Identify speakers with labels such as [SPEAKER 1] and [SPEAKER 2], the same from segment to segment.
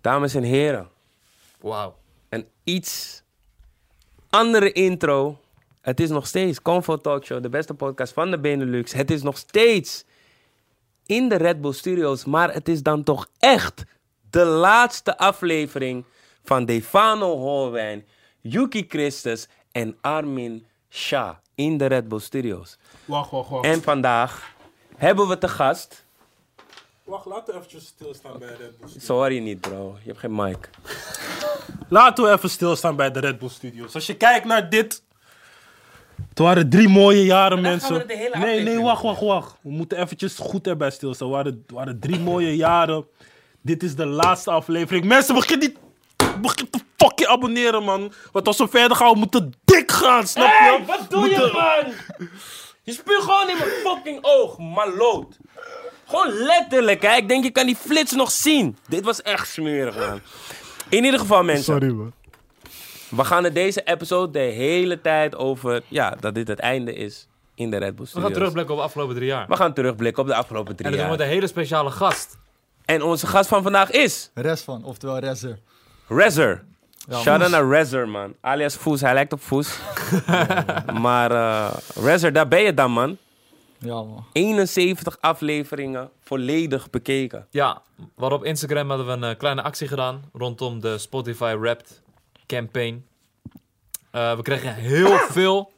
[SPEAKER 1] Dames en heren,
[SPEAKER 2] Wauw.
[SPEAKER 1] een iets andere intro. Het is nog steeds Comfort Talk Show, de beste podcast van de Benelux. Het is nog steeds in de Red Bull Studios, maar het is dan toch echt de laatste aflevering van Defano Holwijn, Yuki Christus en Armin Shah in de Red Bull Studios.
[SPEAKER 3] Wacht, wacht,
[SPEAKER 4] Oh.
[SPEAKER 3] wacht.
[SPEAKER 1] En vandaag hebben we te gast.
[SPEAKER 4] Wacht, laten we eventjes stilstaan bij Red Bull.
[SPEAKER 1] Sorry niet, bro. Je hebt geen mic.
[SPEAKER 3] Laten we even stilstaan bij de Red Bull Studios. Als je kijkt naar dit. Het waren drie mooie jaren,
[SPEAKER 2] gaan we
[SPEAKER 3] mensen.
[SPEAKER 2] er de hele
[SPEAKER 3] nee,
[SPEAKER 2] aflevering
[SPEAKER 3] nee, wacht, wacht, wacht. We moeten eventjes goed erbij stilstaan. Het waren, het waren drie mooie jaren. Dit is de laatste aflevering. Mensen, begin niet. Begin te fucking abonneren, man. Want als we verder gaan, we moeten dik gaan, snap je?
[SPEAKER 1] Hey, wat doe je,
[SPEAKER 3] Moeten-
[SPEAKER 1] man? Je spuugt gewoon in mijn fucking oog, maloot. Gewoon letterlijk, hè. Ik denk, je kan die flits nog zien. Dit was echt smerig, man. In ieder geval, mensen.
[SPEAKER 3] Sorry, man.
[SPEAKER 1] We gaan het deze episode de hele tijd over... Ja, dat dit het einde is in de Red Bull
[SPEAKER 2] We
[SPEAKER 1] Studios.
[SPEAKER 2] gaan terugblikken op de afgelopen drie jaar.
[SPEAKER 1] We gaan terugblikken op de afgelopen
[SPEAKER 2] En
[SPEAKER 1] drie
[SPEAKER 2] dat doen
[SPEAKER 1] jaar.
[SPEAKER 2] we met een hele speciale gast.
[SPEAKER 1] En onze gast van vandaag is...
[SPEAKER 5] Rest van, oftewel Rezer.
[SPEAKER 1] Rezzer.
[SPEAKER 5] Ja,
[SPEAKER 1] Shout out
[SPEAKER 5] Foes.
[SPEAKER 1] naar Rezzer, man. Alias Foes, hij lijkt op Foes. maar eh Rezzer, daar ben je dan, man.
[SPEAKER 5] Ja, man.
[SPEAKER 1] 71 afleveringen volledig bekeken.
[SPEAKER 2] Ja, waarop Instagram hadden we een eh, kleine actie gedaan rondom de Spotify Wrapped campaign. Eh, we kregen heel veel,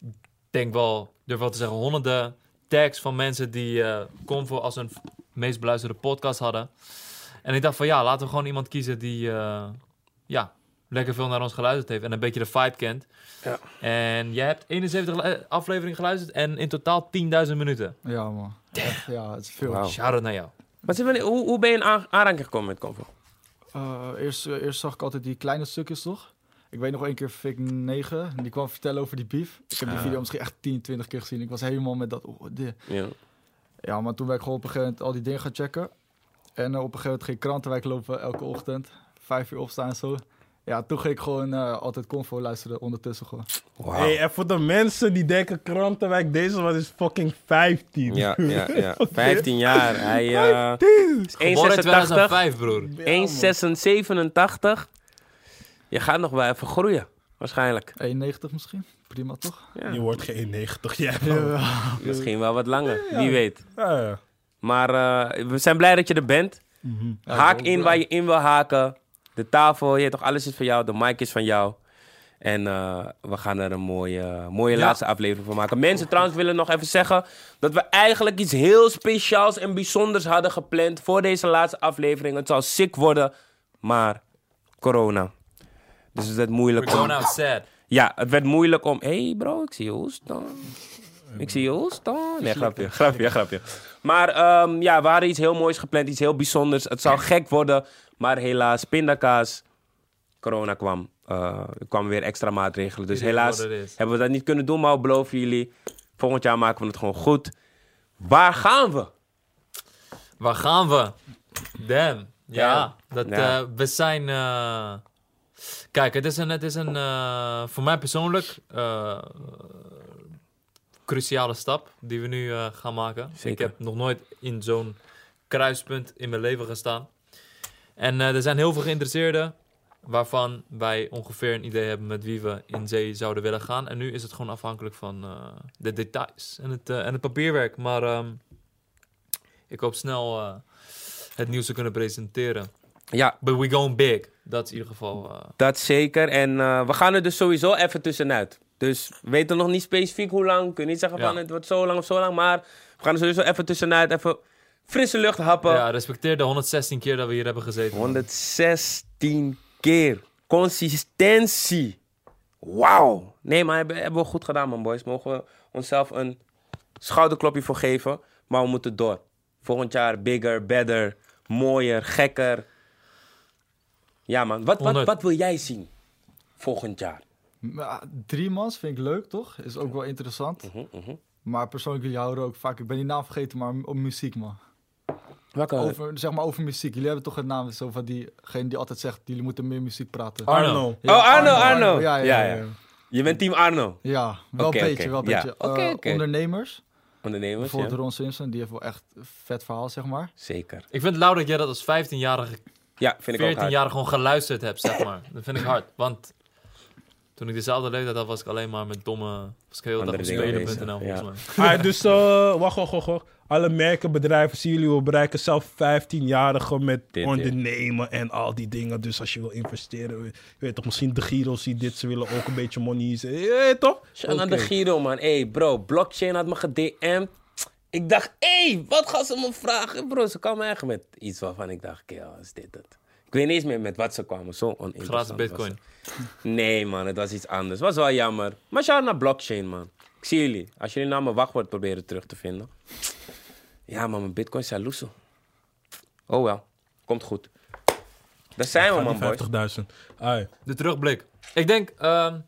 [SPEAKER 2] ik denk wel, ik durf wel te zeggen, honderden tags van mensen die eh Convo als hun meest beluisterde podcast hadden. En ik dacht van ja, laten we gewoon iemand kiezen die eh, ja, lekker veel naar ons geluisterd heeft en een beetje de vibe kent.
[SPEAKER 1] Ja.
[SPEAKER 2] En jij hebt 71 le- afleveringen geluisterd en in totaal 10.000 minuten.
[SPEAKER 5] Ja, man. Echt, Ja, het is veel.
[SPEAKER 1] Wauw.
[SPEAKER 2] Shout-out naar jou.
[SPEAKER 1] Maar zeg maar, hoe, hoe ben je in aan- aanraking gekomen met Convo?
[SPEAKER 5] Eh, eerst, eh, eerst zag ik altijd die kleine stukjes, toch? Ik weet nog één keer Fik 9, en die kwam vertellen over die beef. Ik heb die video misschien echt 10, 20 keer gezien. Ik was helemaal met dat... oh, dit.
[SPEAKER 1] Ja.
[SPEAKER 5] Ja, maar toen ben ik gewoon op een gegeven moment al die dingen gaan checken. En eh, op een gegeven moment ging ik Krantenwijk lopen elke ochtend. Vijf uur opstaan en zo. Ja, toen ging ik gewoon eh, altijd Convo luisteren ondertussen gewoon.
[SPEAKER 3] Hey, en voor de mensen die denken: Krantenwijk, deze was is fucking 15.
[SPEAKER 1] Ja, ja, ja. 15 jaar. Hij eh, is
[SPEAKER 2] Geboren in
[SPEAKER 1] 1,86.
[SPEAKER 2] 2005, broer.
[SPEAKER 1] 1,87. Je gaat nog wel even groeien. Waarschijnlijk.
[SPEAKER 5] 1,90 misschien? Prima, toch?
[SPEAKER 3] Je wordt geen 90, jij.
[SPEAKER 1] Misschien wel wat langer. Wie weet.
[SPEAKER 3] Ja, ja.
[SPEAKER 1] Maar eh, we zijn blij dat je er bent.
[SPEAKER 5] Mhm. Ja,
[SPEAKER 1] Haak
[SPEAKER 5] ik
[SPEAKER 1] in waar je in wil haken. De tafel, je weet toch, alles is van jou. De mic is van jou. En eh, we gaan er een mooie, mooie laatste aflevering van maken. Mensen trouwens willen nog even zeggen dat we eigenlijk iets heel speciaals en bijzonders hadden gepland voor deze laatste aflevering. Het zou sick worden, maar corona. Dus het werd moeilijk
[SPEAKER 2] We're
[SPEAKER 1] om...
[SPEAKER 2] going out sad.
[SPEAKER 1] Ja, het werd moeilijk om... Hé hey bro, ik zie je hoest dan. Ik zie je hoest dan. Nee, grapje, grapje, grapje. Maar ehm, ja, we hadden iets heel moois gepland, iets heel bijzonders. Het zou gek worden, maar helaas, pindakaas. Corona kwam. Eh, er kwamen weer extra maatregelen. Dus
[SPEAKER 2] It is
[SPEAKER 1] helaas
[SPEAKER 2] what it is.
[SPEAKER 1] hebben we dat niet kunnen doen, maar we beloven jullie... Volgend jaar maken we het gewoon goed. Waar gaan we?
[SPEAKER 2] Waar gaan we? Damn. Ja,
[SPEAKER 1] Ja.
[SPEAKER 2] dat,
[SPEAKER 1] Ja.
[SPEAKER 2] eh, we zijn... eh, Kijk, het is een... Het is een eh, voor mij persoonlijk... eh, cruciale stap die we nu eh, gaan maken. Ik
[SPEAKER 1] Zeker.
[SPEAKER 2] heb nog nooit in zo'n kruispunt in mijn leven gestaan. En eh, er zijn heel veel geïnteresseerden... waarvan wij ongeveer een idee hebben met wie we in zee zouden willen gaan. En nu is het gewoon afhankelijk van eh, de details en het, eh, en het papierwerk. Maar... ehm, ik hoop snel eh, het nieuws te kunnen presenteren.
[SPEAKER 1] Ja,
[SPEAKER 2] But we going big. Dat is in ieder geval. eh,
[SPEAKER 1] Dat zeker. En eh, we gaan er dus sowieso even tussenuit. Dus we weten nog niet specifiek hoe lang. We kunnen niet zeggen
[SPEAKER 2] Ja.
[SPEAKER 1] van het wordt zo lang of zo lang. Maar we gaan er sowieso even tussenuit. Even frisse lucht happen.
[SPEAKER 2] ja, respecteer de 116 keer dat we hier hebben gezeten. man.
[SPEAKER 1] 116 keer. Consistentie. Wauw. Nee, maar hebben, hebben we goed gedaan, man, boys. Mogen we onszelf een schouderklopje voor geven. Maar we moeten door. Volgend jaar bigger, better, mooier, gekker. Ja, man. Wat, wat,
[SPEAKER 2] Honderd.
[SPEAKER 1] wat wil jij zien volgend jaar?
[SPEAKER 5] Maar ah, drie mans vind ik leuk, toch? Is ook wel interessant.
[SPEAKER 1] Mhm,
[SPEAKER 5] Maar persoonlijk, jullie houden ook vaak... Ik ben die naam vergeten, maar om muziek, man.
[SPEAKER 1] Welke?
[SPEAKER 5] Over, zeg maar over muziek. Jullie hebben toch een naam zo van diegene die altijd zegt... jullie moeten meer muziek praten.
[SPEAKER 2] Arno.
[SPEAKER 5] Ja,
[SPEAKER 1] Oh, Arno, Arno.
[SPEAKER 5] Ja, ja,
[SPEAKER 1] Ja,
[SPEAKER 5] ja.
[SPEAKER 1] ja.
[SPEAKER 5] ja,
[SPEAKER 1] Je bent team Arno.
[SPEAKER 5] Ja, wel
[SPEAKER 1] Oké,
[SPEAKER 5] een beetje,
[SPEAKER 1] oké.
[SPEAKER 5] wel een
[SPEAKER 1] Ja.
[SPEAKER 5] beetje. Eh,
[SPEAKER 1] Oké, oké.
[SPEAKER 5] Ondernemers,
[SPEAKER 1] Ondernemers, ja.
[SPEAKER 5] bijvoorbeeld Ron Simpson, die heeft wel echt een vet verhaal, zeg maar.
[SPEAKER 1] Zeker.
[SPEAKER 2] Ik vind het lauw dat jij dat als 15-jarige
[SPEAKER 1] Ja, vind ik ook
[SPEAKER 2] 14
[SPEAKER 1] hard.
[SPEAKER 2] jaar gewoon geluisterd heb, zeg maar. Dat vind ik hard. Want toen ik dezelfde leeftijd had, was ik alleen maar met domme... Was ik heel de dag op
[SPEAKER 1] Andere dingen
[SPEAKER 2] spelen.nl,
[SPEAKER 1] bezig,
[SPEAKER 2] volgens mij.
[SPEAKER 3] Ah, dus eh, wacht, wacht, wacht, wacht. Alle merken, bedrijven, zien jullie, we bereiken zelf 15-jarigen met
[SPEAKER 1] Dit, ja.
[SPEAKER 3] ondernemen en al die dingen. Dus als je wil investeren, je weet toch, misschien de Giro ziet dit, ze willen ook een beetje money. Ze- Je weet toch?
[SPEAKER 1] Shout out naar de Giro, man. hey, bro, blockchain had me gedm'd. Ik dacht, hé, hey, wat gaan ze me vragen? Bro, ze kwamen echt met iets waarvan ik dacht, kerel, is dit het? Ik weet niet eens meer met wat ze kwamen. Zo oninteressant
[SPEAKER 2] Gratis
[SPEAKER 1] was
[SPEAKER 2] bitcoin.
[SPEAKER 1] het. Nee, man, het was iets anders. Was wel jammer. Maar shout out naar blockchain, man. Ik zie jullie. Als jullie nou mijn wachtwoord proberen terug te vinden. Ja, man, mijn bitcoin zijn loesel. Oh wel, komt goed. Daar zijn we, man, boys.
[SPEAKER 3] 50.000. Ai.
[SPEAKER 2] De terugblik. Ik denk, ehm,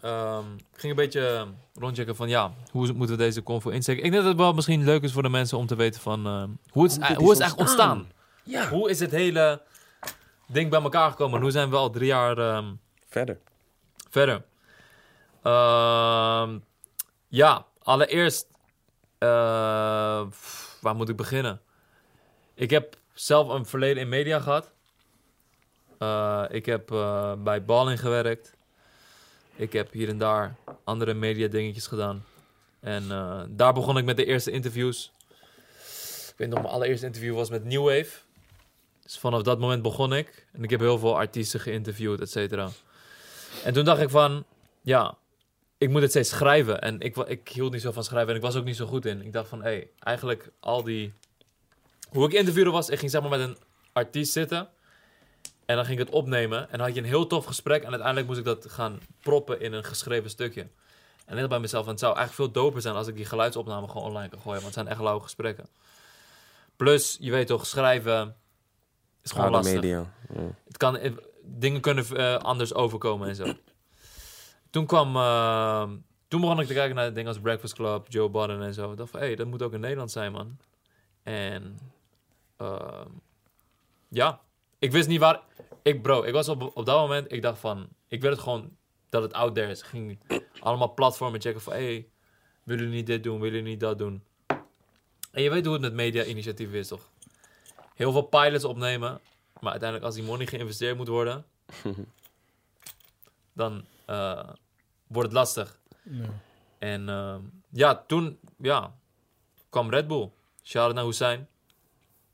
[SPEAKER 2] ehm, ik ging een beetje rondchecken van ja, hoe is- moeten we deze convo insteken? Ik denk dat het wel misschien leuk is voor de mensen om te weten van ehm, hoe het, is,
[SPEAKER 1] dit
[SPEAKER 2] hoe
[SPEAKER 1] is
[SPEAKER 2] het is echt ontstaan.
[SPEAKER 1] Ja.
[SPEAKER 2] Hoe is het hele ding bij elkaar gekomen? En Hoe zijn we al drie jaar ehm,
[SPEAKER 1] Verder.
[SPEAKER 2] verder? Ehm, ja, allereerst, eh, pff, waar moet ik beginnen? Ik heb zelf een verleden in media gehad. Eh, ik heb eh, bij Balling gewerkt. Ik heb hier en daar andere media dingetjes gedaan. En eh, daar begon ik met de eerste interviews. Ik weet nog, mijn allereerste interview was met New Wave. Dus vanaf dat moment begon ik. En ik heb heel veel artiesten geïnterviewd, et cetera. En toen dacht ik van, ja, ik moet het steeds schrijven. En ik, wa- ik hield niet zo van schrijven en ik was ook niet zo goed in. Ik dacht van, hé, hey, eigenlijk al die... Hoe ik interviewde was, ik ging zeg maar met een artiest zitten. En dan ging ik het opnemen. En dan had je een heel tof gesprek. En uiteindelijk moest ik dat gaan proppen in een geschreven stukje. En ik dacht bij mezelf, van, het zou eigenlijk veel doper zijn als ik die geluidsopname gewoon online kan gooien. Want het zijn echt lauwe gesprekken. Plus, je weet toch, schrijven is gewoon
[SPEAKER 1] Oude
[SPEAKER 2] lastig.
[SPEAKER 1] media. Ja.
[SPEAKER 2] Het kan, eh, dingen kunnen eh, anders overkomen en zo. Toen kwam... eh, toen begon ik te kijken naar dingen als Breakfast Club, Joe Budden en zo. Ik dacht van, hé, hey, dat moet ook in Nederland zijn, man. En... ehm, ja, ik wist niet waar... Ik, bro, ik was op, op dat moment... Ik dacht van... Ik wil het gewoon dat het out there is. Ik ging allemaal platformen checken van... hey, willen jullie niet dit doen? Willen jullie niet dat doen? En je weet hoe het met media-initiatieven is, toch? Heel veel pilots opnemen maar uiteindelijk, als die money geïnvesteerd moet worden, dan eh, wordt het lastig. En ehm, ja, toen ja, kwam Red Bull. Shout-out naar Hussein,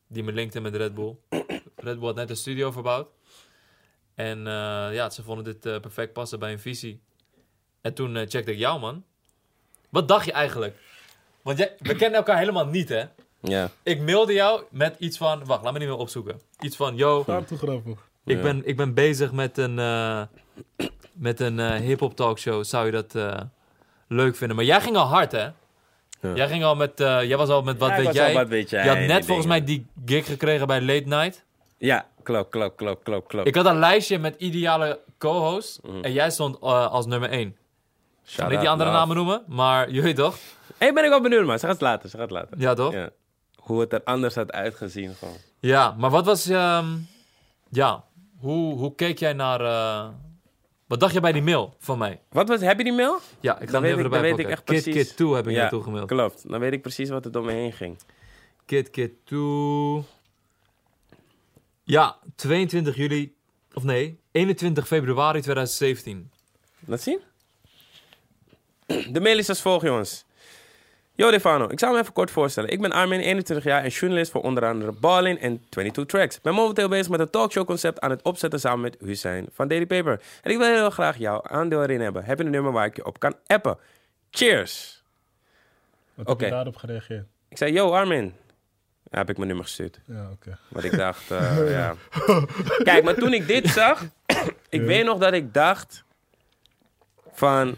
[SPEAKER 2] die me linkte met Red Bull. Red Bull had net een studio verbouwd. En eh, ja, ze vonden dit eh, perfect passen bij een visie. En toen eh, checkte ik jou, man. Wat dacht je eigenlijk? Want jij, we kennen elkaar helemaal niet, hè?
[SPEAKER 1] ja.
[SPEAKER 2] Ik mailde jou met iets van... Wacht, laat me niet meer opzoeken. Iets van, yo,
[SPEAKER 3] Daar te grappig.
[SPEAKER 2] ik,
[SPEAKER 1] Ja.
[SPEAKER 2] ben, ik ben bezig met een, eh met een eh, hip-hop talkshow. Zou je dat eh, leuk vinden? Maar jij ging al hard, hè? Jij ging al met. eh, jij was al met wat
[SPEAKER 1] Ja, ik
[SPEAKER 2] weet
[SPEAKER 1] was al
[SPEAKER 2] jij.
[SPEAKER 1] wat weet jij,
[SPEAKER 2] Je had
[SPEAKER 1] die
[SPEAKER 2] net volgens mij
[SPEAKER 1] dingen. Oh.
[SPEAKER 2] die gig gekregen bij Late Night.
[SPEAKER 1] Ja, klopt, klopt, klopt, klopt, klopt.
[SPEAKER 2] Ik had een lijstje met ideale co-hosts.
[SPEAKER 1] Mhm.
[SPEAKER 2] En jij stond eh, als nummer 1. Ik ga niet die andere namen noemen, maar je weet toch?
[SPEAKER 1] Hé, ben ik wel benieuwd, maar ze gaat het later, ze gaat het later.
[SPEAKER 2] Ja, toch? Ja,
[SPEAKER 1] Ja. Hoe het er anders had uitgezien gewoon.
[SPEAKER 2] maar wat was. ehm, ja, hoe, hoe keek jij naar. eh, wat dacht je bij die mail van mij?
[SPEAKER 1] Wat was, heb je die mail?
[SPEAKER 2] Ja, ik
[SPEAKER 1] Dan
[SPEAKER 2] ga hem
[SPEAKER 1] weet
[SPEAKER 2] even
[SPEAKER 1] ik-
[SPEAKER 2] erbij
[SPEAKER 1] dan weet
[SPEAKER 2] pakken.
[SPEAKER 1] ik echt
[SPEAKER 2] Kid
[SPEAKER 1] precies.
[SPEAKER 2] Kid 2 heb ik
[SPEAKER 1] ja,
[SPEAKER 2] naartoe gemaild.
[SPEAKER 1] klopt. Dan weet ik precies wat er door me heen ging.
[SPEAKER 2] Kid Kid 2. Ja, 22 juli. Of nee, 21 februari 2017.
[SPEAKER 1] Laat zien. De mail is als volgt, jongens. Yo, Defano, ik zal me even kort voorstellen. Ik ben Armin, 21 jaar en journalist voor onder andere Ballin en 22 Tracks. Ik ben momenteel bezig met een talkshow-concept aan het opzetten samen met Hussein van Daily Paper. En ik wil heel graag jouw aandeel erin hebben. Heb je een nummer waar ik je op kan appen? Cheers!
[SPEAKER 3] Wat heb
[SPEAKER 1] Oké.
[SPEAKER 3] je daarop gereageerd?
[SPEAKER 1] Ik zei, yo, Armin. Ja, heb ik mijn nummer gestuurd.
[SPEAKER 3] Ja, oké.
[SPEAKER 1] Want ik dacht, eh, ja. Kijk, maar toen ik dit zag, ik weet nog dat ik dacht van,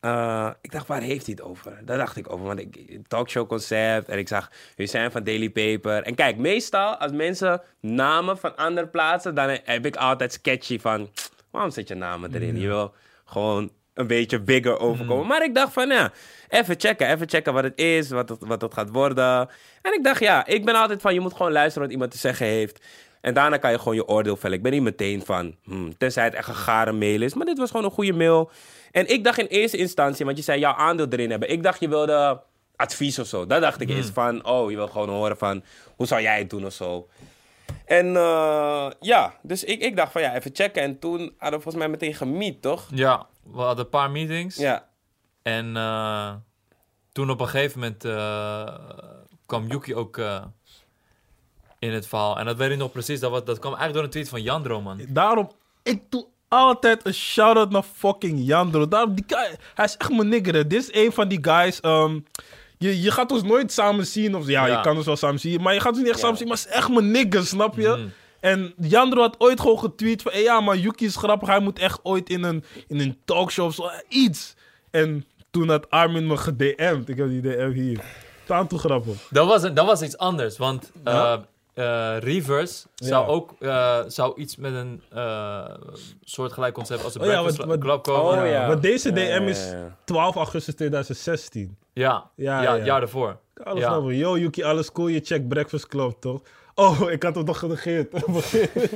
[SPEAKER 1] eh, ik dacht, waar heeft hij het over? Daar dacht ik over, want ik talkshow concept en ik zag Hussein van Daily Paper. En kijk, meestal als mensen namen van andere plaatsen, dan heb ik altijd sketchy van, waarom zet je namen erin? Je wil gewoon een beetje bigger overkomen. Maar ik dacht van, ja, even checken, even checken wat het is, wat het, wat het gaat worden. En ik dacht, ja, ik ben altijd van, je moet gewoon luisteren wat iemand te zeggen heeft. En daarna kan je gewoon je oordeel vellen. Ik ben niet meteen van, hmm, tenzij het echt een gare mail is. Maar dit was gewoon een goede mail. En ik dacht in eerste instantie, want je zei jouw aandeel erin hebben. Ik dacht, je wilde Hmm. advies of zo. Dat dacht ik eens van, oh, je wil gewoon horen van, hoe zou jij het doen of zo. En eh, ja, dus ik, ik dacht van ja, even checken. En toen hadden we volgens mij meteen gemiet, toch?
[SPEAKER 2] Ja, we hadden een paar meetings.
[SPEAKER 1] Ja.
[SPEAKER 2] En eh, toen op een gegeven moment eh, kwam Yuki ook eh, in het verhaal. En dat weet ik nog precies. Dat, was, dat kwam eigenlijk door een tweet van Jandro, man.
[SPEAKER 4] Daarom, ik doe altijd een shout-out naar fucking Jandro. Daarom, die guy, hij is echt mijn nigger. hè. Dit is een van die guys. ehm, je, je gaat ons nooit samen zien. Of, ja,
[SPEAKER 2] Ja.
[SPEAKER 4] je kan ons wel samen zien. Maar je gaat ons niet echt
[SPEAKER 1] Ja. Mm.
[SPEAKER 4] samen zien. Maar hij is echt mijn nigger, snap je?
[SPEAKER 2] Mhm.
[SPEAKER 4] En Jandro had ooit gewoon getweet van... "Hey, ja, maar Yuki is grappig. Hij moet echt ooit in een, in een talkshow of zo. eh, Iets. En toen had Armin me gedm'd. Ik heb die DM hier. Staan toe grappig.
[SPEAKER 2] Dat was, een- dat was iets anders, want eh eh, Reverse zou
[SPEAKER 4] Ja.
[SPEAKER 2] ook eh, zou iets met een eh, soortgelijk concept als de
[SPEAKER 4] Oh ja,
[SPEAKER 2] Breakfast
[SPEAKER 4] wat- wat-
[SPEAKER 2] Club komen.
[SPEAKER 1] Oh,
[SPEAKER 2] ja.
[SPEAKER 1] ja.
[SPEAKER 4] Maar deze DM
[SPEAKER 1] Ja, ja,
[SPEAKER 4] is
[SPEAKER 1] ja, ja.
[SPEAKER 4] 12 augustus 2016.
[SPEAKER 2] Ja,
[SPEAKER 4] Ja,
[SPEAKER 2] het
[SPEAKER 4] ja.
[SPEAKER 2] jaar daarvoor.
[SPEAKER 4] Alles
[SPEAKER 2] Ja.
[SPEAKER 4] nou weer. Yo, Yuki, alles cool. Je check Breakfast Club, toch? Oh, ik had hem nog genegeerd.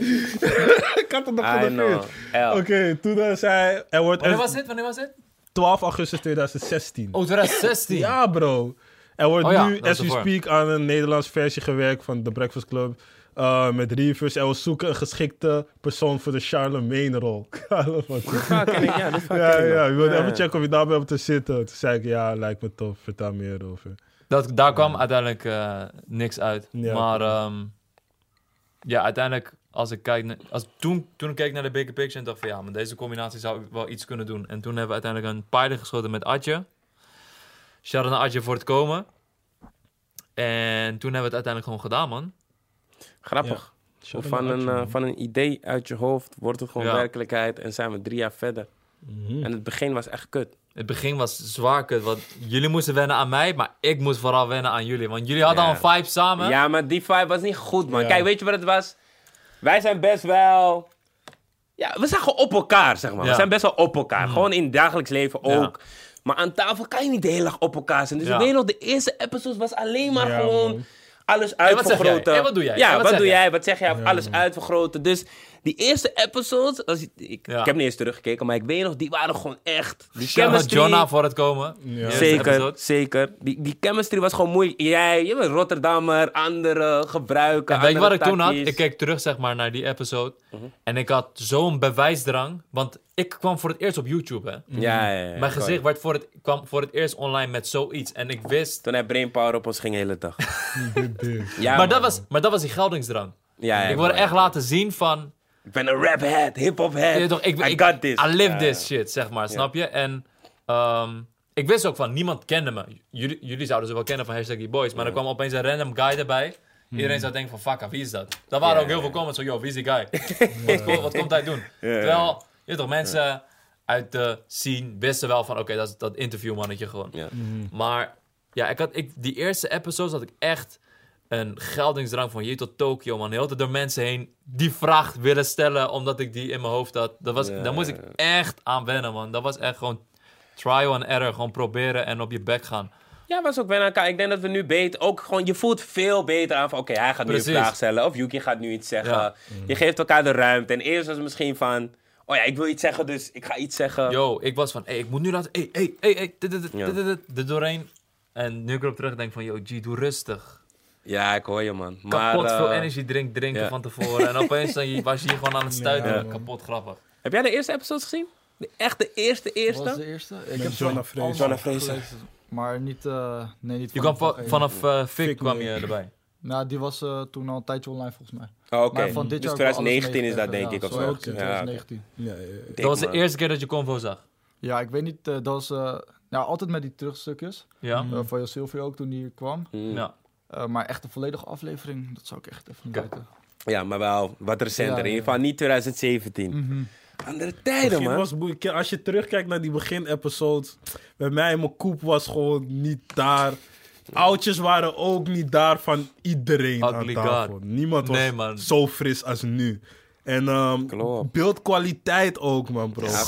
[SPEAKER 4] ik had hem nog
[SPEAKER 1] I know.
[SPEAKER 4] genegeerd. Oké, toen eh, zei hij... Er wordt
[SPEAKER 2] Wanneer Oh, was dit? Wanneer was dit?
[SPEAKER 4] 12 augustus 2016.
[SPEAKER 2] Oh, 2016.
[SPEAKER 4] Ja, bro. Er wordt
[SPEAKER 2] Oh ja,
[SPEAKER 4] nu,
[SPEAKER 2] dat
[SPEAKER 4] as
[SPEAKER 2] is
[SPEAKER 4] we
[SPEAKER 2] ervoor.
[SPEAKER 4] speak, aan een Nederlands versie gewerkt van The Breakfast Club. eh, met Reavers. En we zoeken een geschikte persoon voor de Charlemagne-rol. Carlo, wat-
[SPEAKER 1] Ja, ken ik, ja, dat is vaak
[SPEAKER 4] ja,
[SPEAKER 1] ken ik nog.
[SPEAKER 4] ja. Ik wilde even checken of je daarbij hebt te zitten. Toen zei ik, ja, lijkt me tof. Vertel meer over.
[SPEAKER 2] Dat, daar kwam uiteindelijk eh, niks uit.
[SPEAKER 4] Ja.
[SPEAKER 2] Maar ehm, ja, uiteindelijk, als ik kijk naar, als, toen, toen ik keek naar de bigger picture en dacht van ja, maar deze combinatie zou ik wel iets kunnen doen. En toen hebben we uiteindelijk een pilot geschoten met Adje. Shout-out naar Adje voor het komen. En toen hebben we het uiteindelijk gewoon gedaan, man.
[SPEAKER 1] Grappig. Hoe Van een, eh, van een idee uit je hoofd wordt het gewoon
[SPEAKER 2] Ja.
[SPEAKER 1] werkelijkheid en zijn we drie jaar verder. En het begin was echt kut.
[SPEAKER 2] Het begin was zwaar kut, want jullie moesten wennen aan mij, maar ik moest vooral wennen aan jullie. Want jullie hadden
[SPEAKER 1] Ja.
[SPEAKER 2] al een vibe samen.
[SPEAKER 1] Ja, maar die vibe was niet goed, man.
[SPEAKER 4] Ja.
[SPEAKER 1] Kijk, weet je wat het was? Wij zijn best wel... Ja, we zijn gewoon op elkaar, zeg maar.
[SPEAKER 2] Ja. Mhm.
[SPEAKER 1] We zijn best wel op elkaar. Gewoon in het dagelijks leven
[SPEAKER 2] Ja.
[SPEAKER 1] ook. Maar aan tafel kan je niet de hele dag op elkaar zijn. Dus
[SPEAKER 2] Ja.
[SPEAKER 1] ik weet nog, de eerste episodes was alleen maar
[SPEAKER 4] Ja,
[SPEAKER 1] gewoon...
[SPEAKER 4] man.
[SPEAKER 1] Alles
[SPEAKER 2] zeg jij?
[SPEAKER 1] uitvergroten.
[SPEAKER 2] Hey, wat doe jij?
[SPEAKER 1] Ja,
[SPEAKER 2] Hey, wat
[SPEAKER 1] wat
[SPEAKER 2] zeg
[SPEAKER 1] doe
[SPEAKER 2] jij?
[SPEAKER 1] jij? Wat zeg jij? Of Alles uitvergroten. Dus die eerste episodes... Als, ik, ik,
[SPEAKER 2] Ja.
[SPEAKER 1] ik heb niet eens teruggekeken, maar ik weet nog, die waren gewoon echt... Die
[SPEAKER 2] Shout-out
[SPEAKER 1] chemistry-
[SPEAKER 2] Jonna voor het komen. Eerste
[SPEAKER 1] Zeker,
[SPEAKER 2] episode.
[SPEAKER 1] zeker. Die, die chemistry was gewoon moeilijk. Jij, je bent Rotterdammer, anderen gebruiken.
[SPEAKER 2] En weet je wat ik
[SPEAKER 1] andere
[SPEAKER 2] toen had?
[SPEAKER 1] tactisch. Mhm.
[SPEAKER 2] Ik keek terug zeg maar, naar die episode. En ik had zo'n bewijsdrang. Want ik kwam voor het eerst op YouTube. Hè?
[SPEAKER 1] Ja, ja, ja.
[SPEAKER 2] Mijn gezicht werd voor het, kwam voor het eerst online met zoiets. En ik wist.
[SPEAKER 1] Toen hij brainpower op ons ging de hele dag. ja,
[SPEAKER 2] Maar
[SPEAKER 1] man.
[SPEAKER 2] dat was, maar dat was die geldingsdrang.
[SPEAKER 1] Ja, ja,
[SPEAKER 2] ik wilde
[SPEAKER 1] man.
[SPEAKER 2] echt laten zien van.
[SPEAKER 1] Ik ben een rap head, hip hop head.
[SPEAKER 2] je weet toch, ik,
[SPEAKER 1] I
[SPEAKER 2] ik-
[SPEAKER 1] got this.
[SPEAKER 2] I live
[SPEAKER 1] Ja,
[SPEAKER 2] this shit, zeg maar. Snap je? En ehm, ik wist ook van niemand kende me. Jullie, jullie zouden ze wel kennen van hashtag die boys. Maar er kwam opeens een random guy erbij. Iedereen zou denken van, fuck, wie is dat? Daar
[SPEAKER 1] Mhm.
[SPEAKER 2] waren
[SPEAKER 1] Ja,
[SPEAKER 2] ook heel
[SPEAKER 1] ja.
[SPEAKER 2] veel comments van, yo, wie is die guy? wat, ko- wat komt hij doen? Terwijl, je weet toch, mensen uit de scene wisten wel van, oké, dat is dat interviewmannetje gewoon.
[SPEAKER 1] Ja.
[SPEAKER 2] Maar ja, ik had, ik, die eerste episodes had ik echt een geldingsdrang van hier tot Tokio, man. Heel de tijd door mensen heen die vraag willen stellen, omdat ik die in mijn hoofd had. Dat was, Daar moest ik echt aan wennen, man. Dat was echt gewoon trial and error. Gewoon proberen en op je bek gaan.
[SPEAKER 1] Ja, was ook wel aan elkaar. Ik denk dat we nu beter, ook gewoon, je voelt veel beter aan van, oké, hij gaat nu
[SPEAKER 2] Precies.
[SPEAKER 1] een vraag stellen. Of Yuki gaat nu iets zeggen.
[SPEAKER 2] Ja.
[SPEAKER 1] Je geeft elkaar de ruimte. En eerst was het misschien van, oh ja, ik wil iets zeggen, dus ik ga iets zeggen.
[SPEAKER 2] Yo, ik was van, hey, ik moet nu laten... Hey, hey, hey, hey, dit, dit, dit,
[SPEAKER 1] Ja.
[SPEAKER 2] dit, dit, dit, er doorheen. En nu ik erop terug denk van, yo, G, doe rustig.
[SPEAKER 1] Ja, ik hoor je, man. Maar,
[SPEAKER 2] Kapot veel
[SPEAKER 1] eh,
[SPEAKER 2] energy drink drinken
[SPEAKER 1] ja.
[SPEAKER 2] van tevoren. En opeens dan je- was je hier gewoon aan het stuiten. Kapot grappig.
[SPEAKER 1] Heb jij de eerste episodes gezien? De, echt de eerste,
[SPEAKER 5] Wat was de
[SPEAKER 1] eerste?
[SPEAKER 5] eerste? Ik heb
[SPEAKER 4] Jonah
[SPEAKER 5] zo'n
[SPEAKER 4] Fraser.
[SPEAKER 1] Jonah Fraser.
[SPEAKER 5] Maar niet, eh, nee, niet
[SPEAKER 2] Je
[SPEAKER 5] van-
[SPEAKER 2] kwam va-
[SPEAKER 5] van-
[SPEAKER 2] vanaf eh Fik
[SPEAKER 4] Fik
[SPEAKER 2] kwam
[SPEAKER 4] mee.
[SPEAKER 2] je erbij.
[SPEAKER 5] Nou, die was eh, toen al een tijdje online volgens mij.
[SPEAKER 1] Oh, Oké,
[SPEAKER 5] Maar van dit
[SPEAKER 1] dus
[SPEAKER 5] jaar heb ik alles
[SPEAKER 1] 2019 is dat denk
[SPEAKER 5] meegekregen.
[SPEAKER 1] ik of
[SPEAKER 5] Ja,
[SPEAKER 1] zo.
[SPEAKER 5] ook in 2019.
[SPEAKER 4] Ja, ja, ja.
[SPEAKER 1] dik,
[SPEAKER 2] Dat was de
[SPEAKER 1] man.
[SPEAKER 2] eerste keer dat je Convo zag.
[SPEAKER 5] Ja, ik weet niet, eh, dat was eh, nou, altijd met die terugstukjes.
[SPEAKER 2] Ja?
[SPEAKER 5] eh,
[SPEAKER 1] Hmm.
[SPEAKER 5] van Jos Silvio ook toen die kwam.
[SPEAKER 1] Mm.
[SPEAKER 2] Ja.
[SPEAKER 5] Eh, maar echt een volledige aflevering, dat zou ik echt even niet
[SPEAKER 2] Oké.
[SPEAKER 5] weten.
[SPEAKER 1] Ja, maar wel wat recenter.
[SPEAKER 5] Ja, ja,
[SPEAKER 1] In ieder
[SPEAKER 5] ja. Mhm.
[SPEAKER 1] geval niet 2017. Andere tijden,
[SPEAKER 4] Begin
[SPEAKER 1] man.
[SPEAKER 4] was boeiend. Kijk, Als je terugkijkt naar die begin-episodes, bij mij, mijn koep was gewoon niet daar. Oudjes waren ook niet daar van iedereen
[SPEAKER 2] Ugly
[SPEAKER 4] aan tafel.
[SPEAKER 2] God.
[SPEAKER 4] Niemand was
[SPEAKER 2] Nee, man.
[SPEAKER 4] zo fris als nu. En ehm,
[SPEAKER 1] Klopt.
[SPEAKER 4] beeldkwaliteit ook, man, bro.
[SPEAKER 1] Ja,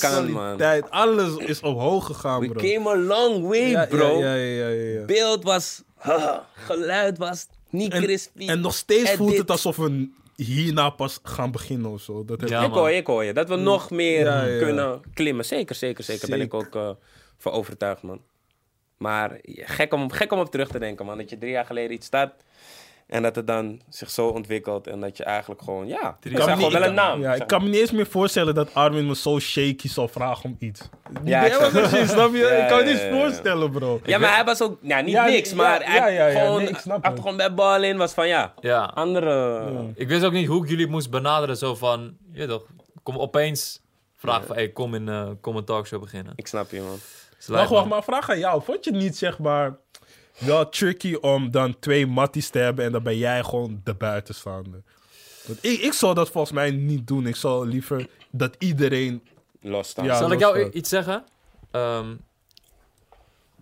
[SPEAKER 4] Geluidskwaliteit, alles is omhoog gegaan,
[SPEAKER 1] We
[SPEAKER 4] bro.
[SPEAKER 1] came a long way,
[SPEAKER 4] Ja,
[SPEAKER 1] bro.
[SPEAKER 4] Ja, ja, ja, ja, ja.
[SPEAKER 1] Beeld was... haha, geluid was niet
[SPEAKER 4] En,
[SPEAKER 1] crispy.
[SPEAKER 4] en nog steeds
[SPEAKER 1] Edit.
[SPEAKER 4] voelt het alsof we hierna pas gaan beginnen of zo. Dat heb
[SPEAKER 2] Ja,
[SPEAKER 1] ik
[SPEAKER 2] man.
[SPEAKER 1] hoor je, ik hoor je. Dat
[SPEAKER 3] Mm.
[SPEAKER 1] we nog meer
[SPEAKER 4] Ja, ja, ja.
[SPEAKER 1] kunnen klimmen. Zeker, zeker, zeker. Ben ik ook eh, van overtuigd, man. Maar ja, gek om, gek om op terug te denken, man. Dat je drie jaar geleden iets start. En dat het dan zich zo ontwikkelt en dat je eigenlijk gewoon, ja,
[SPEAKER 2] Drie-
[SPEAKER 1] het is
[SPEAKER 3] me
[SPEAKER 1] gewoon
[SPEAKER 3] niet-
[SPEAKER 1] wel een naam.
[SPEAKER 3] Ja, ik
[SPEAKER 1] zeg
[SPEAKER 3] kan me niet eens meer voorstellen dat Armin me zo shaky zou vragen om iets.
[SPEAKER 1] Ja,
[SPEAKER 3] Ja,
[SPEAKER 1] ik
[SPEAKER 3] ik
[SPEAKER 1] snap het.
[SPEAKER 3] snap je?
[SPEAKER 1] Ja,
[SPEAKER 3] ik kan me niet
[SPEAKER 1] ja,
[SPEAKER 3] eens
[SPEAKER 1] ja, ja.
[SPEAKER 3] voorstellen, bro.
[SPEAKER 1] Ja, maar hij was ook, ja, niet
[SPEAKER 3] Ja,
[SPEAKER 1] niks,
[SPEAKER 3] ja,
[SPEAKER 1] maar hij
[SPEAKER 3] ja, ja, ja,
[SPEAKER 1] gewoon,
[SPEAKER 3] nee, ik snap
[SPEAKER 1] hij had
[SPEAKER 3] het.
[SPEAKER 1] gewoon bij bal in, was van ja,
[SPEAKER 2] Ja.
[SPEAKER 1] andere...
[SPEAKER 2] Ik wist ook niet hoe ik jullie moest benaderen. Zo van, je weet toch, kom opeens vragen van, hey, kom, in, eh, kom een talkshow beginnen.
[SPEAKER 1] Ik snap je, man.
[SPEAKER 2] Slijt,
[SPEAKER 3] Wacht, wacht,
[SPEAKER 2] man.
[SPEAKER 3] maar vraag aan jou. Vond je het niet, zeg maar, wel tricky om dan twee matties te hebben en dan ben jij gewoon de buitenstaander? Want ik, ik zou dat volgens mij niet doen. Ik zou liever dat iedereen...
[SPEAKER 1] Los staan.
[SPEAKER 3] Ja.
[SPEAKER 2] Zal ik
[SPEAKER 3] dat
[SPEAKER 2] jou
[SPEAKER 3] is waar.
[SPEAKER 2] i- iets zeggen? Ehm,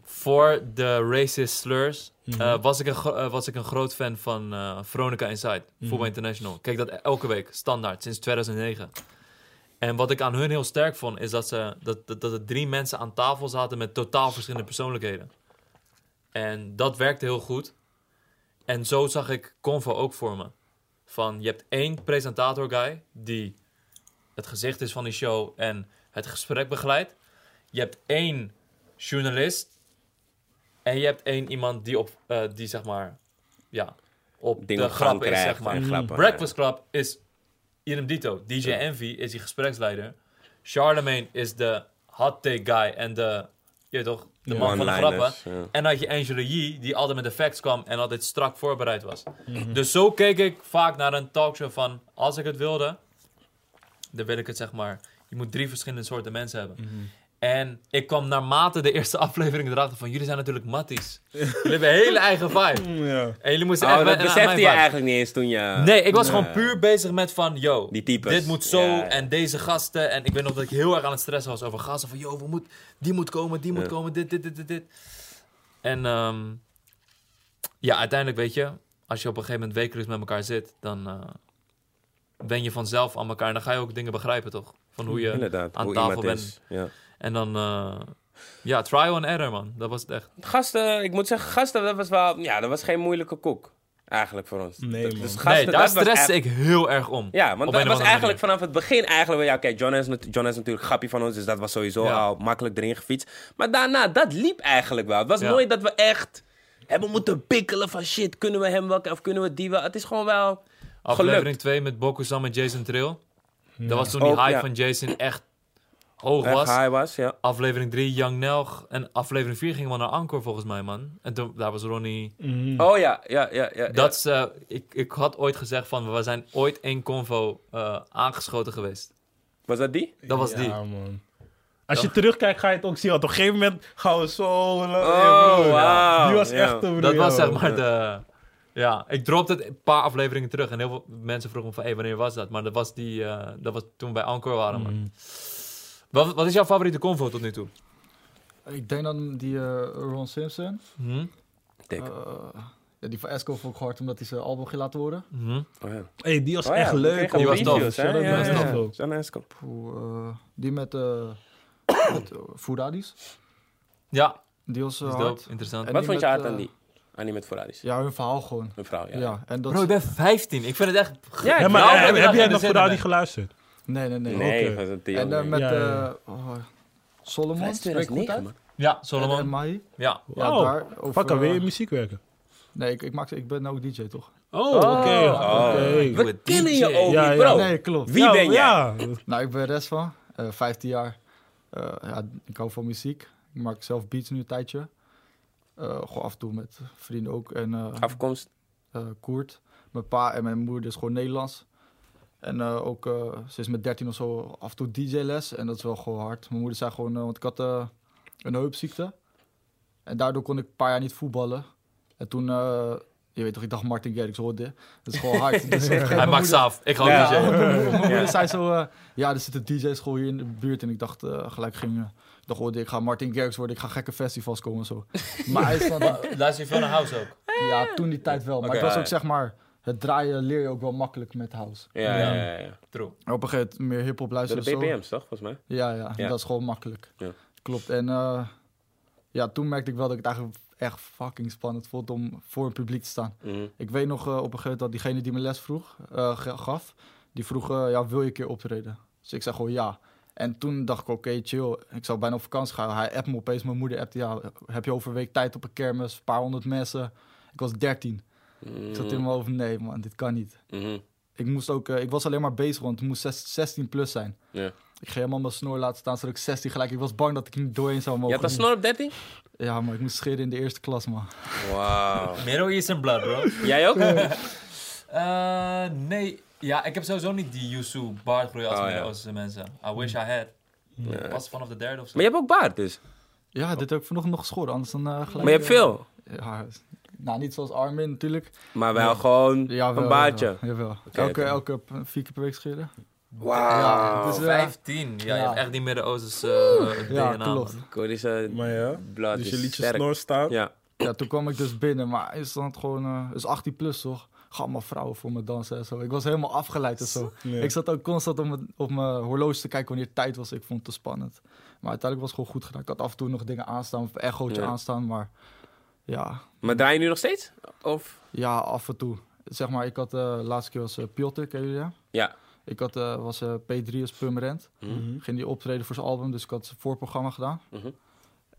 [SPEAKER 2] voor de racist slurs
[SPEAKER 3] Mhm.
[SPEAKER 2] eh, was, ik een gro- eh, was ik een groot fan van eh Veronica Inside,
[SPEAKER 3] Mhm.
[SPEAKER 2] Voetbal International. Kijk dat e-, elke week, standaard, sinds 2009. En wat ik aan hun heel sterk vond, is dat, ze, dat, dat, dat er drie mensen aan tafel zaten met totaal verschillende persoonlijkheden. En dat werkte heel goed. En zo zag ik Convo ook voor me. Van, je hebt één presentator-guy die het gezicht is van die show en het gesprek begeleidt. Je hebt één journalist en je hebt één iemand die op, eh, die zeg maar, ja, op
[SPEAKER 1] Dingen
[SPEAKER 2] de
[SPEAKER 1] op gang
[SPEAKER 2] grappen is,
[SPEAKER 1] krijgt
[SPEAKER 2] zeg maar.
[SPEAKER 1] en grappen,
[SPEAKER 2] Breakfast Club is Idem Dito. DJ Envy is die gespreksleider. Charlemagne is de hot take guy en de, je weet toch, de man van de grappen.
[SPEAKER 1] One-liners, ja.
[SPEAKER 2] En dan had je Angela Yee, die altijd met de facts kwam en altijd strak voorbereid was.
[SPEAKER 1] Mhm.
[SPEAKER 2] Dus zo keek ik vaak naar een talkshow van, als ik het wilde, dan wil ik het zeg maar, je moet drie verschillende soorten mensen hebben.
[SPEAKER 1] Mhm.
[SPEAKER 2] En ik kwam naarmate de eerste aflevering erachter van, jullie zijn natuurlijk matties. jullie hebben een hele eigen vibe.
[SPEAKER 3] Mm, Ja.
[SPEAKER 2] En jullie moesten
[SPEAKER 1] Oh,
[SPEAKER 2] echt
[SPEAKER 1] dat
[SPEAKER 2] wennen aan mijn
[SPEAKER 1] besefte je
[SPEAKER 2] vibe.
[SPEAKER 1] eigenlijk niet eens toen je...
[SPEAKER 2] Nee, ik was gewoon puur bezig met van, yo,
[SPEAKER 1] Eh, Die types.
[SPEAKER 2] dit moet zo
[SPEAKER 1] Ja.
[SPEAKER 2] en deze gasten. En ik weet nog dat ik heel erg aan het stressen was over gasten. Van, yo, we moet, die moet komen, die moet komen, dit, dit, dit, dit, dit. En ehm, ja, uiteindelijk weet je, als je op een gegeven moment wekelijks met elkaar zit, dan eh ben je vanzelf aan elkaar. En dan ga je ook dingen begrijpen, toch? Van hoe je
[SPEAKER 1] Inderdaad,
[SPEAKER 2] aan
[SPEAKER 1] hoe
[SPEAKER 2] tafel
[SPEAKER 1] iemand
[SPEAKER 2] bent.
[SPEAKER 1] is. Ja.
[SPEAKER 2] En dan, eh, ja, trial and error, man. Dat was het echt.
[SPEAKER 1] Gasten, ik moet zeggen, gasten, dat was wel... Ja, dat was geen moeilijke koek. Eigenlijk voor ons.
[SPEAKER 3] Nee,
[SPEAKER 1] Dat-
[SPEAKER 3] man.
[SPEAKER 1] Dus gasten,
[SPEAKER 2] Nee, daar
[SPEAKER 1] dat was
[SPEAKER 2] stresste
[SPEAKER 1] echt-
[SPEAKER 2] ik heel erg om.
[SPEAKER 1] Ja, want
[SPEAKER 2] Op
[SPEAKER 1] dat
[SPEAKER 2] een
[SPEAKER 1] was
[SPEAKER 2] of andere
[SPEAKER 1] eigenlijk vanaf het begin eigenlijk... wel, Ja, oké, John, is nat- John is natuurlijk grappie van ons, dus dat was sowieso
[SPEAKER 2] Ja.
[SPEAKER 1] al makkelijk erin gefietst. Maar daarna, dat liep eigenlijk wel. Het was
[SPEAKER 2] Ja.
[SPEAKER 1] nooit dat we echt hebben moeten pikkelen van shit, kunnen we hem wel of kunnen we die wel. Het is gewoon wel gelukt.
[SPEAKER 2] Aflevering 2 met Bokusam en Jason Trill. Dat was toen die
[SPEAKER 1] Ook,
[SPEAKER 2] hype
[SPEAKER 1] ja.
[SPEAKER 2] van Jason echt hoog
[SPEAKER 1] Echt
[SPEAKER 2] was.
[SPEAKER 1] high was, ja.
[SPEAKER 2] Aflevering 3, Young Nelg. En aflevering 4 gingen we naar Anchor volgens mij, man. En toen, daar was Ronnie.
[SPEAKER 3] Hmm.
[SPEAKER 1] Oh ja, ja, ja. ja
[SPEAKER 2] Dat is, eh, ik, ik had ooit gezegd van, we zijn ooit één convo eh, aangeschoten geweest.
[SPEAKER 1] Was dat die?
[SPEAKER 2] Dat was die.
[SPEAKER 3] Ja, man. Als je terugkijkt, ga je het ook zien. Want op een gegeven moment gaan we zo...
[SPEAKER 1] Oh,
[SPEAKER 3] broer.
[SPEAKER 1] wauw.
[SPEAKER 3] Die was
[SPEAKER 1] Ja.
[SPEAKER 3] echt een broer,
[SPEAKER 2] Dat was
[SPEAKER 3] ja,
[SPEAKER 2] zeg
[SPEAKER 3] man.
[SPEAKER 2] maar de... Ja, ik dropte het een paar afleveringen terug. En heel veel mensen vroegen me van, hé, wanneer was dat? Maar dat was, die, eh, dat was toen we bij Anchor waren, man. Wat, wat is jouw favoriete convo tot nu toe?
[SPEAKER 5] Ik denk dan die eh, Ron Simpson.
[SPEAKER 2] Hm?
[SPEAKER 3] Oh.
[SPEAKER 1] Dik.
[SPEAKER 5] Eh, ja, die van Esco vond ik hard omdat hij zijn album ging laten horen.
[SPEAKER 2] Hm?
[SPEAKER 1] Oh ja.
[SPEAKER 3] hey, die was
[SPEAKER 1] Oh ja,
[SPEAKER 3] echt
[SPEAKER 1] we
[SPEAKER 3] leuk.
[SPEAKER 1] kregen
[SPEAKER 2] Die
[SPEAKER 3] hoor.
[SPEAKER 2] was
[SPEAKER 1] reviews,
[SPEAKER 2] tof.
[SPEAKER 1] hè?
[SPEAKER 3] Shout-out
[SPEAKER 1] Ja,
[SPEAKER 3] naar
[SPEAKER 1] ja, ja.
[SPEAKER 3] Esco.
[SPEAKER 1] Shout-out naar Esco.
[SPEAKER 5] Poeh, eh, die met, eh met eh, Fouradis.
[SPEAKER 2] Ja,
[SPEAKER 5] Die was eh,
[SPEAKER 2] Dat is
[SPEAKER 5] hard.
[SPEAKER 2] dope, interessant.
[SPEAKER 5] En
[SPEAKER 1] Wat
[SPEAKER 5] die
[SPEAKER 1] vond je
[SPEAKER 5] met,
[SPEAKER 1] hard aan
[SPEAKER 5] eh,
[SPEAKER 1] die? Aan die met Ferraris?
[SPEAKER 5] Ja, hun verhaal gewoon.
[SPEAKER 1] Een vrouw, ja.
[SPEAKER 5] Ja, en dat...
[SPEAKER 2] Bro, ik ben 15. Ik vind het echt...
[SPEAKER 1] Ja,
[SPEAKER 3] Ja,
[SPEAKER 1] Nou,
[SPEAKER 3] maar eh,
[SPEAKER 1] dat
[SPEAKER 3] heb,
[SPEAKER 1] we
[SPEAKER 3] heb
[SPEAKER 1] daar
[SPEAKER 3] jij
[SPEAKER 2] in de
[SPEAKER 3] nog
[SPEAKER 2] zin
[SPEAKER 3] voor daar
[SPEAKER 2] in
[SPEAKER 3] niet geluisterd?
[SPEAKER 5] Nee, nee, nee.
[SPEAKER 1] Nee,
[SPEAKER 3] Oké.
[SPEAKER 1] was een
[SPEAKER 5] En
[SPEAKER 1] tering.
[SPEAKER 5] dan met
[SPEAKER 3] Ja, ja.
[SPEAKER 5] eh, oh, Solomon.
[SPEAKER 1] Hij is
[SPEAKER 5] spreek ik goed
[SPEAKER 1] 2009,
[SPEAKER 5] uit?
[SPEAKER 1] man.
[SPEAKER 2] Ja,
[SPEAKER 5] En, en
[SPEAKER 2] Solomon.
[SPEAKER 5] Mai.
[SPEAKER 2] Ja.
[SPEAKER 5] Ja,
[SPEAKER 3] Wauw.
[SPEAKER 5] daar. over,
[SPEAKER 3] Fuck, wil je
[SPEAKER 5] eh,
[SPEAKER 3] muziek werken?
[SPEAKER 5] Nee, ik, ik, maak, ik ben ook DJ toch?
[SPEAKER 3] Oh, oké.
[SPEAKER 1] oh.
[SPEAKER 3] oké.
[SPEAKER 1] We kennen je ook
[SPEAKER 3] Ja,
[SPEAKER 1] niet,
[SPEAKER 3] ja.
[SPEAKER 1] bro.
[SPEAKER 5] Nee, klopt.
[SPEAKER 1] Wie
[SPEAKER 3] Ja,
[SPEAKER 1] ben jij?
[SPEAKER 3] Ja,
[SPEAKER 5] Nou, ik ben Rest van, eh, 15 jaar. Eh, ja, ik hou van muziek. Ik maak zelf beats nu een tijdje. Eh, gewoon af en toe met vrienden ook. En eh,
[SPEAKER 1] Afkomst.
[SPEAKER 5] eh, Koerd. Mijn pa en mijn moeder is gewoon Nederlands. En eh, ook eh, sinds mijn 13 of zo af en toe DJ-les. En dat is wel gewoon hard. Mijn moeder zei gewoon, eh, want ik had eh, een heupziekte. En daardoor kon ik een paar jaar niet voetballen. En toen, eh, je weet toch, ik dacht Martin Garrix hoorde. Dat is gewoon hard. Dus op een gegeven
[SPEAKER 2] Hij
[SPEAKER 5] moment
[SPEAKER 2] maakt
[SPEAKER 5] moeder-
[SPEAKER 2] saaf. Ik ga
[SPEAKER 1] Ja.
[SPEAKER 2] ook DJ.
[SPEAKER 5] mijn moeder- mijn moeder zei zo, eh, ja, er zit een DJ-school hier in de buurt. En ik dacht eh, gelijk, ging, eh, ik dacht, oh, ik ga Martin Garrix worden, ik ga gekke festivals komen en zo. Maar hij is dan,
[SPEAKER 2] Luister je veel naar House ook?
[SPEAKER 5] ja, toen die tijd wel. Maar
[SPEAKER 1] Oké.
[SPEAKER 5] het was ook, zeg maar, het draaien leer je ook wel makkelijk met house.
[SPEAKER 1] Ja, ja, ja. ja.
[SPEAKER 2] True.
[SPEAKER 5] En Op een gegeven moment meer hip-hop
[SPEAKER 1] Door
[SPEAKER 5] luisteren
[SPEAKER 1] de
[SPEAKER 5] of zo.
[SPEAKER 1] BPM's, toch, volgens mij?
[SPEAKER 5] Ja, ja,
[SPEAKER 1] Ja.
[SPEAKER 5] dat is gewoon makkelijk.
[SPEAKER 1] Ja.
[SPEAKER 5] Klopt. En eh, ja, toen merkte ik wel dat ik het eigenlijk echt fucking spannend vond om voor een publiek te staan.
[SPEAKER 1] Mhm.
[SPEAKER 5] Ik weet nog eh, op een gegeven moment dat diegene die me les vroeg, eh, ge- gaf, die vroeg, eh, ja, wil je een keer optreden? Dus ik zei gewoon ja. En toen dacht ik, oké, chill. Ik zou bijna op vakantie gaan. Hij appt me opeens, mijn moeder appte, ja, heb je over een week tijd op een kermis, een paar honderd mensen. Ik was dertien. Ik zat
[SPEAKER 1] Mm.
[SPEAKER 5] in mijn hoofd, nee man, dit kan niet.
[SPEAKER 1] Mhm.
[SPEAKER 5] Ik, moest ook, eh, ik was alleen maar bezig, want het moest zes- 16 plus zijn.
[SPEAKER 1] Ja.
[SPEAKER 5] Ik ging helemaal mijn snor laten staan, zodat ik 16 gelijk... Ik was bang dat ik niet doorheen zou
[SPEAKER 1] Je
[SPEAKER 5] mogen.
[SPEAKER 1] had een snor op 13?
[SPEAKER 5] Ja, maar ik moest scheren in de eerste klas, man.
[SPEAKER 1] Wauw.
[SPEAKER 2] Middle Eastern blood, bro.
[SPEAKER 1] Jij ook?
[SPEAKER 2] Eh, nee. Ja, ik heb sowieso niet die Yusu baardgroei als
[SPEAKER 1] Oh, ja.
[SPEAKER 2] Midden-Oosterse mensen. I wish I had.
[SPEAKER 1] Ja.
[SPEAKER 2] Pas vanaf de derde of zo.
[SPEAKER 1] Maar je hebt ook baard dus.
[SPEAKER 5] Ja, dit heb ik vanochtend nog geschoren, anders dan eh, gelijk...
[SPEAKER 1] Maar je hebt
[SPEAKER 5] eh,
[SPEAKER 1] veel.
[SPEAKER 5] Ja, nou, niet zoals Armin natuurlijk.
[SPEAKER 1] Maar wel gewoon
[SPEAKER 5] Ja,
[SPEAKER 1] een baardje.
[SPEAKER 5] Jawel. jawel.
[SPEAKER 1] Oké,
[SPEAKER 5] elke,
[SPEAKER 1] oké.
[SPEAKER 5] elke p- vier keer per week scheren.
[SPEAKER 1] Wauw.
[SPEAKER 5] Ja,
[SPEAKER 1] dus,
[SPEAKER 5] het is, eh,
[SPEAKER 2] 15. Ja, je
[SPEAKER 5] ja.
[SPEAKER 2] hebt echt die Midden-Oosterse eh,
[SPEAKER 5] Ja,
[SPEAKER 2] DNA.
[SPEAKER 5] klopt.
[SPEAKER 2] man.
[SPEAKER 1] Koerdische
[SPEAKER 4] Maar ja,
[SPEAKER 1] blad
[SPEAKER 4] dus
[SPEAKER 1] eh, is
[SPEAKER 4] je liet je
[SPEAKER 1] sterk.
[SPEAKER 4] snor staan.
[SPEAKER 1] Ja.
[SPEAKER 5] Ja, toen kwam ik dus binnen, maar is dan het gewoon, eh, is 18 plus toch? Ga allemaal vrouwen voor me dansen en zo. Ik was helemaal afgeleid en zo.
[SPEAKER 4] Ja.
[SPEAKER 5] Ik zat ook constant op mijn, op mijn horloge te kijken wanneer tijd was. Ik vond het te spannend. Maar uiteindelijk was het gewoon goed gedaan. Ik had af en toe nog dingen aanstaan, of een echootje
[SPEAKER 1] Ja.
[SPEAKER 5] aanstaan, maar ja,
[SPEAKER 1] Maar draai je nu nog steeds? Of?
[SPEAKER 5] ja, af en toe. Zeg maar, ik had eh, de laatste keer was eh, Piotr, ken jullie hem?
[SPEAKER 1] Ja.
[SPEAKER 5] Ik had, eh, was eh, P3 als Purmerend.
[SPEAKER 1] Mhm.
[SPEAKER 5] Ging die optreden voor zijn album, dus ik had zijn voorprogramma gedaan.
[SPEAKER 1] Mhm.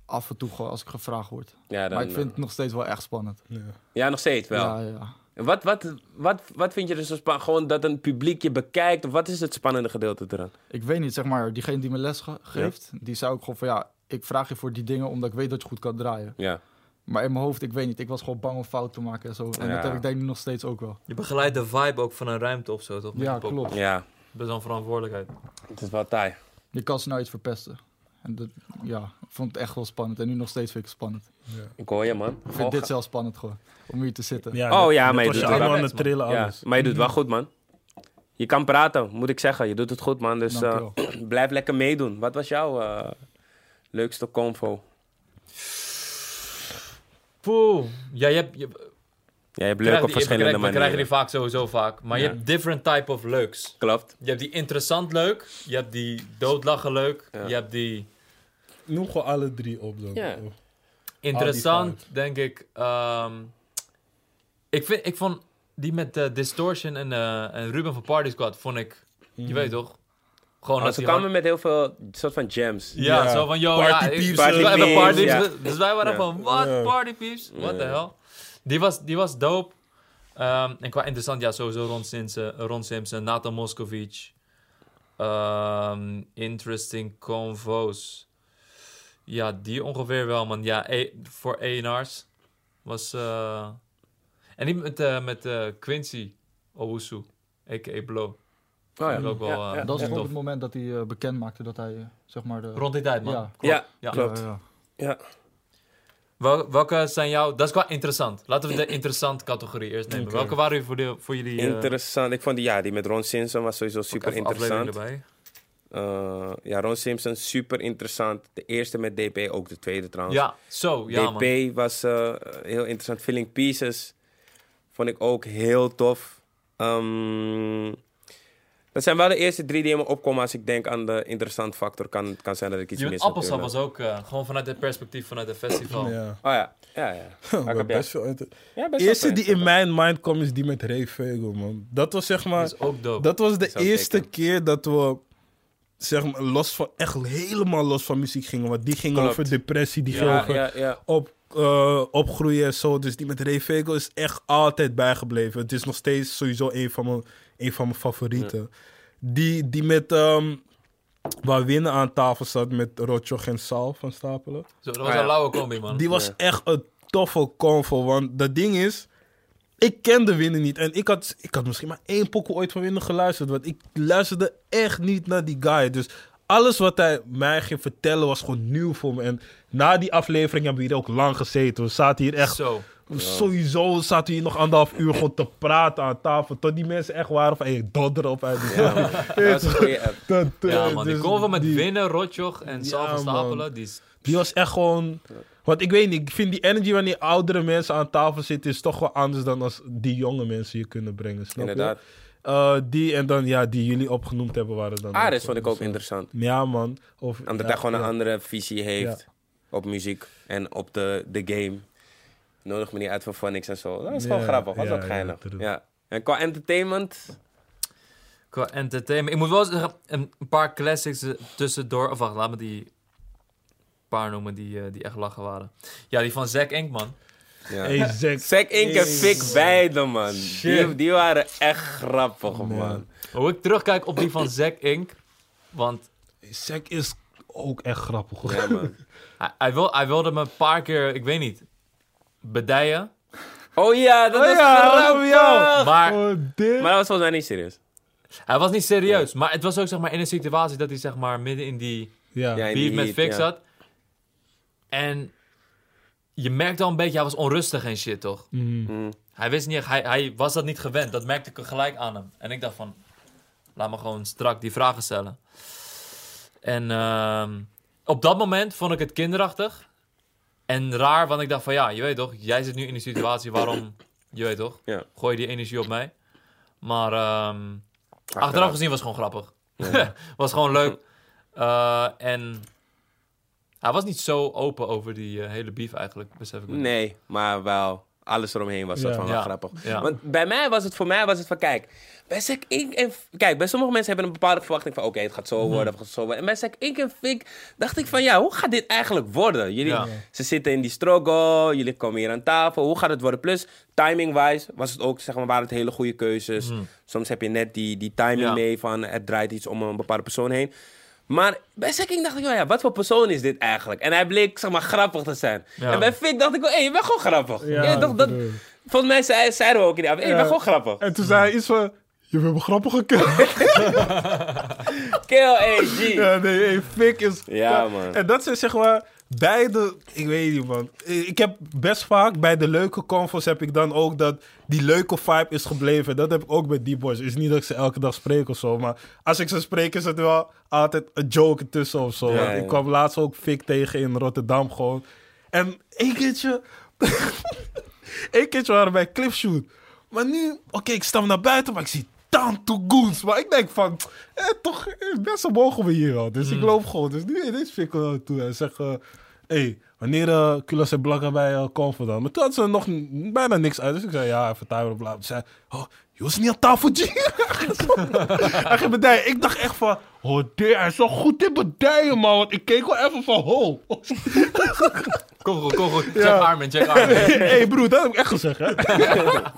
[SPEAKER 5] Af en toe gewoon als ik gevraagd word.
[SPEAKER 1] Ja, dan,
[SPEAKER 5] maar ik vind
[SPEAKER 1] eh,
[SPEAKER 5] het nog steeds wel echt spannend.
[SPEAKER 4] Ja.
[SPEAKER 1] ja, nog steeds wel.
[SPEAKER 5] Ja, ja.
[SPEAKER 1] En Wat, wat, wat, wat vind je er zo spannend? Gewoon dat een publiek je bekijkt? Of wat is het spannende gedeelte eraan?
[SPEAKER 5] Ik weet niet, zeg maar, diegene die me les ge- geeft, die zei ook gewoon van ja, ik vraag je voor die dingen omdat ik weet dat je goed kan draaien.
[SPEAKER 1] Ja.
[SPEAKER 5] Maar in mijn hoofd, ik weet niet, ik was gewoon bang om fout te maken en zo. En
[SPEAKER 1] Ja.
[SPEAKER 5] dat heb ik denk ik nog steeds ook wel.
[SPEAKER 2] Je begeleidt de vibe ook van een ruimte of zo, toch? Met
[SPEAKER 5] Ja,
[SPEAKER 2] hip-hop.
[SPEAKER 5] klopt.
[SPEAKER 1] Ja,
[SPEAKER 2] Best wel een verantwoordelijkheid.
[SPEAKER 1] het is wel taai.
[SPEAKER 5] Je kan snel iets verpesten. En dat, ja, ik vond het echt wel spannend. En nu nog steeds vind ik het spannend.
[SPEAKER 1] Ik hoor je, man.
[SPEAKER 5] Ik
[SPEAKER 1] Oh,
[SPEAKER 5] vind
[SPEAKER 1] ga-
[SPEAKER 5] dit zelf spannend gewoon, om hier te zitten.
[SPEAKER 1] Oh, ja, maar je
[SPEAKER 4] was
[SPEAKER 1] doet
[SPEAKER 4] je
[SPEAKER 1] het wel.
[SPEAKER 4] allemaal aan het trillen,
[SPEAKER 1] ja,
[SPEAKER 4] alles.
[SPEAKER 1] maar je doet wel goed, man. Je kan praten, moet ik zeggen. Je doet het goed, man. Dus eh,
[SPEAKER 5] Dankjewel.
[SPEAKER 1] blijf lekker meedoen. Wat was jouw eh, leukste convo?
[SPEAKER 2] Poeh. Ja, je hebt... Je,
[SPEAKER 1] Ja, je hebt leuk
[SPEAKER 2] krijg die-
[SPEAKER 1] op
[SPEAKER 2] je
[SPEAKER 1] verschillende
[SPEAKER 2] krijgt- We krijgen
[SPEAKER 1] manieren.
[SPEAKER 2] die vaak sowieso vaak. Maar
[SPEAKER 1] Ja.
[SPEAKER 2] je hebt different type of leuks.
[SPEAKER 1] Klopt.
[SPEAKER 2] Je hebt die Oh, interessant leuk. Je hebt die doodlachen leuk.
[SPEAKER 1] Ja.
[SPEAKER 2] Je hebt die...
[SPEAKER 4] Noem gewoon alle drie op dan.
[SPEAKER 1] Ja.
[SPEAKER 2] Interessant, denk ik. ehm, ik, vind, ik vond die met eh, Distortion en, eh, en Ruben van Party Squad, vond ik, je weet toch? Gewoon
[SPEAKER 1] Oh,
[SPEAKER 2] als
[SPEAKER 1] Mhm. ze
[SPEAKER 2] die
[SPEAKER 1] kwamen
[SPEAKER 2] gewoon-
[SPEAKER 1] met heel veel soort van jams.
[SPEAKER 2] Ja,
[SPEAKER 4] Ja.
[SPEAKER 2] zo van, yo,
[SPEAKER 4] Party
[SPEAKER 2] ja, ik-
[SPEAKER 4] peeps,
[SPEAKER 2] party
[SPEAKER 1] eh,
[SPEAKER 2] peeps,
[SPEAKER 1] peeps,
[SPEAKER 2] party
[SPEAKER 1] ja.
[SPEAKER 2] peeps. Dus wij waren
[SPEAKER 1] Ja.
[SPEAKER 2] van, what,
[SPEAKER 4] Ja.
[SPEAKER 2] party peeps? What the
[SPEAKER 1] Ja.
[SPEAKER 2] hell? Die was, die was dope. Ehm, en qua interessant, ja, sowieso Ron Simpson, Ron Simpson Nathan Moscovic. Ehm, interesting convo's. Ja, die ongeveer wel, man. Ja, E- voor A&R's was... eh, En die met, eh, met eh, Quincy Owusu, a.k.a. Blow.
[SPEAKER 1] Oh, ja.
[SPEAKER 2] Vond ik ook wel,
[SPEAKER 1] Ja,
[SPEAKER 2] eh,
[SPEAKER 1] ja.
[SPEAKER 5] Dat is
[SPEAKER 2] tof.
[SPEAKER 5] gewoon het moment dat hij eh, bekend maakte dat hij, eh, zeg maar, de...
[SPEAKER 2] Rond die tijd, man.
[SPEAKER 5] Ja.
[SPEAKER 1] Ja,
[SPEAKER 2] Ja.
[SPEAKER 1] klopt.
[SPEAKER 5] Ja, ja.
[SPEAKER 2] Wel- welke zijn jouw... Dat is qua interessant. Laten we de interessant categorie eerst nemen.
[SPEAKER 4] Oké.
[SPEAKER 2] Welke waren voor, de, voor jullie... eh,
[SPEAKER 1] Interessant. Ik vond die, ja, die met Ron Simpson was sowieso
[SPEAKER 2] ook
[SPEAKER 1] super
[SPEAKER 2] even aflevering
[SPEAKER 1] interessant. Eh,
[SPEAKER 2] erbij?
[SPEAKER 1] ja, Ron Simpson, super interessant. De eerste met DP, ook de tweede trouwens.
[SPEAKER 2] Ja, zo. Ja, man.
[SPEAKER 1] DP was eh, heel interessant. Filling Pieces vond ik ook heel tof. Ehm, dat zijn wel de eerste drie die in me opkomen als ik denk aan de interessant factor. Kan, kan zijn dat ik iets
[SPEAKER 2] Die met
[SPEAKER 1] mis
[SPEAKER 2] appelsap was
[SPEAKER 1] natuurlijk.
[SPEAKER 2] ook eh, gewoon vanuit het perspectief vanuit het festival.
[SPEAKER 4] Ja.
[SPEAKER 1] Oh ja, ja, ja.
[SPEAKER 4] We hebben
[SPEAKER 1] heb jij?
[SPEAKER 4] best veel inter-
[SPEAKER 1] ja
[SPEAKER 4] De
[SPEAKER 1] best wel
[SPEAKER 4] eerste die in
[SPEAKER 1] interessant.
[SPEAKER 4] mijn mind kwam is die met Ray Vegel, man. Dat was zeg maar...
[SPEAKER 2] Dat is ook dope.
[SPEAKER 4] Dat was de
[SPEAKER 1] Zou
[SPEAKER 4] eerste
[SPEAKER 1] zeker.
[SPEAKER 4] keer dat we zeg maar, los van, echt helemaal los van muziek gingen. Want die ging
[SPEAKER 1] Klopt.
[SPEAKER 4] over depressie, die ging
[SPEAKER 1] Ja,
[SPEAKER 4] over
[SPEAKER 1] ja, ja.
[SPEAKER 4] Op, eh, opgroeien en zo. Dus die met Ray Vegel is echt altijd bijgebleven. Het is nog steeds sowieso een van mijn, een van mijn favorieten. Die, die met... ehm waar winnen aan tafel zat met Rotjoch en Saal van Stapelen.
[SPEAKER 2] Zo, dat was
[SPEAKER 1] Ah, ja.
[SPEAKER 2] een lauwe combi, man.
[SPEAKER 4] Die was
[SPEAKER 1] Ja.
[SPEAKER 4] echt een toffe convo. Want dat ding is, ik kende Winnen niet. En ik had, ik had misschien maar één pokoe ooit van Winnen geluisterd. Want ik luisterde echt niet naar die guy. Dus alles wat hij mij ging vertellen was gewoon nieuw voor me. En na die aflevering hebben we hier ook lang gezeten. We zaten hier echt,
[SPEAKER 2] Zo.
[SPEAKER 4] sowieso zaten we hier nog anderhalf uur gewoon te praten aan tafel. Tot die mensen echt waren van, hey, dodder op uit die
[SPEAKER 1] Ja, man. Dat was een goeie app.
[SPEAKER 4] Dat, eh,
[SPEAKER 2] Ja, man. Die
[SPEAKER 4] dus
[SPEAKER 2] combo met
[SPEAKER 4] die-
[SPEAKER 2] Winnen, Rotjoch en Sal
[SPEAKER 4] Ja,
[SPEAKER 2] van
[SPEAKER 4] man.
[SPEAKER 2] Stapelen. Die is...
[SPEAKER 4] Die was echt gewoon. Want ik weet niet, ik vind die energy wanneer oudere mensen aan tafel zitten, is toch wel anders dan als die jonge mensen je kunnen brengen. Snap
[SPEAKER 1] Inderdaad.
[SPEAKER 4] Je? Eh, die en dan, ja, die jullie opgenoemd hebben waren dan.
[SPEAKER 1] Ares vond ik ook
[SPEAKER 4] zo.
[SPEAKER 1] interessant.
[SPEAKER 4] Ja, man. Of,
[SPEAKER 1] Omdat
[SPEAKER 4] ja,
[SPEAKER 1] hij gewoon een
[SPEAKER 4] ja.
[SPEAKER 1] andere visie heeft op muziek en op de, de game. Nodig me niet uit voor phonics en zo. Dat is gewoon
[SPEAKER 4] Ja,
[SPEAKER 1] grappig, was
[SPEAKER 4] ja,
[SPEAKER 1] ook
[SPEAKER 4] ja,
[SPEAKER 1] geinig. Ja,
[SPEAKER 4] true.
[SPEAKER 1] En qua entertainment,
[SPEAKER 2] Qua entertainment. Ik moet wel zeggen, een een paar classics eh, tussendoor. Of wacht, laat me die paar noemen die, eh, die echt lachen waren. Ja, die van Zack Enkman.
[SPEAKER 1] Ja.
[SPEAKER 4] Hey, Zack.
[SPEAKER 1] Zack Ink en Fik beide, man. Die,
[SPEAKER 2] Shit.
[SPEAKER 1] die waren echt grappig, man.
[SPEAKER 2] Hoe ik terugkijk op die van Zack Ink. Want
[SPEAKER 4] Zack is ook echt grappig. hoor.
[SPEAKER 1] Ja, man.
[SPEAKER 2] hij, hij, wil, hij wilde me een paar keer, ik weet niet, bedijen.
[SPEAKER 1] Oh ja, dat
[SPEAKER 4] Oh
[SPEAKER 1] is
[SPEAKER 4] ja,
[SPEAKER 1] grappig.
[SPEAKER 4] oh ja.
[SPEAKER 2] Maar
[SPEAKER 4] Oh, dit.
[SPEAKER 1] Maar dat was volgens mij niet serieus.
[SPEAKER 2] hij was niet serieus. Maar het was ook zeg maar, in een situatie dat hij zeg maar, midden in die
[SPEAKER 4] Ja.
[SPEAKER 1] Ja, in
[SPEAKER 2] beef
[SPEAKER 1] die
[SPEAKER 2] met
[SPEAKER 1] heat,
[SPEAKER 2] Fix
[SPEAKER 1] ja.
[SPEAKER 2] zat. En je merkte al een beetje, hij was onrustig en shit, toch?
[SPEAKER 4] Mhm.
[SPEAKER 1] Mm.
[SPEAKER 2] Hij wist niet echt, hij, hij was dat niet gewend. Dat merkte ik gelijk aan hem. En ik dacht van, laat me gewoon strak die vragen stellen. En ehm, op dat moment vond ik het kinderachtig. En raar, want ik dacht van, ja, je weet toch, jij zit nu in een situatie waarom, je weet toch,
[SPEAKER 1] Ja.
[SPEAKER 2] gooi die energie op mij. Maar ehm, achteraf.
[SPEAKER 1] Achteraf.
[SPEAKER 2] gezien was het gewoon grappig. was gewoon leuk. Eh, en hij was niet zo open over die eh, hele beef eigenlijk, besef ik. me.
[SPEAKER 1] Nee, maar wel. Alles eromheen was dat
[SPEAKER 4] Ja.
[SPEAKER 1] van wel
[SPEAKER 2] Ja.
[SPEAKER 1] grappig.
[SPEAKER 2] Ja.
[SPEAKER 1] Want bij mij was het, voor mij was het van, kijk, bij Zack Ink en... Kijk, bij sommige mensen hebben een bepaalde verwachting van, oké, het gaat zo
[SPEAKER 2] Mhm.
[SPEAKER 1] worden, of het gaat zo worden. En bij Zack Ink en Fink dacht ik van, ja, hoe gaat dit eigenlijk worden? Jullie,
[SPEAKER 2] Ja.
[SPEAKER 1] Ze zitten in die struggle, jullie komen hier aan tafel, hoe gaat het worden? Plus, timing-wise was het ook, zeg maar, waren het hele goede keuzes. Soms heb je net die, die timing
[SPEAKER 2] Mhm. Ja.
[SPEAKER 1] mee van, het draait iets om een bepaalde persoon heen. Maar bij Zack Ink dacht ik wel, ja, wat voor persoon is dit eigenlijk? En hij bleek, zeg maar, grappig te zijn.
[SPEAKER 2] Ja.
[SPEAKER 1] En bij Fink dacht ik wel, hé, je bent gewoon grappig.
[SPEAKER 4] Ja,
[SPEAKER 1] Ja, toch, dat,
[SPEAKER 4] bedoel.
[SPEAKER 1] volgens mij zei- zeiden we ook in die avond, hé, je
[SPEAKER 4] Ja.
[SPEAKER 1] bent gewoon grappig.
[SPEAKER 4] En toen zei hij iets van... Je bent een grappige kerel.
[SPEAKER 1] Kill AG.
[SPEAKER 4] ja, nee, hey, Fik is...
[SPEAKER 1] Ja, man.
[SPEAKER 4] En dat zijn zeg maar beide... Ik weet niet, man. Eh, Ik heb best vaak bij de leuke convos heb ik dan ook dat die leuke vibe is gebleven. Dat heb ik ook bij die boys. is niet dat ik ze elke dag spreek of zo, maar als ik ze spreek is het wel altijd een joke tussen of zo.
[SPEAKER 1] Ja,
[SPEAKER 4] Want
[SPEAKER 1] ja.
[SPEAKER 4] Ik kwam laatst ook Fik tegen in Rotterdam gewoon. En één keertje... Eén keertje waren wij clipshoot. Maar nu, oké, ik stap naar buiten, maar ik zie Tanto Goons. Maar ik denk van, eh, toch, eh, best wel mogen we hier al. Dus ik loop gewoon. Dus nu ineens vind ik wel toe en zeg... Hé, hey, wanneer eh Kulas en Blanca bij eh Convo dan? Maar toen had ze nog n- bijna niks uit. Dus ik zei, ja, even timer bla. Ze zei, oh, je was niet aan tafel, G. Hij ging bedijen. Ik dacht echt van, oh, dear, hij is wel goed in bedijen, man. Want ik keek wel even van, ho.
[SPEAKER 2] Kom goed, kom goed. Check Armin, check Armin.
[SPEAKER 4] Hé, hey, broer, dat heb ik echt gezegd, hè.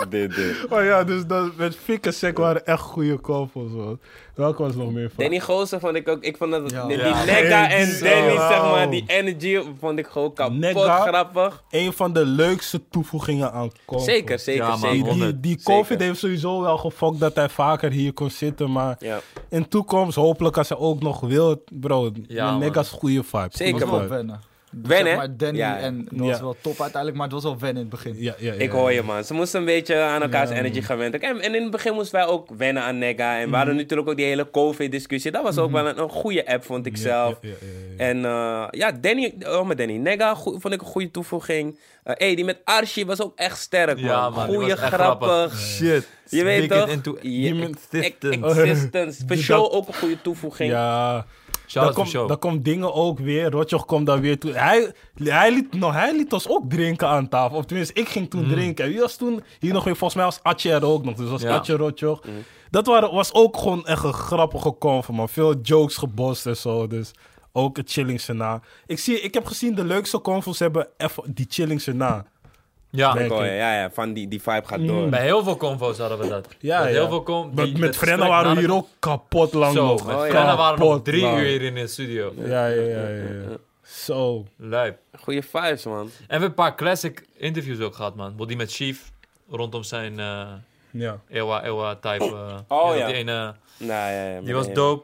[SPEAKER 1] Dit, dit.
[SPEAKER 4] Oh ja, dus dat, met Fik en Sek waren echt goede koppels, man. Welke was nog meer van?
[SPEAKER 1] Danny Goosen vond ik ook, ik vond dat,
[SPEAKER 5] Ja.
[SPEAKER 1] die
[SPEAKER 2] Ja.
[SPEAKER 1] Nega en
[SPEAKER 4] Zo.
[SPEAKER 1] Danny, zeg maar, die energy vond ik gewoon kapot
[SPEAKER 4] Nega.
[SPEAKER 1] grappig.
[SPEAKER 4] Een van de leukste toevoegingen aan koppels.
[SPEAKER 1] Zeker, zeker,
[SPEAKER 2] Ja, man.
[SPEAKER 1] zeker.
[SPEAKER 4] Die, die,
[SPEAKER 2] 100,
[SPEAKER 4] die
[SPEAKER 1] zeker.
[SPEAKER 4] COVID heeft sowieso wel gefokt dat hij vaker hier kon zitten. Maar
[SPEAKER 1] Ja.
[SPEAKER 4] in toekomst, hopelijk als hij ook nog wil, bro.
[SPEAKER 2] Ja,
[SPEAKER 4] Ja, Mega's goede vibe.
[SPEAKER 1] Zeker,
[SPEAKER 5] was
[SPEAKER 4] Goede
[SPEAKER 1] man.
[SPEAKER 5] wel
[SPEAKER 4] vibe.
[SPEAKER 5] wennen. Dus
[SPEAKER 1] Wennen?
[SPEAKER 5] zeg maar Danny
[SPEAKER 1] Ja.
[SPEAKER 5] en dat was
[SPEAKER 4] Ja.
[SPEAKER 5] wel top uiteindelijk, maar het was wel wennen in het begin.
[SPEAKER 4] Ja, ja, ja,
[SPEAKER 1] Ik
[SPEAKER 4] ja.
[SPEAKER 1] hoor je, man. Ze moesten een beetje aan elkaars energy gaan wennen. En, en in het begin moesten wij ook wennen aan Nega. En we hadden
[SPEAKER 4] Mhm.
[SPEAKER 1] natuurlijk ook die hele COVID-discussie. Dat was ook wel een, een goede app, vond ik
[SPEAKER 4] Ja,
[SPEAKER 1] zelf.
[SPEAKER 4] ja, ja, ja, ja.
[SPEAKER 1] En eh, ja, Danny, oh maar Danny, Nega goe- vond ik een goede toevoeging. Eh hey, die met Archie was ook echt sterk, man.
[SPEAKER 2] Ja, man, die
[SPEAKER 1] Goeie,
[SPEAKER 2] was echt
[SPEAKER 1] grappig.
[SPEAKER 2] Shit.
[SPEAKER 1] Je weet toch? Ja,
[SPEAKER 4] human
[SPEAKER 1] ex- ex-
[SPEAKER 2] existence.
[SPEAKER 1] existence. Per
[SPEAKER 4] Die
[SPEAKER 1] show
[SPEAKER 4] dat-
[SPEAKER 1] ook een goede toevoeging.
[SPEAKER 4] Ja,
[SPEAKER 2] Shout-out
[SPEAKER 4] dan
[SPEAKER 2] voor
[SPEAKER 4] komt
[SPEAKER 2] show.
[SPEAKER 4] dan komt dingen ook weer. Rotjoch komt dan weer toe. Hij, hij, liet, nou, hij liet ons ook drinken aan tafel. Of tenminste, ik ging
[SPEAKER 2] Mm.
[SPEAKER 4] toen drinken. Wie was toen hier nog weer? Volgens mij was Atje er ook nog. Dus was
[SPEAKER 2] Ja. Mm.
[SPEAKER 4] Atje, Rotjoch. Dat waren, was ook gewoon echt een grappige conf, man. Veel jokes gebost en zo. Dus ook een chilling scena. Ik, zie, ik heb gezien, de leukste convos hebben even die chilling scena.
[SPEAKER 2] Ja,
[SPEAKER 4] Nee.
[SPEAKER 1] Ik hoor je, ja, ja, van die, die vibe gaat door.
[SPEAKER 4] Mm.
[SPEAKER 2] bij heel veel convo's hadden we dat.
[SPEAKER 4] Ja,
[SPEAKER 2] Met
[SPEAKER 4] ja.
[SPEAKER 2] Heel veel com-
[SPEAKER 4] Met,
[SPEAKER 2] die-
[SPEAKER 4] met
[SPEAKER 2] dat
[SPEAKER 4] Frenna
[SPEAKER 2] gesprek
[SPEAKER 4] waren we
[SPEAKER 2] na de-
[SPEAKER 4] hier ook kapot lang
[SPEAKER 2] Zo,
[SPEAKER 4] nog.
[SPEAKER 2] met
[SPEAKER 1] Oh, ja.
[SPEAKER 2] Frenna waren we nog
[SPEAKER 4] Kapot
[SPEAKER 2] drie
[SPEAKER 4] lang.
[SPEAKER 2] uur in de studio.
[SPEAKER 4] Ja, ja, ja, ja. ja. Zo.
[SPEAKER 2] Lijp.
[SPEAKER 1] Goeie vibes, man.
[SPEAKER 2] En we hebben een paar classic interviews ook gehad, man. Bijvoorbeeld die met Chief, rondom zijn eh
[SPEAKER 4] Ja.
[SPEAKER 2] Ewa Ewa type. eh,
[SPEAKER 1] Oh,
[SPEAKER 2] die
[SPEAKER 1] ja.
[SPEAKER 2] Die, ene,
[SPEAKER 1] Nou, ja, ja,
[SPEAKER 2] die
[SPEAKER 1] maar
[SPEAKER 2] was
[SPEAKER 1] ja.
[SPEAKER 2] dope.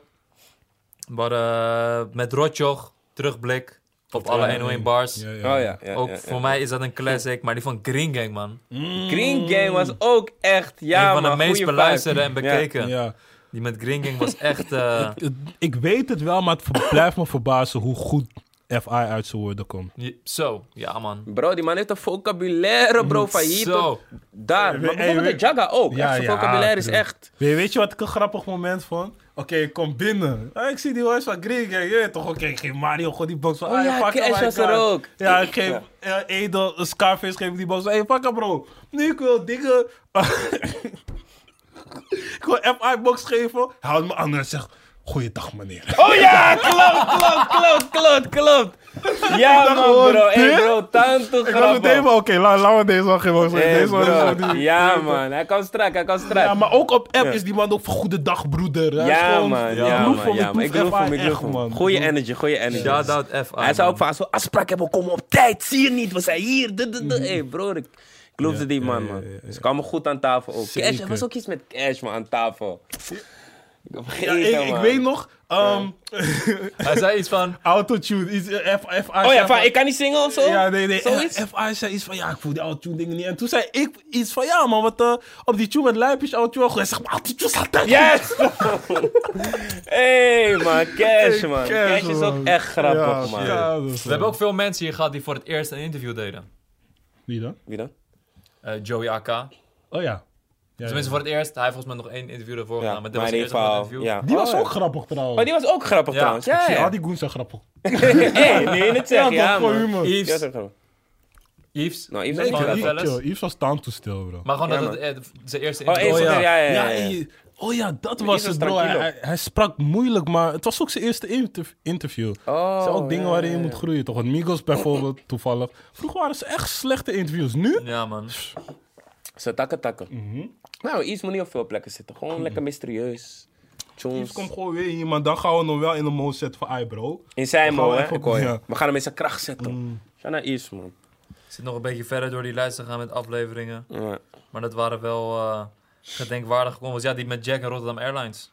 [SPEAKER 2] Maar eh, met Rotjoch, terugblik op alle 101 bars.
[SPEAKER 4] Ja, ja.
[SPEAKER 1] Oh ja, ja,
[SPEAKER 2] Ook
[SPEAKER 1] ja, ja.
[SPEAKER 2] voor mij is dat een classic, maar die van Green Gang, man.
[SPEAKER 1] Green Game was ook echt, ja
[SPEAKER 2] een van
[SPEAKER 1] man,
[SPEAKER 2] de meest
[SPEAKER 1] goeie
[SPEAKER 2] beluisterde en
[SPEAKER 1] vibe.
[SPEAKER 2] bekeken.
[SPEAKER 4] ja.
[SPEAKER 2] Die met Green Gang was echt... eh,
[SPEAKER 4] Het- Ik weet het wel, maar het ver- blijft me verbazen hoe goed FI uit zijn woorden komt.
[SPEAKER 2] je- zo, ja man.
[SPEAKER 1] Ja. Bro, die man heeft een vocabulaire, bro, van hier
[SPEAKER 2] Mm, Zo.
[SPEAKER 1] tot daar. Maar
[SPEAKER 4] hey,
[SPEAKER 1] bijvoorbeeld
[SPEAKER 4] hey.
[SPEAKER 1] de Jaga ook.
[SPEAKER 4] Ja,
[SPEAKER 1] echt, zijn
[SPEAKER 4] ja,
[SPEAKER 1] vocabulaire is
[SPEAKER 4] true.
[SPEAKER 1] echt...
[SPEAKER 4] Weet, weet je wat ik een grappig moment vond? Oké, ik kom binnen. Ah, ik zie die huis van Green Gang. Je weet toch, oké, ik geef Mario gewoon die box van...
[SPEAKER 1] Oh
[SPEAKER 4] ah,
[SPEAKER 1] ja,
[SPEAKER 4] fuck it,
[SPEAKER 1] Cash
[SPEAKER 4] my
[SPEAKER 1] was
[SPEAKER 4] God.
[SPEAKER 1] er ook.
[SPEAKER 4] Ja, ik geef eh, Edo, eh, Scarface geef me die box. Hé, hey, fuck it, bro. Nu ik wil dingen... ik wil FI box geven. Hij houdt me aan en zegt... Goeiedag, meneer.
[SPEAKER 1] Oh ja, klopt, klopt, klopt, klopt, klopt. Ja man
[SPEAKER 4] gewoon,
[SPEAKER 1] bro, hey
[SPEAKER 4] dit?
[SPEAKER 1] bro, tanto
[SPEAKER 4] Ik was meteen
[SPEAKER 1] grappig.
[SPEAKER 4] maar, oké, la- laten we deze wel gewoon zeggen.
[SPEAKER 1] Hey,
[SPEAKER 4] Deze wel
[SPEAKER 1] bro.
[SPEAKER 4] gewoon niet.
[SPEAKER 1] Ja man, hij kan strak, hij kan strak.
[SPEAKER 4] Ja, maar ook op app
[SPEAKER 1] Ja.
[SPEAKER 4] is die man ook van goede dag, broeder. Hij is
[SPEAKER 1] Ja,
[SPEAKER 4] gewoon-
[SPEAKER 1] man.
[SPEAKER 4] Ik
[SPEAKER 1] Ja,
[SPEAKER 4] loef
[SPEAKER 1] man.
[SPEAKER 4] hem,
[SPEAKER 1] Ja, man. Ik geloof
[SPEAKER 4] loef
[SPEAKER 1] hem, ik
[SPEAKER 4] echt,
[SPEAKER 1] geloof hem.
[SPEAKER 4] man.
[SPEAKER 1] Goeie energy, goeie energy.
[SPEAKER 2] Shout-out FI.
[SPEAKER 1] Hij zou ook van, als we afspraak hebben, we komen op tijd. Zie je niet, we zijn hier. Hé,
[SPEAKER 2] Mhm.
[SPEAKER 1] hey, broer, ik ik geloofde die man, man. Ze kwamen goed aan tafel ook. Cash, er was ook iets met Cash, man, aan tafel. Ik
[SPEAKER 4] Ja,
[SPEAKER 1] vergeet
[SPEAKER 4] ik,
[SPEAKER 1] hem,
[SPEAKER 4] ik
[SPEAKER 1] man.
[SPEAKER 4] weet nog, ehm
[SPEAKER 2] Hij zei iets van...
[SPEAKER 4] autotune, iets, eh, F, F,
[SPEAKER 1] Oh ja, van, ik kan niet zingen of zo?
[SPEAKER 4] Ja, nee, nee.
[SPEAKER 1] Zoiets?
[SPEAKER 4] F- FI zei iets van, ja, ik voel die autotune dingen niet. En toen zei ik iets van, ja man, wat eh, op die tune met Lijp is autotune wel goed. Hij zegt, maar autotune staat altijd goed.
[SPEAKER 1] Yes! hey, man, Cash, man. Cash is ook echt
[SPEAKER 4] Ja,
[SPEAKER 1] grappig, man.
[SPEAKER 4] ja, dat is
[SPEAKER 2] We hebben ook veel mensen hier gehad die voor het eerst een interview deden.
[SPEAKER 4] Wie dan?
[SPEAKER 1] Wie dan?
[SPEAKER 2] Eh, Joey AK.
[SPEAKER 4] Oh ja. Ja, ja.
[SPEAKER 2] Tenminste, voor het eerst. Hij heeft volgens mij nog één interview ervoor
[SPEAKER 1] Ja,
[SPEAKER 2] gedaan. Maar dit was
[SPEAKER 1] maar
[SPEAKER 2] het
[SPEAKER 1] in ieder
[SPEAKER 2] eerste van het
[SPEAKER 1] geval,
[SPEAKER 2] interview.
[SPEAKER 1] ja.
[SPEAKER 4] Die
[SPEAKER 1] Oh,
[SPEAKER 4] was
[SPEAKER 1] ja.
[SPEAKER 4] ook grappig trouwens.
[SPEAKER 1] Maar die was ook grappig,
[SPEAKER 2] Ja.
[SPEAKER 1] trouwens. Ja,
[SPEAKER 4] Ik zie
[SPEAKER 1] ja.
[SPEAKER 4] al die goons zijn grappig.
[SPEAKER 1] Hey, nee, niet zeggen,
[SPEAKER 4] Ja,
[SPEAKER 1] ja,
[SPEAKER 4] toch, gewoon
[SPEAKER 1] man.
[SPEAKER 4] humor.
[SPEAKER 1] Die was
[SPEAKER 2] Yves.
[SPEAKER 1] ook grappig.
[SPEAKER 2] Yves.
[SPEAKER 1] Nou, Yves
[SPEAKER 2] Nee,
[SPEAKER 1] was ook
[SPEAKER 2] ik-
[SPEAKER 1] grappig.
[SPEAKER 2] wel eens.
[SPEAKER 4] Chill, Yves was staan te stil, bro.
[SPEAKER 2] Maar gewoon
[SPEAKER 1] Ja,
[SPEAKER 2] dat het eh, zijn eerste
[SPEAKER 1] Oh,
[SPEAKER 2] interview
[SPEAKER 1] Yves,
[SPEAKER 2] was.
[SPEAKER 1] ja, ja, ja.
[SPEAKER 4] Ja,
[SPEAKER 1] ja, ja.
[SPEAKER 4] en- oh ja, dat was
[SPEAKER 1] was
[SPEAKER 4] het, bro. Hij,
[SPEAKER 1] tranquilo.
[SPEAKER 4] hij, hij sprak moeilijk, maar het was ook zijn eerste interv- interview.
[SPEAKER 1] Oh,
[SPEAKER 4] er zijn ook dingen
[SPEAKER 1] ja,
[SPEAKER 4] waarin je
[SPEAKER 1] ja,
[SPEAKER 4] moet groeien, toch? Want Migos bijvoorbeeld, toevallig. Vroeger waren ze echt slechte interviews. Nu?
[SPEAKER 2] Ja, man.
[SPEAKER 1] Zo takken takken.
[SPEAKER 4] Mhm.
[SPEAKER 1] Nou, iets moet niet op veel plekken zitten. Gewoon lekker mysterieus.
[SPEAKER 4] Yves
[SPEAKER 1] Tjons.
[SPEAKER 4] komt gewoon weer hier, maar dan gaan we hem wel in de mode zetten van, ai bro.
[SPEAKER 1] In zijn
[SPEAKER 4] Gewoon
[SPEAKER 1] mol, hè?
[SPEAKER 4] even op-
[SPEAKER 1] Ik hoor je.
[SPEAKER 4] ja. Mhm.
[SPEAKER 1] We gaan hem in zijn kracht zetten. Ga naar Yves, man.
[SPEAKER 2] Ik zit nog een beetje verder door die lijst te gaan met afleveringen.
[SPEAKER 1] Ja.
[SPEAKER 2] Maar dat waren wel eh, gedenkwaardige combos. Ja, die met Jack en Rotterdam Airlines.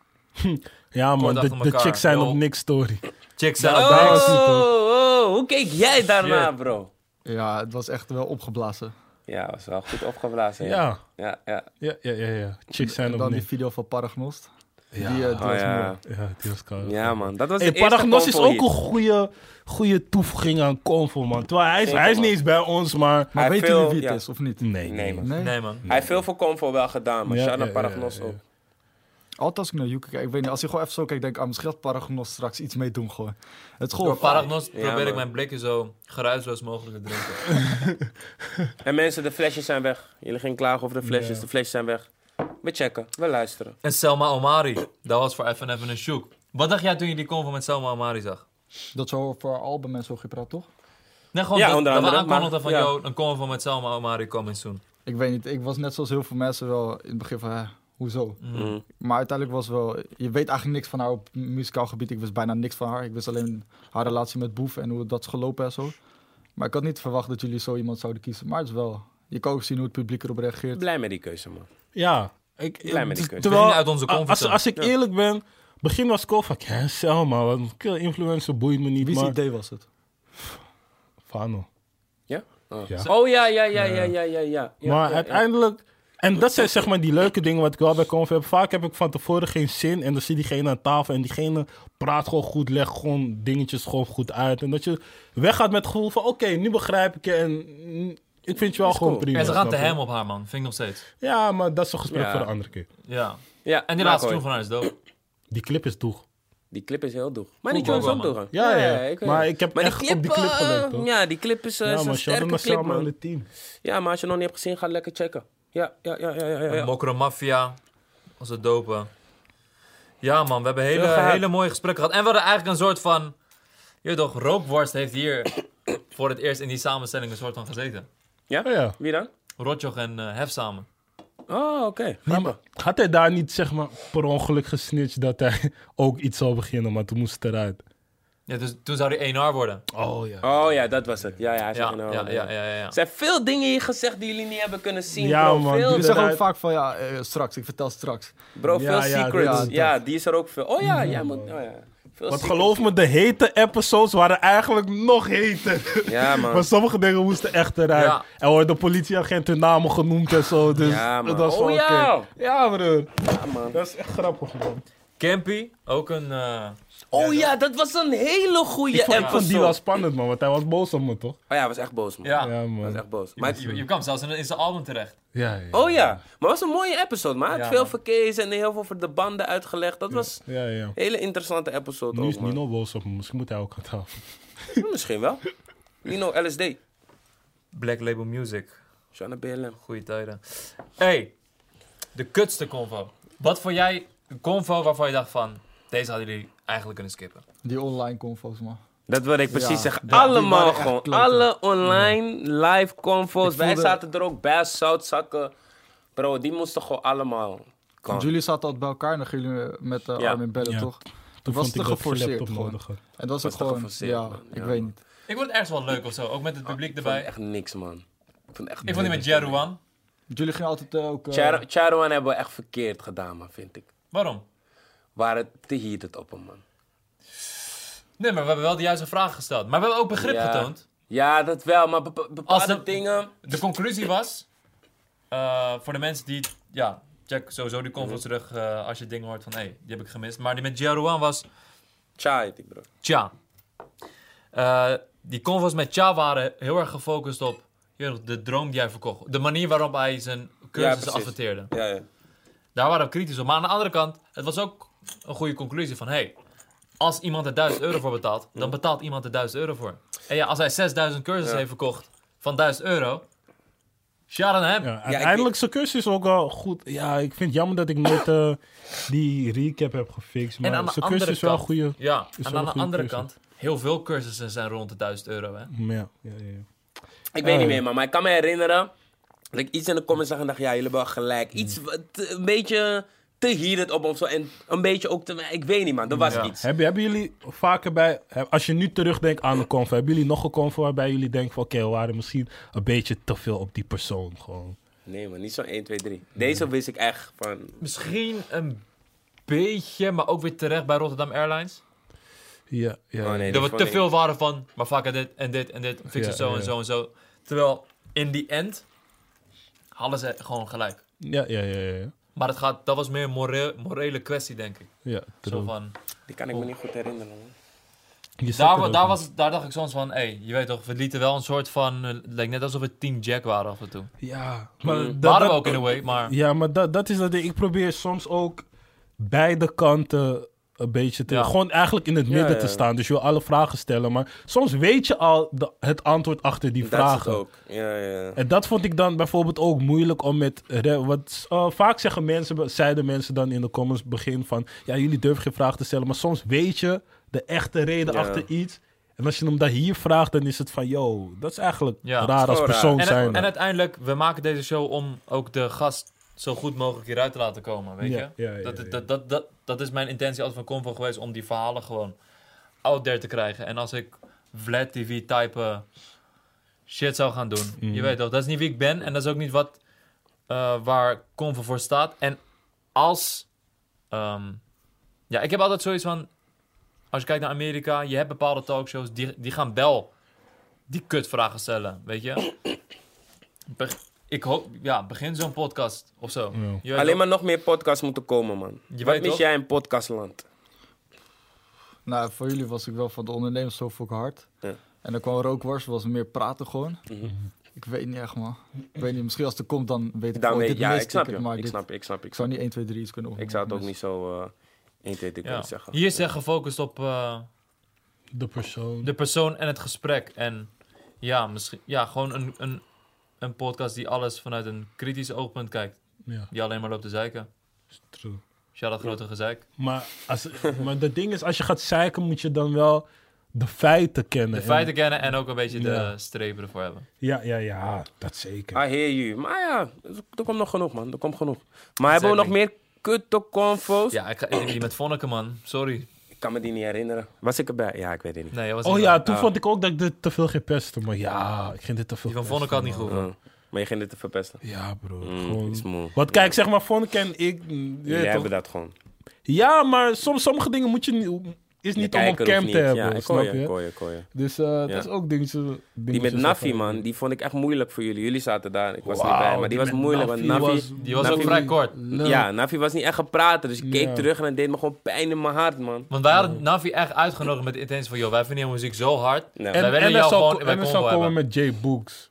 [SPEAKER 4] Ja, man,
[SPEAKER 2] Kort
[SPEAKER 4] de,
[SPEAKER 2] achter
[SPEAKER 4] de
[SPEAKER 2] elkaar,
[SPEAKER 4] chicks zijn
[SPEAKER 2] joh.
[SPEAKER 4] op niks story.
[SPEAKER 2] Jack zijn
[SPEAKER 1] Oh,
[SPEAKER 2] op niks.
[SPEAKER 4] was hij
[SPEAKER 1] oh, hoe keek jij daarna,
[SPEAKER 2] Shit.
[SPEAKER 1] bro?
[SPEAKER 5] Ja, het was echt wel opgeblazen.
[SPEAKER 1] Ja, was wel goed opgeblazen. Ja.
[SPEAKER 4] Ja,
[SPEAKER 1] Ja, ja.
[SPEAKER 4] ja, ja, ja. ja. Chicks zijn
[SPEAKER 5] En
[SPEAKER 4] op
[SPEAKER 5] dan die
[SPEAKER 4] niks.
[SPEAKER 5] video van Paragnost.
[SPEAKER 4] Ja.
[SPEAKER 5] Die, eh, die
[SPEAKER 1] Oh,
[SPEAKER 5] was
[SPEAKER 1] ja.
[SPEAKER 5] mooi.
[SPEAKER 4] Ja, die was koud.
[SPEAKER 1] ja, man. Dat was
[SPEAKER 4] Hey,
[SPEAKER 1] de eerste
[SPEAKER 4] Paragnos is
[SPEAKER 1] combo
[SPEAKER 4] ook
[SPEAKER 1] hier.
[SPEAKER 4] een goede, goede toevoeging aan Convo, man. Terwijl hij is,
[SPEAKER 1] Zeker,
[SPEAKER 4] hij is
[SPEAKER 1] man.
[SPEAKER 4] niet eens bij ons, maar...
[SPEAKER 5] Maar
[SPEAKER 1] Hij
[SPEAKER 5] weten
[SPEAKER 1] veel-
[SPEAKER 5] jullie wie het
[SPEAKER 1] ja.
[SPEAKER 5] is, of niet?
[SPEAKER 4] Nee,
[SPEAKER 1] Nee, man.
[SPEAKER 5] Nee?
[SPEAKER 2] Nee, man.
[SPEAKER 1] Hij heeft veel voor comfort wel gedaan, maar
[SPEAKER 4] Ja,
[SPEAKER 1] ja,
[SPEAKER 4] ja, ja,
[SPEAKER 1] Paragnos
[SPEAKER 4] ja, ja.
[SPEAKER 1] ook.
[SPEAKER 5] Altijd als ik naar Yuki kijk, ik weet niet, als ik gewoon even zo kijk, denk ik, ah, misschien gaat Paragnost straks iets mee doen gewoon. Het is
[SPEAKER 2] Door
[SPEAKER 5] gewoon...
[SPEAKER 2] Paragnos probeer ik
[SPEAKER 1] man.
[SPEAKER 2] mijn blikken zo geruisloos mogelijk te drinken.
[SPEAKER 1] En mensen, de flesjes zijn weg. Jullie gingen klagen over de flesjes. De flesjes zijn weg. We checken, we luisteren.
[SPEAKER 2] En Selma Omari, dat was voor even even een shoek. Wat dacht jij toen je die convo met Selma Omari zag?
[SPEAKER 5] Dat zo voor album en zo gepraat, toch?
[SPEAKER 2] Nee, gewoon
[SPEAKER 1] Ja,
[SPEAKER 2] dat,
[SPEAKER 1] onder
[SPEAKER 2] dat we
[SPEAKER 1] andere,
[SPEAKER 2] aankondigden
[SPEAKER 1] maar-
[SPEAKER 2] van,
[SPEAKER 1] ja.
[SPEAKER 2] yo, een convo met Selma Omari coming soon.
[SPEAKER 5] Ik weet niet, ik was net zoals heel veel mensen wel in het begin van, hè, hoezo?
[SPEAKER 1] Mm.
[SPEAKER 5] Maar uiteindelijk was wel, je weet eigenlijk niks van haar op muzikaal gebied. Ik wist bijna niks van haar. Ik wist alleen haar relatie met Boef en hoe dat is gelopen en zo. Maar ik had niet verwacht dat jullie zo iemand zouden kiezen. Maar het is wel, je kan ook zien hoe het publiek erop reageert.
[SPEAKER 1] Blij met die keuze, man.
[SPEAKER 4] Ja. Ik,
[SPEAKER 1] Blij met die
[SPEAKER 4] t-
[SPEAKER 1] keuze.
[SPEAKER 2] We
[SPEAKER 4] terwijl,
[SPEAKER 2] gingen uit onze
[SPEAKER 4] a- als,
[SPEAKER 2] comfortzone.
[SPEAKER 4] als ik eerlijk ben, begin was ik al van, ja, Selma, wat een kill influencer boeit me niet,
[SPEAKER 5] Wie zijn
[SPEAKER 4] maar...
[SPEAKER 5] idee was het?
[SPEAKER 4] Fano.
[SPEAKER 1] Ja? Oh
[SPEAKER 4] Ja.
[SPEAKER 1] ja, oh, ja, ja, ja, ja, ja, ja. ja. Ja,
[SPEAKER 4] maar
[SPEAKER 1] ja, ja.
[SPEAKER 4] uiteindelijk... En dat zijn zeg maar die leuke dingen wat ik wel bij Convo heb. Vaak heb ik van tevoren geen zin en dan zit diegene aan tafel en diegene praat gewoon goed, legt gewoon dingetjes gewoon goed uit. En dat je weggaat met het gevoel van, oké, nu begrijp ik je en mm, ik vind je wel
[SPEAKER 1] Is
[SPEAKER 4] gewoon
[SPEAKER 1] cool.
[SPEAKER 4] prima.
[SPEAKER 2] En ze gaan te
[SPEAKER 4] snap je?
[SPEAKER 2] hem op haar, man. Vind ik nog steeds.
[SPEAKER 4] Ja, maar dat is een gesprek
[SPEAKER 1] Ja.
[SPEAKER 4] voor de andere keer.
[SPEAKER 2] Ja.
[SPEAKER 1] Ja,
[SPEAKER 2] En die
[SPEAKER 1] maar
[SPEAKER 2] laatste
[SPEAKER 1] gooi.
[SPEAKER 2] tune van haar is dope.
[SPEAKER 4] Die clip is doeg.
[SPEAKER 1] Die clip is heel doeg. Maar die
[SPEAKER 2] Goed
[SPEAKER 1] Jones
[SPEAKER 2] wel,
[SPEAKER 1] ook
[SPEAKER 2] man.
[SPEAKER 1] doeg. hè?
[SPEAKER 4] Ja, ja.
[SPEAKER 1] weet
[SPEAKER 4] Maar
[SPEAKER 1] het.
[SPEAKER 4] ik heb
[SPEAKER 1] Maar
[SPEAKER 4] echt op die clip
[SPEAKER 1] eh,
[SPEAKER 4] gelet, hoor.
[SPEAKER 1] Ja, die clip is, eh,
[SPEAKER 4] Ja,
[SPEAKER 1] is een
[SPEAKER 4] maar shout out
[SPEAKER 1] sterke
[SPEAKER 4] naar
[SPEAKER 1] clip,
[SPEAKER 4] Selma en
[SPEAKER 1] man.
[SPEAKER 4] het team.
[SPEAKER 1] Ja, maar als je nog niet hebt gezien, ga lekker checken. Ja, ja, ja, ja, ja. ja, ja.
[SPEAKER 2] Mokro Mafia. Als het dopen. Ja, man. We hebben hele,
[SPEAKER 1] Heel gehaald.
[SPEAKER 2] hele mooie gesprekken gehad. En we hadden eigenlijk een soort van... Je weet toch, Rookworst heeft hier voor het eerst in die samenstelling een soort van gezeten.
[SPEAKER 4] Oh ja.
[SPEAKER 1] Wie dan?
[SPEAKER 2] Rotjoch en eh, Hef samen.
[SPEAKER 1] Oh, oké.
[SPEAKER 4] Nee, maar had hij daar niet zeg maar per ongeluk gesnitcht dat hij ook iets zou beginnen, maar toen moest het eruit.
[SPEAKER 2] Ja, dus toen zou hij 1R worden.
[SPEAKER 4] Oh ja.
[SPEAKER 1] Oh ja, dat was het. Ja, ja, hij
[SPEAKER 2] Ja,
[SPEAKER 1] zegt
[SPEAKER 2] ja,
[SPEAKER 1] nou,
[SPEAKER 2] ja, ja, ja, ja.
[SPEAKER 1] Er zijn veel dingen hier gezegd die jullie niet hebben kunnen zien,
[SPEAKER 4] Ja,
[SPEAKER 1] bro.
[SPEAKER 4] man.
[SPEAKER 1] Veel,
[SPEAKER 5] Jullie zeggen ook
[SPEAKER 4] Inderdaad.
[SPEAKER 5] vaak van, ja, eh, straks, ik vertel straks.
[SPEAKER 1] bro,
[SPEAKER 4] Ja,
[SPEAKER 1] veel
[SPEAKER 4] ja,
[SPEAKER 1] secrets.
[SPEAKER 4] dat-
[SPEAKER 1] Ja, die is er ook veel. Oh ja, ja, man. Oh, ja. Veel
[SPEAKER 4] Want
[SPEAKER 1] secrets.
[SPEAKER 4] geloof me, de hete episodes waren eigenlijk nog heter.
[SPEAKER 1] Ja, man.
[SPEAKER 4] Maar sommige dingen moesten echt eruit.
[SPEAKER 2] Ja.
[SPEAKER 4] En hoor, de politieagent hun namen genoemd en zo. Dus
[SPEAKER 1] Ja, man.
[SPEAKER 4] dat was
[SPEAKER 1] Oh,
[SPEAKER 4] wel oké.
[SPEAKER 1] ja.
[SPEAKER 4] Ja, broer.
[SPEAKER 1] Ja, man.
[SPEAKER 4] Dat is echt grappig, man.
[SPEAKER 2] Campy, ook een... eh,
[SPEAKER 1] Oh ja, dat was een hele goede
[SPEAKER 4] Ik vond, ik
[SPEAKER 1] episode.
[SPEAKER 4] vond die wel spannend, man. Want hij was boos op me, toch?
[SPEAKER 1] Oh ja, hij was echt boos, man.
[SPEAKER 2] ja,
[SPEAKER 4] Ja,
[SPEAKER 1] Hij was
[SPEAKER 4] man.
[SPEAKER 1] echt boos. Maar ik-
[SPEAKER 2] Je, je kwam zelfs in, in zijn album terecht.
[SPEAKER 4] Ja, ja.
[SPEAKER 1] Oh ja, maar het was een mooie episode, man. Hij had
[SPEAKER 2] Ja,
[SPEAKER 1] veel
[SPEAKER 2] man.
[SPEAKER 1] voor Kees en heel veel voor de banden uitgelegd. Dat was
[SPEAKER 4] Ja, ja.
[SPEAKER 1] een hele interessante episode
[SPEAKER 4] Nu
[SPEAKER 1] ook,
[SPEAKER 4] is
[SPEAKER 1] Oh, man.
[SPEAKER 4] Nino boos op me. Misschien moet hij ook aan tafel.
[SPEAKER 1] Hm, Misschien wel. Nino LSD.
[SPEAKER 2] Black Label Music.
[SPEAKER 1] Shana BLM.
[SPEAKER 2] Goeie tijden. hey, de kutste convo. Wat vond jij een convo waarvan je dacht van... Deze hadden jullie eigenlijk kunnen skippen.
[SPEAKER 5] Die online confo's, man.
[SPEAKER 1] Dat wil ik precies
[SPEAKER 5] Ja,
[SPEAKER 1] zeggen.
[SPEAKER 5] dat- die
[SPEAKER 1] Allemaal
[SPEAKER 5] waren echt
[SPEAKER 1] gewoon.
[SPEAKER 5] kloten.
[SPEAKER 1] Alle online live confo's.
[SPEAKER 5] Ik
[SPEAKER 1] Wij
[SPEAKER 5] voelde-
[SPEAKER 1] zaten er ook bij, zoutzakken. Bro, die moesten gewoon allemaal
[SPEAKER 5] Want
[SPEAKER 1] komen.
[SPEAKER 5] jullie zaten altijd bij elkaar nog jullie eh, met eh,
[SPEAKER 1] Ja.
[SPEAKER 5] Armin Bellen,
[SPEAKER 4] Ja.
[SPEAKER 5] toch?
[SPEAKER 4] Toen
[SPEAKER 5] was
[SPEAKER 4] vond
[SPEAKER 5] te
[SPEAKER 4] ik dat je
[SPEAKER 5] geforceerd
[SPEAKER 4] laptop
[SPEAKER 5] gewoon.
[SPEAKER 4] nodig had.
[SPEAKER 5] En dat
[SPEAKER 1] Was
[SPEAKER 5] was het
[SPEAKER 1] te
[SPEAKER 5] gewoon...
[SPEAKER 1] geforceerd,
[SPEAKER 5] Ja,
[SPEAKER 1] man.
[SPEAKER 5] ik
[SPEAKER 1] Ja,
[SPEAKER 5] weet
[SPEAKER 1] man.
[SPEAKER 5] niet.
[SPEAKER 2] Ik vond het ergens wel leuk of zo. Ook met het publiek
[SPEAKER 1] Ah, Ik vond
[SPEAKER 2] erbij.
[SPEAKER 1] echt niks, man. Ik vond echt
[SPEAKER 2] Ik vond die met
[SPEAKER 1] niks.
[SPEAKER 2] Jerouan.
[SPEAKER 5] Want Jullie gingen altijd eh, ook... eh,
[SPEAKER 1] Char- Charouan hebben we echt verkeerd gedaan, man, vind ik.
[SPEAKER 2] Waarom?
[SPEAKER 1] Waren te heated het op hem, man.
[SPEAKER 2] Nee, maar we hebben wel de juiste vragen gesteld. Maar we hebben ook begrip
[SPEAKER 1] Ja.
[SPEAKER 2] getoond.
[SPEAKER 1] Ja, dat wel, maar bepa-
[SPEAKER 2] Als
[SPEAKER 1] bepaalde
[SPEAKER 2] dat-
[SPEAKER 1] dingen...
[SPEAKER 2] De conclusie was... eh, voor de mensen die... Ja, check sowieso die conference terug eh, als je dingen hoort van... Hé, hey, die heb ik gemist. Maar die met Jerouan was...
[SPEAKER 1] Cha heet ik, bro.
[SPEAKER 2] Tja. Eh, die convos met Tja waren heel erg gefocust op je weet nog, de droom die hij verkocht. De manier waarop hij zijn cursussen
[SPEAKER 1] precies.
[SPEAKER 2] adverteerde.
[SPEAKER 1] Ja, ja.
[SPEAKER 2] Daar waren we kritisch op. Maar aan de andere kant, het was ook een goede conclusie van... Hey, als iemand er 1000 euro voor betaalt, dan betaalt iemand er 1000 euro voor. En ja, als hij 6000 cursussen heeft verkocht van 1000 euro... Shout aan hem.
[SPEAKER 4] Ja, uiteindelijk, zijn cursus is ook wel goed. Ja, ik vind het jammer dat ik nooit eh, die recap heb gefixt.
[SPEAKER 2] en aan
[SPEAKER 4] Maar
[SPEAKER 2] de
[SPEAKER 4] zijn
[SPEAKER 2] andere
[SPEAKER 4] cursus is wel
[SPEAKER 2] kant-
[SPEAKER 4] goede.
[SPEAKER 2] Ja,
[SPEAKER 4] wel
[SPEAKER 2] en aan
[SPEAKER 4] een
[SPEAKER 2] de
[SPEAKER 4] goede
[SPEAKER 2] andere
[SPEAKER 4] keuze.
[SPEAKER 2] kant, heel veel cursussen zijn rond de 1000 euro. Hè?
[SPEAKER 4] Ja, ja, ja, ja.
[SPEAKER 1] Ik weet
[SPEAKER 2] Eh.
[SPEAKER 1] niet
[SPEAKER 4] ja.
[SPEAKER 1] meer, man, maar ik kan me herinneren dat ik iets in de comments zag en dacht, ja, jullie hebben wel gelijk.
[SPEAKER 2] Mm.
[SPEAKER 1] Iets wat, eh, een beetje te heated op of zo en een beetje ook te... Ik weet niet, man, er was
[SPEAKER 2] Ja.
[SPEAKER 1] iets.
[SPEAKER 4] Hebben, hebben jullie vaker bij, heb- als je nu terugdenkt aan de conf, hebben jullie nog een conf waarbij jullie denken van oké, we waren misschien een beetje te veel op die persoon gewoon.
[SPEAKER 1] Nee, man, niet zo 1, 2, 3. Deze wist ik echt van...
[SPEAKER 2] Misschien een beetje, maar ook weer terecht bij Rotterdam Airlines.
[SPEAKER 4] Ja, ja.
[SPEAKER 1] Oh, nee,
[SPEAKER 2] dat
[SPEAKER 1] die
[SPEAKER 2] we
[SPEAKER 1] vond
[SPEAKER 2] te
[SPEAKER 1] ik-
[SPEAKER 2] veel waren van, maar vaak dit en dit en dit, fix
[SPEAKER 4] Ja,
[SPEAKER 2] het zo
[SPEAKER 4] ja.
[SPEAKER 2] en zo en zo. Terwijl, in die end, hadden ze gewoon gelijk.
[SPEAKER 4] ja, ja, ja, ja. ja.
[SPEAKER 2] Maar het gaat, dat was meer een moreel, morele kwestie, denk ik.
[SPEAKER 4] ja
[SPEAKER 2] Zo
[SPEAKER 4] true.
[SPEAKER 2] van,
[SPEAKER 1] Die kan ik me niet goed herinneren, man.
[SPEAKER 4] Je zit
[SPEAKER 2] daar,
[SPEAKER 4] er
[SPEAKER 2] wa-
[SPEAKER 4] ook
[SPEAKER 2] daar,
[SPEAKER 4] in.
[SPEAKER 2] was, daar dacht ik soms van, hé, je weet toch, we lieten wel een soort van, eh, het leek net alsof we Team Jack waren af en toe.
[SPEAKER 4] Ja, maar dat-
[SPEAKER 2] Mm, waren we
[SPEAKER 4] dat-
[SPEAKER 2] ook in een way, maar
[SPEAKER 4] Ja, maar dat, dat is dat ding. Ik probeer soms ook beide kanten een beetje te...
[SPEAKER 2] Ja.
[SPEAKER 4] Gewoon eigenlijk in het midden
[SPEAKER 1] ja.
[SPEAKER 4] te staan. Dus je wil alle vragen stellen. Maar soms weet je al de- het antwoord achter die
[SPEAKER 1] Dat is het
[SPEAKER 4] vragen.
[SPEAKER 1] ook. Ja, ja.
[SPEAKER 4] En dat vond ik dan bijvoorbeeld ook moeilijk om met... re- Wat, eh, vaak zeggen mensen, zeiden mensen dan in de comments begin van... Ja, jullie durven geen vragen te stellen. Maar soms weet je de echte reden
[SPEAKER 1] Ja.
[SPEAKER 4] achter iets. En als je hem dan hier vraagt, dan is het van... Yo, dat is eigenlijk
[SPEAKER 2] Ja.
[SPEAKER 4] raar als
[SPEAKER 1] Gewoon raar.
[SPEAKER 4] persoon
[SPEAKER 2] En,
[SPEAKER 4] zijn.
[SPEAKER 2] en uiteindelijk, we maken deze show om ook de gast zo goed mogelijk hieruit te laten komen, weet
[SPEAKER 4] Ja,
[SPEAKER 2] je?
[SPEAKER 4] ja, ja,
[SPEAKER 2] dat,
[SPEAKER 4] ja.
[SPEAKER 2] Dat, dat, dat, dat is mijn intentie altijd van Convo geweest, om die verhalen gewoon out there te krijgen. En als ik Vlad TV type eh, shit zou gaan doen,
[SPEAKER 4] Mhm.
[SPEAKER 2] je weet toch, dat is niet wie ik ben en dat is ook niet wat eh, waar Convo voor staat. En als... ehm, ja, ik heb altijd zoiets van... Als je kijkt naar Amerika, je hebt bepaalde talkshows, die, die gaan wel die kutvragen stellen, weet je? Beg- ik hoop, ja, begin zo'n podcast of zo.
[SPEAKER 4] Ja.
[SPEAKER 2] Je weet
[SPEAKER 1] Alleen
[SPEAKER 2] wel-
[SPEAKER 1] maar nog meer podcasts moeten komen, man.
[SPEAKER 2] Je
[SPEAKER 1] Wat
[SPEAKER 2] weet
[SPEAKER 1] mis
[SPEAKER 2] toch?
[SPEAKER 1] jij in podcastland?
[SPEAKER 5] Nou, voor jullie was ik wel van de ondernemers zo fucking hard.
[SPEAKER 1] Ja. Mhm.
[SPEAKER 5] En dan kwam Rookwars, was meer praten gewoon. Ik weet niet echt, man. Ik weet niet, misschien als het er komt, dan weet ik
[SPEAKER 1] Dan
[SPEAKER 5] oh,
[SPEAKER 1] weet-
[SPEAKER 5] dit
[SPEAKER 1] ja,
[SPEAKER 5] mist
[SPEAKER 1] ik snap
[SPEAKER 5] ik,
[SPEAKER 1] je.
[SPEAKER 5] maar
[SPEAKER 1] ik,
[SPEAKER 5] dit-
[SPEAKER 1] snap, je, ik snap, je,
[SPEAKER 5] Ik
[SPEAKER 1] ik
[SPEAKER 5] zou
[SPEAKER 1] snap.
[SPEAKER 5] niet 1, 2, 3 iets kunnen
[SPEAKER 1] je.
[SPEAKER 5] opnemen.
[SPEAKER 1] Ik zou het ook
[SPEAKER 5] dus-
[SPEAKER 1] niet zo eh 1, 2, 3
[SPEAKER 2] ja.
[SPEAKER 1] kunnen zeggen.
[SPEAKER 2] Hier is echt gefocust op eh,
[SPEAKER 4] de persoon.
[SPEAKER 2] de persoon en het gesprek. En ja, misschien, ja gewoon een, een, een podcast die alles vanuit een kritisch oogpunt kijkt.
[SPEAKER 4] Ja,
[SPEAKER 2] Die alleen maar loopt te zeiken.
[SPEAKER 4] true.
[SPEAKER 2] Shout out grote gezeik.
[SPEAKER 4] Maar, als, maar dat ding is, als je gaat zeiken, moet je dan wel de feiten kennen.
[SPEAKER 2] De
[SPEAKER 4] En-
[SPEAKER 2] feiten kennen en ook een beetje de
[SPEAKER 4] Ja.
[SPEAKER 2] strepen ervoor hebben.
[SPEAKER 4] Ja, ja, ja, dat
[SPEAKER 2] Ah,
[SPEAKER 4] zeker.
[SPEAKER 1] I hear you. Maar ja, er komt nog genoeg, man. Er komt genoeg. Maar hebben we nog meer kutte convo's?
[SPEAKER 2] Ja, ik ga ik denk die met Vonneke, man. Sorry.
[SPEAKER 1] Ik kan me die niet herinneren. Was ik erbij? Ja, ik weet het niet.
[SPEAKER 2] Nee, dat was
[SPEAKER 4] Oh
[SPEAKER 2] niet
[SPEAKER 4] ja,
[SPEAKER 2] waar.
[SPEAKER 4] toen
[SPEAKER 1] Ja.
[SPEAKER 4] vond ik ook dat ik dit te veel ging pesten. Maar ja, ik ging dit te veel
[SPEAKER 2] Die van
[SPEAKER 4] pesten,
[SPEAKER 2] Vonneke had niet
[SPEAKER 4] man.
[SPEAKER 2] goed. hoor.
[SPEAKER 1] Oh, Maar je ging dit te verpesten.
[SPEAKER 4] Ja, bro.
[SPEAKER 1] Mm,
[SPEAKER 4] gewoon-
[SPEAKER 1] is moe.
[SPEAKER 4] Want kijk, zeg maar, Vonneke en ik... mm, je weet
[SPEAKER 1] Jullie
[SPEAKER 4] toch?
[SPEAKER 1] hebben dat gewoon.
[SPEAKER 4] Ja, maar soms, sommige dingen moet je niet... Is
[SPEAKER 1] Je
[SPEAKER 4] niet om op
[SPEAKER 1] kijker hoeft
[SPEAKER 4] camp
[SPEAKER 1] niet.
[SPEAKER 4] te hebben,
[SPEAKER 1] Ja, ik hoor
[SPEAKER 4] snap
[SPEAKER 1] je,
[SPEAKER 4] je?
[SPEAKER 1] ik hoor je, ik hoor je.
[SPEAKER 4] Dus eh, dat is ook dingetje...
[SPEAKER 1] Die met
[SPEAKER 4] dingetjes
[SPEAKER 1] Nafi,
[SPEAKER 4] van-
[SPEAKER 1] man, die vond ik echt moeilijk voor jullie. Jullie zaten daar, ik was niet
[SPEAKER 4] Wauw,
[SPEAKER 1] bij. Maar die, was
[SPEAKER 4] met
[SPEAKER 1] moeilijk, want Nafi...
[SPEAKER 4] was-
[SPEAKER 2] Die was ook
[SPEAKER 1] Navi-
[SPEAKER 2] vrij kort.
[SPEAKER 1] Ja, Nafi was niet echt gaan praten. Dus ik keek
[SPEAKER 4] Ja.
[SPEAKER 1] terug en het deed me gewoon pijn in mijn hart, man.
[SPEAKER 2] Want wij hadden Navi echt uitgenodigd met de intentie van... ...joh, wij vinden jouw muziek zo hard.
[SPEAKER 1] Nee.
[SPEAKER 2] wij
[SPEAKER 4] En,
[SPEAKER 2] willen
[SPEAKER 4] en er
[SPEAKER 2] jou
[SPEAKER 4] zou,
[SPEAKER 2] gewoon
[SPEAKER 4] ko-
[SPEAKER 2] bij
[SPEAKER 4] en er
[SPEAKER 2] Convo
[SPEAKER 4] zou komen
[SPEAKER 2] hebben.
[SPEAKER 4] met Jay Books.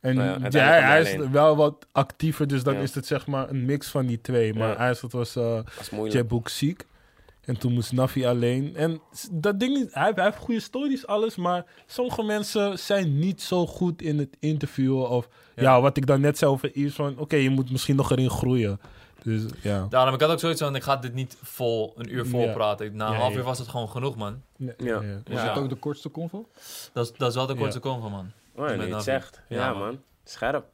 [SPEAKER 4] En
[SPEAKER 1] Nou ja,
[SPEAKER 4] ja,
[SPEAKER 1] uiteindelijk
[SPEAKER 4] hij
[SPEAKER 1] kwam hij
[SPEAKER 4] is
[SPEAKER 1] alleen.
[SPEAKER 4] wel wat actiever, dus dan
[SPEAKER 1] Ja.
[SPEAKER 4] is het zeg maar een mix van die twee. Maar
[SPEAKER 1] Ja.
[SPEAKER 4] hij is- dat was eh,
[SPEAKER 1] Dat was
[SPEAKER 4] Jay
[SPEAKER 1] moeilijk.
[SPEAKER 4] Books ziek. En toen moest Nafi alleen. En s- dat ding, is- hij, hij heeft goede stories, alles. Maar sommige mensen zijn niet zo goed in het interviewen. Of ja, wat ik dan net zei over Yves, van oké, je moet misschien nog erin groeien. Dus ja.
[SPEAKER 2] Daarom, ik had ook zoiets van, ik ga dit niet vol een uur vol
[SPEAKER 4] Ja.
[SPEAKER 2] praten. Ik- Na een
[SPEAKER 4] Ja,
[SPEAKER 2] half
[SPEAKER 4] ja.
[SPEAKER 2] uur was het gewoon genoeg, man.
[SPEAKER 1] Ja.
[SPEAKER 5] Was
[SPEAKER 2] Ja.
[SPEAKER 5] dat ook de kortste convo?
[SPEAKER 2] Dat, is- dat is wel de
[SPEAKER 4] Ja.
[SPEAKER 2] kortste kom van, man.
[SPEAKER 1] Oh,
[SPEAKER 2] Met
[SPEAKER 1] nee, het
[SPEAKER 2] Navi.
[SPEAKER 1] zegt. Ja,
[SPEAKER 2] Ja, man.
[SPEAKER 1] man. Scherp.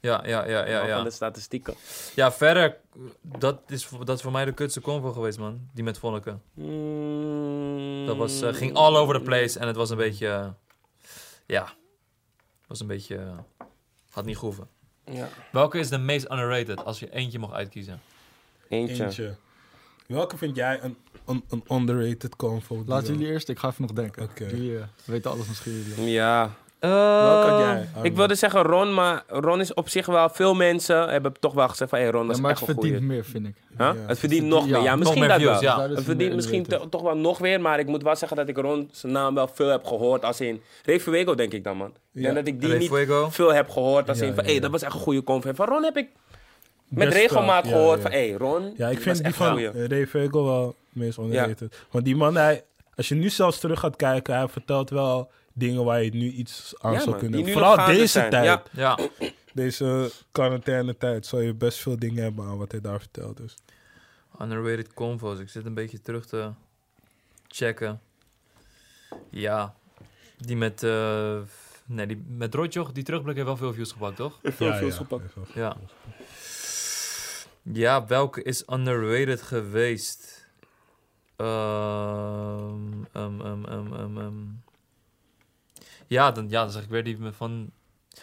[SPEAKER 2] Ja, ja, ja, ja.
[SPEAKER 1] Ja,
[SPEAKER 2] ja.
[SPEAKER 1] Van de statistieken.
[SPEAKER 2] Ja, verder, dat is, voor- dat is voor mij de kutste combo geweest, man. Die met Vonneke. Dat was, eh, ging all over the place en het was een beetje... eh, ja, was een beetje... eh, had niet groeven.
[SPEAKER 1] Ja.
[SPEAKER 2] Welke is de meest underrated, als je eentje mag uitkiezen?
[SPEAKER 1] Eentje.
[SPEAKER 4] Eentje. Welke vind jij een, een, een underrated convo? die
[SPEAKER 5] Laat
[SPEAKER 4] dan-
[SPEAKER 5] jullie eerst, ik ga even nog denken.
[SPEAKER 4] Oké.
[SPEAKER 5] Jullie eh, weten alles misschien. jullie.
[SPEAKER 1] Ja.
[SPEAKER 4] Welke had jij?
[SPEAKER 1] Ik wilde zeggen Ron, maar Ron is op zich wel... Veel mensen hebben toch wel gezegd van... Hé, Ron, dat
[SPEAKER 5] Ja,
[SPEAKER 1] is
[SPEAKER 5] maar
[SPEAKER 1] echt
[SPEAKER 5] het
[SPEAKER 1] een
[SPEAKER 5] verdient
[SPEAKER 1] goeie.
[SPEAKER 5] meer, vind ik. Dus
[SPEAKER 1] Huh?
[SPEAKER 4] Ja.
[SPEAKER 1] Het verdient nog
[SPEAKER 5] Ja,
[SPEAKER 1] meer. Ja,
[SPEAKER 5] nog
[SPEAKER 1] misschien
[SPEAKER 2] meer
[SPEAKER 1] dat
[SPEAKER 2] views,
[SPEAKER 1] wel.
[SPEAKER 2] ja.
[SPEAKER 5] daar is
[SPEAKER 1] Het
[SPEAKER 5] het
[SPEAKER 1] verdient
[SPEAKER 5] meer
[SPEAKER 1] misschien
[SPEAKER 5] underrated.
[SPEAKER 1] to- toch wel nog weer, maar ik moet wel zeggen dat ik Ron zijn naam wel veel heb gehoord. Als in Ray Fuego, denk ik dan, man.
[SPEAKER 4] Ja.
[SPEAKER 1] En dat ik die
[SPEAKER 2] Ray
[SPEAKER 1] niet
[SPEAKER 2] Fuego.
[SPEAKER 1] veel heb gehoord. Als
[SPEAKER 4] Ja,
[SPEAKER 1] in van,
[SPEAKER 4] ja,
[SPEAKER 1] hé,
[SPEAKER 4] ja.
[SPEAKER 1] dat was echt een goede conferentie. Van Ron heb ik met
[SPEAKER 4] Best,
[SPEAKER 1] regelmaat
[SPEAKER 4] eh, ja,
[SPEAKER 1] gehoord
[SPEAKER 4] ja.
[SPEAKER 1] van, hé, Ron.
[SPEAKER 4] Ja, ik
[SPEAKER 1] was
[SPEAKER 4] vind die
[SPEAKER 1] echt
[SPEAKER 4] van
[SPEAKER 1] goeie.
[SPEAKER 4] eh, Ray Vogel wel het meest underrated. Want die man, hij, als je nu zelfs terug gaat kijken, hij vertelt wel dingen waar je nu iets aan
[SPEAKER 1] Ja,
[SPEAKER 4] zou
[SPEAKER 1] man,
[SPEAKER 4] kunnen
[SPEAKER 1] die nu nog
[SPEAKER 4] Vooral
[SPEAKER 1] gaande
[SPEAKER 4] deze
[SPEAKER 1] zijn.
[SPEAKER 4] tijd,
[SPEAKER 1] Ja.
[SPEAKER 2] Ja,
[SPEAKER 4] deze quarantaine-tijd, zal je best veel dingen hebben aan wat hij daar vertelt. Dus.
[SPEAKER 2] underrated combos. Ik zit een beetje terug te checken. Ja, die met... eh, nee, die met Rotjoch, die terugblik heeft wel veel views gepakt, toch?
[SPEAKER 1] Veel views gepakt.
[SPEAKER 2] Ja. Ja, welke is underrated geweest? Ehm, ehm, ehm, ehm, ehm, ehm. Ja, dan, ja, dan zeg ik weer die van...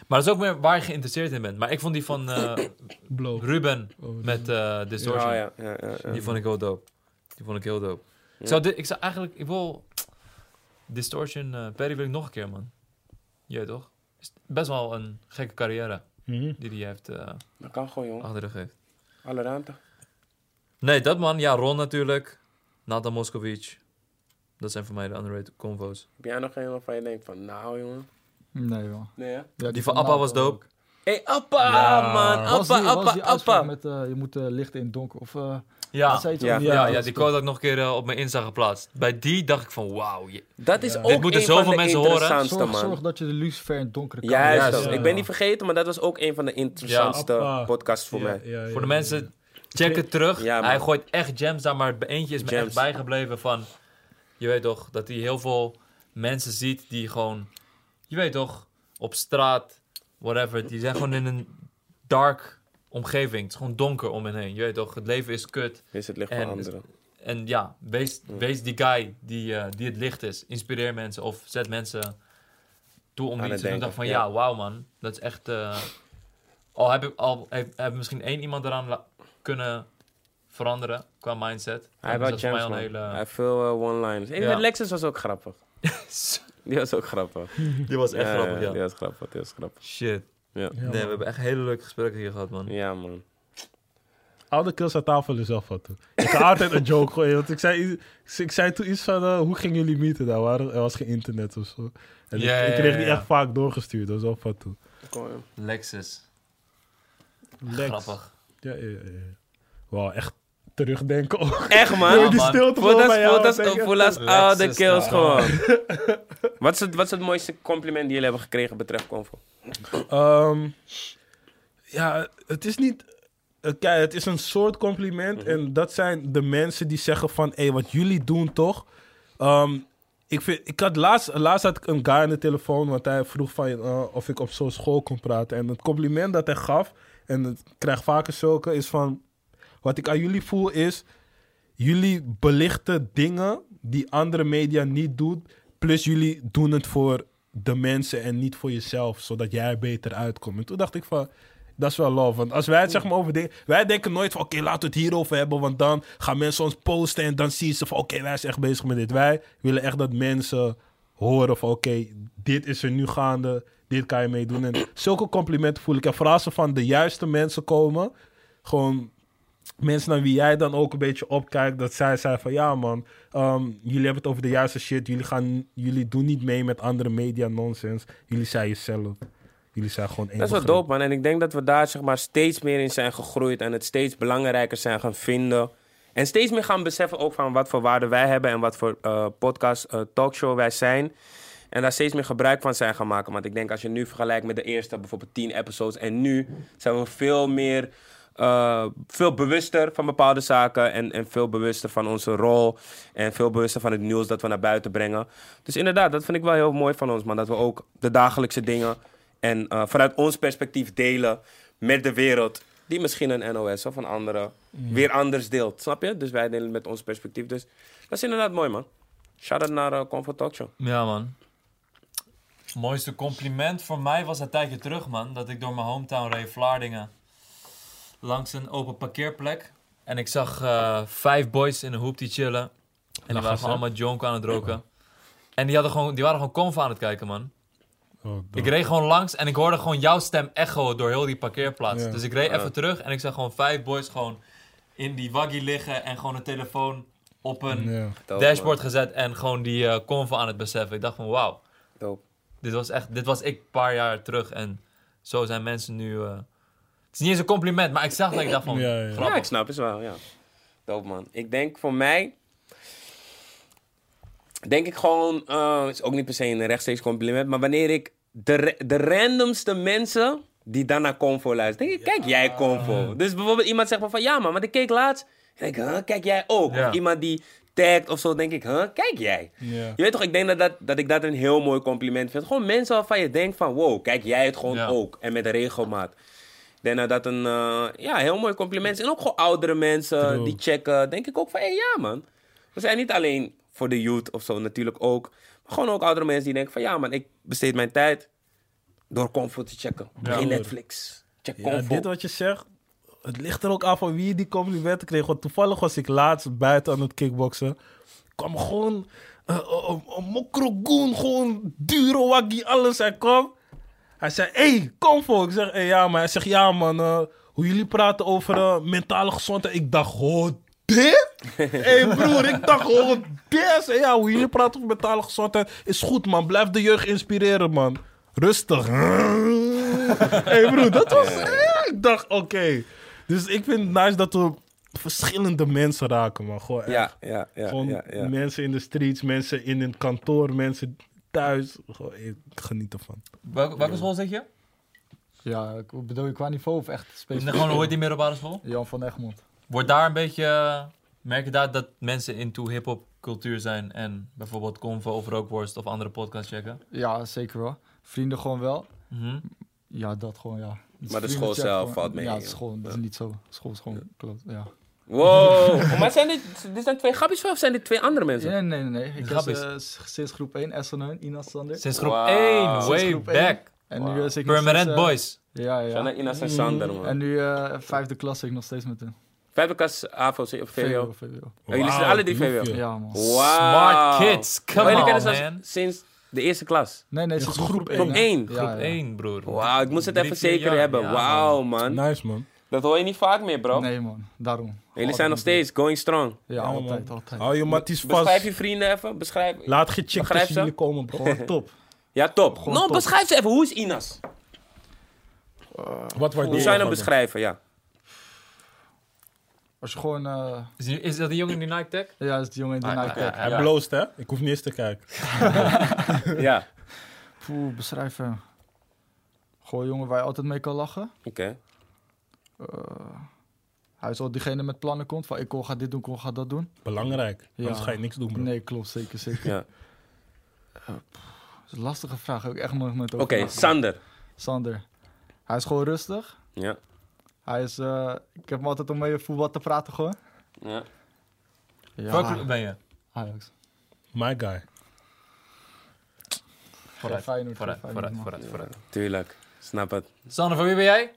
[SPEAKER 2] Maar dat is ook meer waar je geïnteresseerd in bent. Maar ik vond die van eh,
[SPEAKER 4] Blow.
[SPEAKER 2] Ruben
[SPEAKER 4] Oh,
[SPEAKER 2] met eh
[SPEAKER 1] Oh,
[SPEAKER 2] Distortion.
[SPEAKER 1] ja, ja, ja, ja.
[SPEAKER 2] Die vond ik heel dope. Die vond ik heel dope.
[SPEAKER 1] Ja.
[SPEAKER 2] Ik, zou dit, ik zou eigenlijk... Ik wil... Distortion, eh Perry wil ik nog een keer, man. Jij toch? Is best wel een gekke carrière
[SPEAKER 4] Mhm.
[SPEAKER 2] die hij heeft eh,
[SPEAKER 1] Dat kan gewoon, jongen.
[SPEAKER 2] achter de rug.
[SPEAKER 1] Alle ruimte.
[SPEAKER 2] Nee, dat man. Ja, Ron natuurlijk. Nathan Moscovic. Dat zijn voor mij de underrated convo's.
[SPEAKER 1] Heb jij nog een waarvan je denkt van, nou, jongen.
[SPEAKER 5] Nee, man.
[SPEAKER 1] Nee, hè?
[SPEAKER 5] Ja,
[SPEAKER 2] Die van Appa was
[SPEAKER 5] Napel
[SPEAKER 2] dope.
[SPEAKER 1] Hé, Appa,
[SPEAKER 4] Ja.
[SPEAKER 1] man.
[SPEAKER 5] Was die-
[SPEAKER 1] Appa,
[SPEAKER 5] was
[SPEAKER 1] Appa,
[SPEAKER 5] die uitspraak
[SPEAKER 1] Appa.
[SPEAKER 5] Met, eh, je moet eh, licht in het donker. Of, eh,
[SPEAKER 2] Ja,
[SPEAKER 5] wat zei je
[SPEAKER 1] Ja.
[SPEAKER 5] toen?
[SPEAKER 2] ja, ja die code had ik nog een keer eh, op mijn Insta geplaatst. Bij die dacht ik van wauw. je-
[SPEAKER 1] Dat is
[SPEAKER 4] Ja.
[SPEAKER 1] ook
[SPEAKER 2] Dit moeten
[SPEAKER 1] een
[SPEAKER 2] zoveel
[SPEAKER 1] van de
[SPEAKER 2] mensen horen.
[SPEAKER 1] interessantste,
[SPEAKER 5] Zorg,
[SPEAKER 1] man.
[SPEAKER 5] zorg dat je de lucifer in het donkere kamer
[SPEAKER 1] Juist,
[SPEAKER 2] Juist,
[SPEAKER 1] dat.
[SPEAKER 4] ja.
[SPEAKER 1] ik ben niet vergeten, maar dat was ook een van de interessantste
[SPEAKER 4] Ja, appa.
[SPEAKER 1] podcasts voor mij.
[SPEAKER 2] Voor de mensen, check het terug.
[SPEAKER 1] Ja, man.
[SPEAKER 2] hij gooit echt gems daar, maar eentje is me echt
[SPEAKER 1] Gems.
[SPEAKER 2] bijgebleven van... Je weet toch, dat hij heel veel mensen ziet die gewoon... Je weet toch, op straat, whatever. Die zijn gewoon in een dark omgeving. Het is gewoon donker om hen heen. Je weet toch, het leven is kut.
[SPEAKER 1] Is het licht
[SPEAKER 2] En-
[SPEAKER 1] van anderen.
[SPEAKER 2] En ja, wees, wees die guy die, eh, die het licht is. Inspireer mensen of zet mensen toe
[SPEAKER 1] Aan
[SPEAKER 2] om iets
[SPEAKER 1] het
[SPEAKER 2] te
[SPEAKER 1] denken,
[SPEAKER 2] doen. Dacht van
[SPEAKER 1] ja.
[SPEAKER 2] ja, wauw man, dat is echt. eh, al heb ik al heb, heb misschien één iemand eraan la- kunnen veranderen qua
[SPEAKER 1] Hij
[SPEAKER 2] mindset.
[SPEAKER 1] heeft
[SPEAKER 2] dan
[SPEAKER 1] wel
[SPEAKER 2] is dat
[SPEAKER 1] gems, man.
[SPEAKER 2] voor mij al een
[SPEAKER 1] Hij
[SPEAKER 2] hele-
[SPEAKER 1] heeft veel eh, one-liners. Hey,
[SPEAKER 2] Ja.
[SPEAKER 1] met Lexus was ook grappig. Die was ook grappig.
[SPEAKER 2] Die was echt
[SPEAKER 1] Ja,
[SPEAKER 2] grappig, ja.
[SPEAKER 1] Die was grappig, die was grappig.
[SPEAKER 2] Shit.
[SPEAKER 1] Ja,
[SPEAKER 4] Ja,
[SPEAKER 2] Nee, we
[SPEAKER 4] man.
[SPEAKER 2] hebben echt hele leuke gesprekken hier gehad, man.
[SPEAKER 1] ja man.
[SPEAKER 4] Oude kills aan tafel is zelf wat. Ik ga altijd een joke gooien. Want ik zei, iets- ik zei toen iets van, eh, hoe gingen jullie meeten? Daar waren, er was geen internet of zo. En ik-
[SPEAKER 2] Ja, ja,
[SPEAKER 4] ik,
[SPEAKER 2] ja,
[SPEAKER 4] kreeg die
[SPEAKER 2] ja.
[SPEAKER 4] echt vaak doorgestuurd. Dat was wel wat toe.
[SPEAKER 1] Kom,
[SPEAKER 2] Lexus.
[SPEAKER 4] Lex.
[SPEAKER 2] Grappig.
[SPEAKER 4] Ja, ja, ja. ja. Wauw, echt terugdenken. ook.
[SPEAKER 1] Echt
[SPEAKER 2] Ja,
[SPEAKER 1] man.
[SPEAKER 4] die
[SPEAKER 2] man.
[SPEAKER 4] stilte
[SPEAKER 1] Voel
[SPEAKER 4] gewoon
[SPEAKER 1] dat-
[SPEAKER 4] bij
[SPEAKER 1] voel
[SPEAKER 4] jou.
[SPEAKER 1] dat-
[SPEAKER 4] denk ik.
[SPEAKER 1] Voel als
[SPEAKER 2] Lexus,
[SPEAKER 1] oude
[SPEAKER 2] man.
[SPEAKER 1] kills gewoon. Wat is het- Wat is het mooiste compliment die jullie hebben gekregen betreft Convo?
[SPEAKER 4] Ehm, ja, het is niet... eh, Kijk, het is een soort compliment. En dat zijn de mensen die zeggen van... Hé, wat jullie doen toch? Ehm, ik, vind, ik had laatst, laatst had ik een guy aan de telefoon... Want hij vroeg van, eh, of ik op zo'n school kon praten. En het compliment dat hij gaf... En ik krijg vaker zulke, is van... Wat ik aan jullie voel is... Jullie belichten dingen die andere media niet doen. Plus jullie doen het voor de mensen en niet voor jezelf. Zodat jij er beter uitkomt. En toen dacht ik van... Dat is wel love. Want als wij het zeg maar over dingen... Wij denken nooit van... Oké, laten we het hierover hebben. Want dan gaan mensen ons posten. En dan zien ze van... Oké, wij zijn echt bezig met dit. Wij willen echt dat mensen horen van... Oké, dit is er nu gaande. Dit kan je meedoen. En zulke complimenten voel ik. En vooral als ze van de juiste mensen komen... Gewoon mensen naar wie jij dan ook een beetje opkijkt, dat zij zei van ja man, ehm, jullie hebben het over de juiste shit, jullie, gaan, jullie doen niet mee met andere media nonsens, jullie zijn jezelf. Jullie zijn gewoon één
[SPEAKER 1] Dat is wel
[SPEAKER 4] begrip.
[SPEAKER 1] dope, man. En ik denk dat we daar zeg maar, steeds meer in zijn gegroeid en het steeds belangrijker zijn gaan vinden. En steeds meer gaan beseffen ook van wat voor waarde wij hebben en wat voor eh, podcast, eh, talkshow wij zijn. En daar steeds meer gebruik van zijn gaan maken. Want ik denk als je nu vergelijkt met de eerste bijvoorbeeld 10 episodes en nu zijn we veel meer eh, eh, veel bewuster van bepaalde zaken. En, en veel bewuster van onze rol. En veel bewuster van het nieuws dat we naar buiten brengen. Dus inderdaad, dat vind ik wel heel mooi van ons, man. Dat we ook de dagelijkse dingen. En eh, vanuit ons perspectief delen met de wereld. Die misschien een NOS of een andere weer anders deelt. Snap je? Dus wij delen met ons perspectief. Dus dat is inderdaad mooi, man. Shout out naar eh, Comfort Talk Show.
[SPEAKER 2] Ja, man. Mooiste compliment voor mij was een tijdje terug, man. Dat ik door mijn hometown reed, Vlaardingen. Langs een open parkeerplek. En ik zag eh, vijf boys in een hoek die chillen. En die waren
[SPEAKER 4] Lachers,
[SPEAKER 2] gewoon allemaal jonk aan het roken. En die, hadden gewoon, die waren gewoon conf aan het kijken, man.
[SPEAKER 4] Oh,
[SPEAKER 2] Ik reed gewoon langs en ik hoorde gewoon jouw stem echo door heel die parkeerplaats.
[SPEAKER 4] Ja.
[SPEAKER 2] Dus ik reed
[SPEAKER 1] Ja.
[SPEAKER 2] even terug en ik zag gewoon vijf boys gewoon in die waggie liggen. En gewoon een telefoon op een
[SPEAKER 4] Ja.
[SPEAKER 1] Dope,
[SPEAKER 2] dashboard gezet en gewoon die eh convo aan het beseffen. Ik dacht van wauw,
[SPEAKER 1] man. Dope.
[SPEAKER 2] dit was echt, dit was ik een paar jaar terug en zo zijn mensen nu. eh, het is niet eens een compliment, maar ik zag dat ik dacht van
[SPEAKER 4] Ja, ja.
[SPEAKER 1] Ja, ik
[SPEAKER 2] grappig.
[SPEAKER 1] snap het wel, ja. Doop, man. Ik denk voor mij... Denk ik gewoon... eh, is ook niet per se een rechtstreeks compliment, maar wanneer ik de, ra- de randomste mensen die dan naar Convo luisteren, denk ik, kijk jij Convo. Dus bijvoorbeeld iemand zegt maar van, ja man, want ik keek laatst. En ik, huh, kijk jij ook.
[SPEAKER 2] Ja.
[SPEAKER 1] Of iemand die tagt of zo, denk ik, huh, kijk jij.
[SPEAKER 4] Ja.
[SPEAKER 1] Je weet toch, ik denk dat, dat, dat ik dat een heel mooi compliment vind. Gewoon mensen waarvan je denkt van, wow, kijk jij het gewoon
[SPEAKER 2] Ja.
[SPEAKER 1] ook. En met regelmaat. Ik denk dat dat een eh, ja, heel mooi compliment is. En ook gewoon oudere mensen
[SPEAKER 4] True.
[SPEAKER 1] die checken. Denk ik ook van, hé, ja man. We zijn niet alleen voor de youth of zo natuurlijk ook. Maar gewoon ook oudere mensen die denken van, ja man, ik besteed mijn tijd door comfort te checken. Geen
[SPEAKER 4] hoor.
[SPEAKER 1] Netflix. Check
[SPEAKER 4] Ja,
[SPEAKER 1] comfort.
[SPEAKER 4] dit wat je zegt, het ligt er ook aan van wie je die complimenten kreeg. Want toevallig was ik laatst buiten aan het kickboksen. kwam gewoon eh, eh, een een mokrogoen, gewoon dure waggie, alles. Hij kwam. Hij zei, hey, kom voor. Ik zeg, hey, ja, maar hij zegt, ja, man, eh, hoe jullie praten over eh, mentale gezondheid. Ik dacht, oh, dit? Hé hey broer, ik dacht gewoon, des. En ja, hoe jullie praten over mentale gezondheid is goed, man. Blijf de jeugd inspireren, man. Rustig. Hé hey broer, dat was... eh, ik dacht, oké. Dus ik vind het nice dat we verschillende mensen raken, man. Gewoon, echt.
[SPEAKER 1] Ja, ja, ja.
[SPEAKER 4] Gewoon
[SPEAKER 1] ja, ja.
[SPEAKER 4] mensen in de streets, mensen in het kantoor, mensen thuis. Gewoon, ik geniet ervan.
[SPEAKER 2] Welke, welke school zit je?
[SPEAKER 5] Ja, ik- wat bedoel je qua niveau of echt
[SPEAKER 2] En
[SPEAKER 5] specifiek?
[SPEAKER 2] gewoon ooit die middelbare school?
[SPEAKER 5] Jan van Egmond.
[SPEAKER 2] Wordt daar een beetje, eh, merk je daar dat mensen into hip-hop cultuur zijn en bijvoorbeeld Convo of Rookworst of andere podcasts checken?
[SPEAKER 5] Ja, zeker wel. Vrienden gewoon wel.
[SPEAKER 2] Mhm.
[SPEAKER 5] Ja, dat gewoon, ja. Dus
[SPEAKER 1] Maar de
[SPEAKER 5] vrienden
[SPEAKER 1] school
[SPEAKER 5] checken
[SPEAKER 1] zelf
[SPEAKER 5] gewoon-
[SPEAKER 1] valt mee,
[SPEAKER 5] Ja, het is
[SPEAKER 1] joh.
[SPEAKER 5] gewoon, dat is niet zo. School is gewoon, klopt, ja.
[SPEAKER 1] Wow. maar zijn dit, dit zijn twee grapjes of zijn dit twee andere mensen?
[SPEAKER 5] Nee, nee, nee. nee. Ik heb
[SPEAKER 2] Grap is-
[SPEAKER 5] eh, s- sinds groep 1 Essenheim, Ina Sander.
[SPEAKER 2] Sinds groep
[SPEAKER 1] Wauw.
[SPEAKER 2] 1,
[SPEAKER 1] Sinds
[SPEAKER 2] way
[SPEAKER 5] groep één.
[SPEAKER 2] back.
[SPEAKER 5] En nu is ik nog
[SPEAKER 2] Permanent
[SPEAKER 5] steeds, eh,
[SPEAKER 2] Boys.
[SPEAKER 5] Ja, ja.
[SPEAKER 1] Zijn er Ina en Sander, man.
[SPEAKER 5] En nu eh, vijfde klas zit ik nog steeds met hun.
[SPEAKER 1] Vijfde klas, AVO, C- of VWO.
[SPEAKER 5] VWO.
[SPEAKER 1] Oh, jullie zitten alle drie
[SPEAKER 4] Wauw,
[SPEAKER 1] VWO.
[SPEAKER 4] joefje.
[SPEAKER 5] Ja, man.
[SPEAKER 1] Wow.
[SPEAKER 2] Smart kids, come
[SPEAKER 1] jullie
[SPEAKER 2] on,
[SPEAKER 1] kennen ze al
[SPEAKER 2] man.
[SPEAKER 1] sinds de eerste klas.
[SPEAKER 5] Nee, nee, sinds
[SPEAKER 4] groep
[SPEAKER 5] groep
[SPEAKER 4] één.
[SPEAKER 5] 1.
[SPEAKER 1] Groep één.
[SPEAKER 5] Ja,
[SPEAKER 2] Groep
[SPEAKER 5] ja.
[SPEAKER 2] 1, broer.
[SPEAKER 1] Wauw, ik moest het
[SPEAKER 2] Drie,
[SPEAKER 1] even
[SPEAKER 2] vier
[SPEAKER 1] zeker
[SPEAKER 2] jaar,
[SPEAKER 1] hebben.
[SPEAKER 2] ja,
[SPEAKER 1] Wauw, man.
[SPEAKER 4] Nice, man.
[SPEAKER 1] Dat hoor je niet vaak meer, bro.
[SPEAKER 5] Nee, Oh, man. Daarom.
[SPEAKER 1] Jullie
[SPEAKER 5] Altijd
[SPEAKER 1] zijn nog
[SPEAKER 5] met hun.
[SPEAKER 1] steeds going strong.
[SPEAKER 5] Ja,
[SPEAKER 4] Ja,
[SPEAKER 5] altijd,
[SPEAKER 4] man.
[SPEAKER 5] altijd.
[SPEAKER 4] Hou je matties
[SPEAKER 1] Beschrijf
[SPEAKER 4] vast.
[SPEAKER 1] je vrienden even. Beschrijf.
[SPEAKER 4] Laat geen chick
[SPEAKER 1] Begrijp
[SPEAKER 4] tussen
[SPEAKER 1] ze?
[SPEAKER 4] jullie komen, bro. Gewoon top.
[SPEAKER 1] Ja, top.
[SPEAKER 5] Gewoon
[SPEAKER 1] nou,
[SPEAKER 5] top.
[SPEAKER 1] beschrijf ze even. Hoe is Inas?
[SPEAKER 4] Wat wordt
[SPEAKER 1] Hoe zou je hem beschrijven? Ja.
[SPEAKER 5] Als je gewoon... eh,
[SPEAKER 2] Is, die- is dat die jongen in die Nike Tech?
[SPEAKER 5] ja, is die jongen in de
[SPEAKER 2] Ah,
[SPEAKER 5] Nike.
[SPEAKER 2] ja, ja.
[SPEAKER 4] Hij bloost, hè? Ik hoef niet eens te kijken.
[SPEAKER 1] ja.
[SPEAKER 5] Poeh, beschrijf hem. Gewoon jongen waar je altijd mee kan lachen.
[SPEAKER 1] Oké.
[SPEAKER 5] Eh, hij is al diegene met plannen komt. Van ik kon ga dit doen, ik ga dat doen.
[SPEAKER 4] Belangrijk.
[SPEAKER 5] Ja.
[SPEAKER 4] Anders ga je niks doen, bro.
[SPEAKER 5] Nee, klopt. Zeker, zeker.
[SPEAKER 1] Ja.
[SPEAKER 5] Dat is een lastige vraag. Heb ik echt nog nooit
[SPEAKER 1] Oké,
[SPEAKER 5] over nagedacht.
[SPEAKER 1] Sander.
[SPEAKER 5] Sander. Hij is gewoon rustig.
[SPEAKER 1] Ja.
[SPEAKER 5] Hij is... eh, ik heb hem altijd om mee over voetbal te praten gewoon.
[SPEAKER 1] ja.
[SPEAKER 2] Welke club ben je?
[SPEAKER 5] Ajax.
[SPEAKER 4] My guy.
[SPEAKER 2] Vooruit,
[SPEAKER 5] Feyenoord,
[SPEAKER 2] vooruit,
[SPEAKER 5] geen
[SPEAKER 2] vooruit,
[SPEAKER 5] Feyenoord,
[SPEAKER 2] vooruit, vooruit.
[SPEAKER 1] Tuurlijk. Snap het.
[SPEAKER 2] Sander, voor wie ben jij?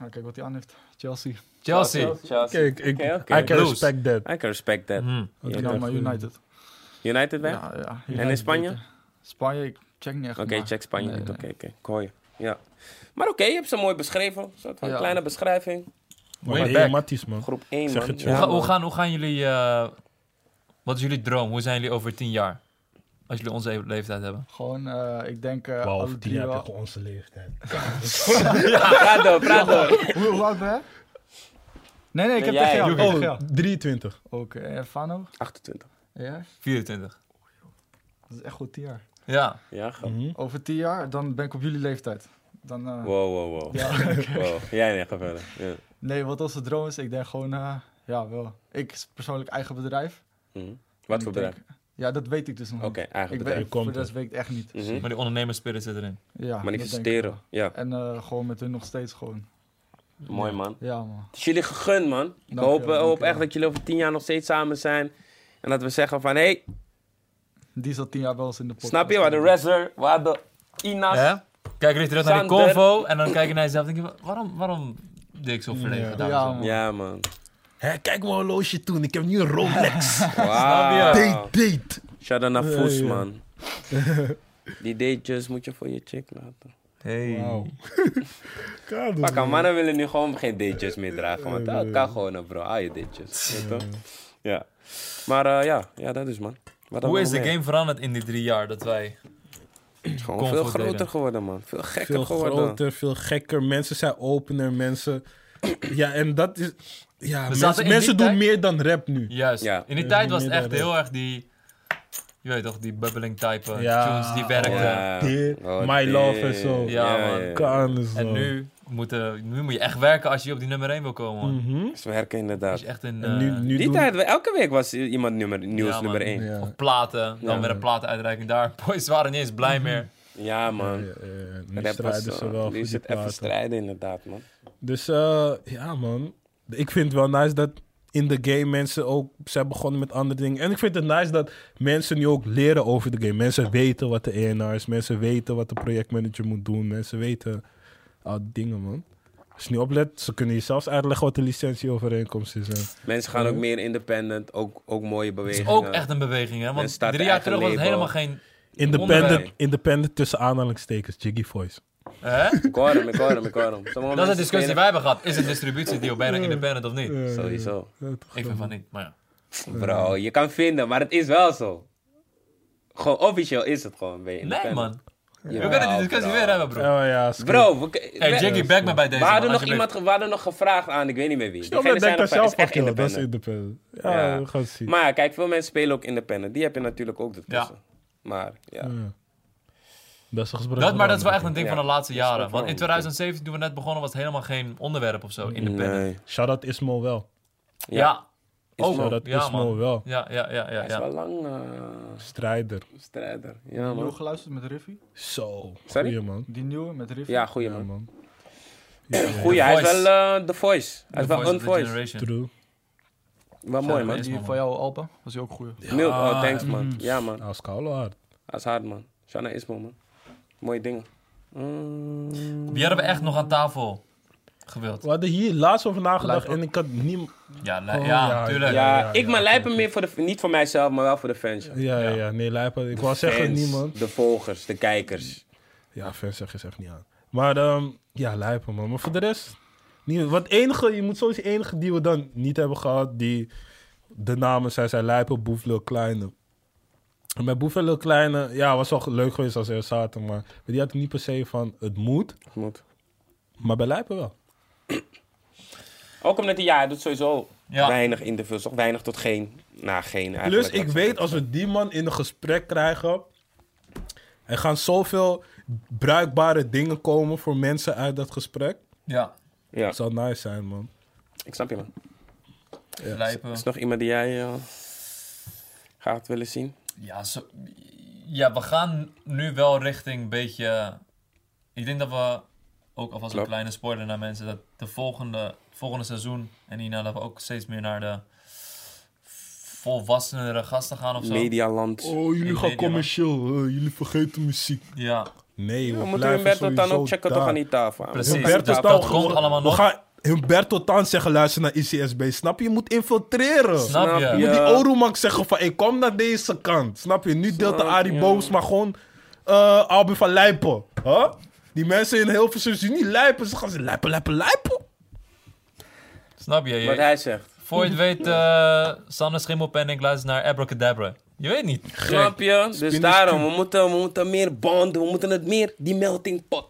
[SPEAKER 5] Ah, kijk wat hij aan heeft. Chelsea.
[SPEAKER 2] Chelsea.
[SPEAKER 1] Chelsea.
[SPEAKER 4] Kijk, ik,
[SPEAKER 1] Oké, oké.
[SPEAKER 4] I can
[SPEAKER 2] Blues.
[SPEAKER 4] respect that.
[SPEAKER 1] I can respect that.
[SPEAKER 2] Mhm.
[SPEAKER 4] Wat
[SPEAKER 1] Ja,
[SPEAKER 4] ik
[SPEAKER 5] Ja,
[SPEAKER 4] echt
[SPEAKER 5] maar
[SPEAKER 4] vind.
[SPEAKER 5] United.
[SPEAKER 1] United weg?
[SPEAKER 5] Ja, ja.
[SPEAKER 1] en in Spanje?
[SPEAKER 5] Spanje, ik check niet echt.
[SPEAKER 1] Oké,
[SPEAKER 5] maar-
[SPEAKER 1] check Spanje
[SPEAKER 5] Nee,
[SPEAKER 1] niet.
[SPEAKER 5] nee.
[SPEAKER 1] Oké, oké. Ik hoor je. Ja. Maar oké, je hebt ze mooi beschreven. Een soort van
[SPEAKER 5] Ja.
[SPEAKER 1] kleine beschrijving.
[SPEAKER 4] Maar
[SPEAKER 2] Way
[SPEAKER 4] wat
[SPEAKER 2] back.
[SPEAKER 4] deed Matties, man.
[SPEAKER 1] Groep 1,
[SPEAKER 4] Zeg
[SPEAKER 1] man.
[SPEAKER 4] het,
[SPEAKER 2] Hoe,
[SPEAKER 4] ja.
[SPEAKER 2] ga-
[SPEAKER 1] man.
[SPEAKER 2] hoe, gaan, hoe gaan jullie... eh, wat is jullie droom? Hoe zijn jullie over tien jaar? Als jullie onze leeftijd hebben.
[SPEAKER 5] Gewoon, eh, ik denk eh
[SPEAKER 4] Wow,
[SPEAKER 5] alle
[SPEAKER 4] over tien
[SPEAKER 5] drie
[SPEAKER 4] jaar heb je
[SPEAKER 5] wel.
[SPEAKER 4] gewoon onze leeftijd.
[SPEAKER 1] Praat door, praat door.
[SPEAKER 5] Hoe hoe oud ben je? Nee, nee, ik
[SPEAKER 1] Nee,
[SPEAKER 5] heb
[SPEAKER 1] jij.
[SPEAKER 5] tegen jou. tegen
[SPEAKER 4] Oh,
[SPEAKER 5] jou.
[SPEAKER 4] 23.
[SPEAKER 5] Oké, en Fano?
[SPEAKER 1] 28.
[SPEAKER 5] Ja,
[SPEAKER 2] 24.
[SPEAKER 5] dat is echt goed tien jaar.
[SPEAKER 2] Ja.
[SPEAKER 1] Ja, grap.
[SPEAKER 4] Mhm.
[SPEAKER 5] Over tien jaar, dan ben ik op jullie leeftijd. Dan,
[SPEAKER 1] Wow,
[SPEAKER 5] eh,
[SPEAKER 1] wow, wow.
[SPEAKER 5] ja.
[SPEAKER 1] wow. Jij nee, ga verder. Ja.
[SPEAKER 5] Nee, wat onze droom is, ik denk gewoon, eh, ja wel. Ik is persoonlijk eigen bedrijf.
[SPEAKER 1] Mhm.
[SPEAKER 5] En
[SPEAKER 1] Wat
[SPEAKER 5] ik
[SPEAKER 1] voor
[SPEAKER 5] denk-
[SPEAKER 1] bedrijf?
[SPEAKER 5] Ja, dat weet ik dus nog
[SPEAKER 1] Oké,
[SPEAKER 5] niet.
[SPEAKER 1] eigen
[SPEAKER 5] Ik
[SPEAKER 1] bedrijf.
[SPEAKER 4] bedrijf.
[SPEAKER 5] weet,
[SPEAKER 4] Komt
[SPEAKER 5] voor de rest weet ik het echt niet.
[SPEAKER 1] Mhm.
[SPEAKER 2] Maar die ondernemerspirit zit erin.
[SPEAKER 5] Ja, dat denk ik
[SPEAKER 1] Manifesteren.
[SPEAKER 5] wel.
[SPEAKER 1] Ja,
[SPEAKER 5] En eh, gewoon met hun nog steeds gewoon.
[SPEAKER 1] mooi man.
[SPEAKER 5] Ja man.
[SPEAKER 1] Het is jullie gegund, man. Ik
[SPEAKER 5] Dank
[SPEAKER 1] hoop,
[SPEAKER 5] je wel,
[SPEAKER 1] eh,
[SPEAKER 5] dank
[SPEAKER 1] hoop
[SPEAKER 5] je
[SPEAKER 1] echt
[SPEAKER 5] wel.
[SPEAKER 1] dat jullie over tien jaar nog steeds samen zijn. En dat we zeggen van, hé, hey,
[SPEAKER 5] Die zat tien jaar wel eens in de pot.
[SPEAKER 1] snap je? Waar de Rezzer, waar de Inas.
[SPEAKER 2] Hè? Kijk jullie terug naar die
[SPEAKER 1] Sander.
[SPEAKER 2] convo en dan kijk je naar jezelf en denk je, waarom, waarom deed ik zo verlegen?
[SPEAKER 4] Ja.
[SPEAKER 2] dames en
[SPEAKER 5] Ja,
[SPEAKER 2] heren?
[SPEAKER 5] man.
[SPEAKER 1] Ja, man.
[SPEAKER 4] Hé, kijk mijn horloge toen, ik heb nu een Rolex.
[SPEAKER 1] Wauw.
[SPEAKER 4] Date, date.
[SPEAKER 1] Shout-out naar
[SPEAKER 4] Ja,
[SPEAKER 1] Foes,
[SPEAKER 4] ja.
[SPEAKER 1] man. Die datejes moet je voor je chick laten.
[SPEAKER 2] Hey.
[SPEAKER 4] Wauw. Kado,
[SPEAKER 1] Pakka,
[SPEAKER 4] man.
[SPEAKER 1] mannen willen nu gewoon geen datejes meer dragen. Want dat kan gewoon, hè, bro. Haal je datejes. Weet je toch? Ja. Maar eh, ja. ja, dat is, man. Wat dan
[SPEAKER 2] Hoe is
[SPEAKER 1] nog
[SPEAKER 2] de
[SPEAKER 1] meer?
[SPEAKER 2] game veranderd in die drie jaar dat wij...
[SPEAKER 1] Het is gewoon
[SPEAKER 2] comfort
[SPEAKER 1] veel groter
[SPEAKER 2] delen?
[SPEAKER 1] geworden, man. Veel gekker
[SPEAKER 4] veel
[SPEAKER 1] geworden.
[SPEAKER 4] groter, veel gekker. Mensen zijn opener, mensen... Ja, en dat is... Ja,
[SPEAKER 2] We zaten
[SPEAKER 4] mensen,
[SPEAKER 2] in die
[SPEAKER 4] mensen doen
[SPEAKER 2] tijd-
[SPEAKER 4] meer dan rap nu.
[SPEAKER 2] Juist.
[SPEAKER 1] Ja.
[SPEAKER 2] In die
[SPEAKER 4] Ja,
[SPEAKER 2] tijd was het
[SPEAKER 4] midden-
[SPEAKER 2] echt heel erg die... Je weet toch, die bubbling type
[SPEAKER 4] Ja.
[SPEAKER 2] tunes die werkten.
[SPEAKER 1] Ja.
[SPEAKER 4] Dit,
[SPEAKER 1] Oh,
[SPEAKER 4] My
[SPEAKER 1] dit.
[SPEAKER 4] Love en zo.
[SPEAKER 2] Ja, man.
[SPEAKER 4] Kan is
[SPEAKER 2] En
[SPEAKER 4] wel.
[SPEAKER 2] nu, moeten, nu moet je echt werken als je op die nummer 1 wil komen. man.
[SPEAKER 4] Mhm.
[SPEAKER 1] Ze werken
[SPEAKER 2] Dat
[SPEAKER 1] inderdaad.
[SPEAKER 2] is echt een...
[SPEAKER 4] En nu,
[SPEAKER 2] eh,
[SPEAKER 4] nu
[SPEAKER 1] Die
[SPEAKER 4] doen-
[SPEAKER 1] tijd, elke week was iemand nummer, nieuws
[SPEAKER 2] Ja,
[SPEAKER 1] nummer
[SPEAKER 2] man.
[SPEAKER 1] 1. Ja,
[SPEAKER 4] Ja.
[SPEAKER 2] Of platen. Dan
[SPEAKER 1] Ja. Mhm.
[SPEAKER 2] weer een platenuitreiking daar. Boys waren niet eens blij meer.
[SPEAKER 1] man.
[SPEAKER 4] Ja, ja, ja. Eh, Nu
[SPEAKER 1] Rappers,
[SPEAKER 4] strijden ze
[SPEAKER 1] eh,
[SPEAKER 4] wel
[SPEAKER 1] nu
[SPEAKER 4] voor
[SPEAKER 1] is
[SPEAKER 4] die
[SPEAKER 1] het even
[SPEAKER 4] platen.
[SPEAKER 1] strijden inderdaad, man.
[SPEAKER 4] Dus eh, ja, man. Ik vind het wel nice dat in de game mensen ook zijn begonnen met andere dingen. En ik vind het nice dat mensen nu ook leren over de game. Mensen weten wat de ENR is. Mensen weten wat de projectmanager moet doen. Mensen weten al die dingen, man. Als je niet oplet, ze kunnen je zelfs uitleggen wat de licentieovereenkomst is. hè.
[SPEAKER 1] Mensen gaan ook meer independent, ook, ook mooie
[SPEAKER 2] Het is
[SPEAKER 1] bewegingen.
[SPEAKER 2] ook echt een beweging, hè?
[SPEAKER 1] Mensen
[SPEAKER 2] Want
[SPEAKER 1] starten
[SPEAKER 2] drie jaar
[SPEAKER 1] eigen
[SPEAKER 2] terug was het helemaal
[SPEAKER 1] label.
[SPEAKER 2] geen...
[SPEAKER 4] Independent,
[SPEAKER 1] Onderwijs.
[SPEAKER 4] independent tussen aanhalingstekens, Jiggy Voice.
[SPEAKER 2] Hè?
[SPEAKER 1] Ik hoor hem, ik hoor hem, ik hoor hem. Sommige
[SPEAKER 2] Dat is
[SPEAKER 1] mensen
[SPEAKER 2] de discussie die
[SPEAKER 1] spelen-
[SPEAKER 2] wij hebben gehad. Is een distributiedeal bijna independent of niet?
[SPEAKER 1] Sowieso.
[SPEAKER 2] Ik vind van niet, maar ja.
[SPEAKER 1] Bro, je kan vinden, maar het is wel zo. Gewoon officieel is het gewoon. Ben je
[SPEAKER 2] Nee,
[SPEAKER 1] independent.
[SPEAKER 2] man. We
[SPEAKER 1] Jawel,
[SPEAKER 2] kunnen die discussie
[SPEAKER 1] bro.
[SPEAKER 2] weer hebben, bro.
[SPEAKER 4] Oh ja, skip.
[SPEAKER 1] Bro, we, k-
[SPEAKER 2] Hey,
[SPEAKER 1] we-
[SPEAKER 2] Jiggy, back me bij
[SPEAKER 1] we
[SPEAKER 2] deze.
[SPEAKER 1] hadden
[SPEAKER 2] man,
[SPEAKER 1] nog
[SPEAKER 2] alsjeblieft.
[SPEAKER 1] iemand, we hadden nog gevraagd aan, ik weet niet meer wie.
[SPEAKER 4] Stel
[SPEAKER 1] Diegene
[SPEAKER 4] dat
[SPEAKER 1] zei
[SPEAKER 4] denk
[SPEAKER 1] nog van,
[SPEAKER 4] dat
[SPEAKER 1] het is
[SPEAKER 4] zelf
[SPEAKER 1] echt
[SPEAKER 4] fuck joh, dat is
[SPEAKER 1] independent.
[SPEAKER 4] independent. Ja,
[SPEAKER 1] Ja.
[SPEAKER 4] we gaan het zien.
[SPEAKER 1] Maar ja, kijk, veel mensen spelen ook independent. Die heb je natuurlijk ook ertussen. Maar ja.
[SPEAKER 4] Ja. Dat is toch
[SPEAKER 2] Dat, maar dat is wel echt een ding
[SPEAKER 1] Ja.
[SPEAKER 2] van de laatste
[SPEAKER 1] Dat is
[SPEAKER 2] jaren.
[SPEAKER 1] ook
[SPEAKER 2] Want in
[SPEAKER 1] wel-
[SPEAKER 2] 2017, toen we net begonnen, was het helemaal geen onderwerp of zo. Independent.
[SPEAKER 4] Shout-out Ismo wel.
[SPEAKER 1] Ja.
[SPEAKER 2] Ja.
[SPEAKER 1] Is
[SPEAKER 2] Oh,
[SPEAKER 1] wel-
[SPEAKER 4] Shout-out
[SPEAKER 2] ja,
[SPEAKER 4] Ismo
[SPEAKER 2] man.
[SPEAKER 4] wel.
[SPEAKER 2] Ja, ja, ja, ja.
[SPEAKER 1] Hij is
[SPEAKER 2] ja.
[SPEAKER 1] wel lang eh,
[SPEAKER 4] Strijder.
[SPEAKER 1] strijder. Ja,
[SPEAKER 5] Nieuw
[SPEAKER 1] man.
[SPEAKER 5] geluisterd met Riffy.
[SPEAKER 4] Zo.
[SPEAKER 1] Sorry?
[SPEAKER 4] Goeie man.
[SPEAKER 5] Die nieuwe met Riffy.
[SPEAKER 1] Ja, goeie
[SPEAKER 4] Ja,
[SPEAKER 1] man.
[SPEAKER 4] man.
[SPEAKER 1] Goeie, hij is
[SPEAKER 2] Voice.
[SPEAKER 1] wel eh, The Voice. Hij
[SPEAKER 2] The
[SPEAKER 1] is wel
[SPEAKER 2] Voice
[SPEAKER 1] een
[SPEAKER 2] of the
[SPEAKER 1] voice.
[SPEAKER 2] Generation.
[SPEAKER 4] True.
[SPEAKER 1] Wel mooi, man.
[SPEAKER 2] Is
[SPEAKER 5] Die
[SPEAKER 2] man,
[SPEAKER 5] van jou, Alba, was die ook goeie.
[SPEAKER 1] Milk,
[SPEAKER 2] Ah.
[SPEAKER 1] oh, thanks, man. Ja, man.
[SPEAKER 4] Als koude hard.
[SPEAKER 1] Hij is hard, man. Shana Ismo, man. Mooie dingen. Mm.
[SPEAKER 2] Wie hadden we echt nog aan tafel gewild?
[SPEAKER 4] We hadden hier laatst over nagedacht
[SPEAKER 5] Lijp-
[SPEAKER 4] en ik had niet...
[SPEAKER 2] Ja, li-
[SPEAKER 4] Oh,
[SPEAKER 2] ja,
[SPEAKER 4] ja,
[SPEAKER 2] tuurlijk.
[SPEAKER 1] Ja,
[SPEAKER 4] ja,
[SPEAKER 1] ik
[SPEAKER 4] ja,
[SPEAKER 1] maar
[SPEAKER 4] oké,
[SPEAKER 1] lijp hem meer voor de... Niet voor mijzelf, maar wel voor de fans. joh.
[SPEAKER 4] Ja, ja, ja. Nee, lijp. Ik wou zeggen
[SPEAKER 1] Fans,
[SPEAKER 4] niemand.
[SPEAKER 1] de volgers, de kijkers.
[SPEAKER 4] Ja, fans zeg je echt niet aan. Maar ehm, ja, lijpen man. Maar voor de rest... Niet, wat enige, je moet sowieso enige die we dan niet hebben gehad, die... De namen zijn, zijn Lijpen, Boef, Lil Kleine. En Met Boef en Lil Kleine, ja, was wel leuk geweest als ze er zaten, maar... maar Die had ik niet per se van, het moet.
[SPEAKER 1] Moet.
[SPEAKER 4] Maar bij Lijpen wel.
[SPEAKER 1] Ook omdat hij, ja, hij doet sowieso
[SPEAKER 2] Ja.
[SPEAKER 1] weinig interviews. Toch weinig tot geen... Nou, geen
[SPEAKER 4] Plus,
[SPEAKER 1] eigenlijk.
[SPEAKER 4] ik weet als we die man in een gesprek krijgen. Er gaan zoveel bruikbare dingen komen voor mensen uit dat gesprek.
[SPEAKER 2] Ja,
[SPEAKER 1] Ja,
[SPEAKER 4] Het zou nice zijn, man.
[SPEAKER 1] ik snap je, man.
[SPEAKER 2] lijpen.
[SPEAKER 1] Is er nog iemand die jij eh, gaat willen zien?
[SPEAKER 2] Ja, zo, ja, we gaan nu wel richting een beetje... Ik denk dat we ook alvast
[SPEAKER 1] Klopt.
[SPEAKER 2] een kleine spoiler naar mensen... dat de volgende, volgende seizoen en hierna dat we ook steeds meer naar de volwassenere gasten gaan of zo.
[SPEAKER 1] Medialand.
[SPEAKER 4] Oh,
[SPEAKER 2] jullie Ik gaan weet niet, commercieel.
[SPEAKER 4] eh, jullie vergeten muziek.
[SPEAKER 2] Ja,
[SPEAKER 4] Nee, we
[SPEAKER 1] Ja,
[SPEAKER 4] blijven
[SPEAKER 1] moeten we Humberto Tan
[SPEAKER 4] sowieso
[SPEAKER 1] ook checken
[SPEAKER 4] daar.
[SPEAKER 1] toch aan die tafel?
[SPEAKER 2] Precies.
[SPEAKER 1] Aan die
[SPEAKER 4] Humberto
[SPEAKER 1] tafel.
[SPEAKER 4] Tan,
[SPEAKER 2] dat komt
[SPEAKER 4] we-
[SPEAKER 2] allemaal
[SPEAKER 4] we
[SPEAKER 2] nog.
[SPEAKER 4] gaan Humberto Tan zeggen, luister naar ICSB. Snap je? Je moet infiltreren.
[SPEAKER 2] snap je?
[SPEAKER 1] Snap
[SPEAKER 4] Moet
[SPEAKER 1] je? eh,
[SPEAKER 4] die
[SPEAKER 1] Ja.
[SPEAKER 4] Oromak zeggen van, hey, kom naar deze kant. Snap je? Nu deelt de
[SPEAKER 1] Snap
[SPEAKER 4] Arie
[SPEAKER 1] je.
[SPEAKER 4] Booms, maar gewoon eh Albin van Lijpen. Huh? Die mensen in Hilversum zien niet lijpen. Ze gaan ze lijpen, lijpen, lijpen.
[SPEAKER 2] Snap je? Je-
[SPEAKER 1] Wat hij zegt.
[SPEAKER 2] Voor je het weet, eh Sander Schimmelpenning luistert naar Abracadabra. Je weet niet.
[SPEAKER 1] Snap je? Dus daarom, we moeten, we moeten meer bonden, we moeten het meer, die melting pot.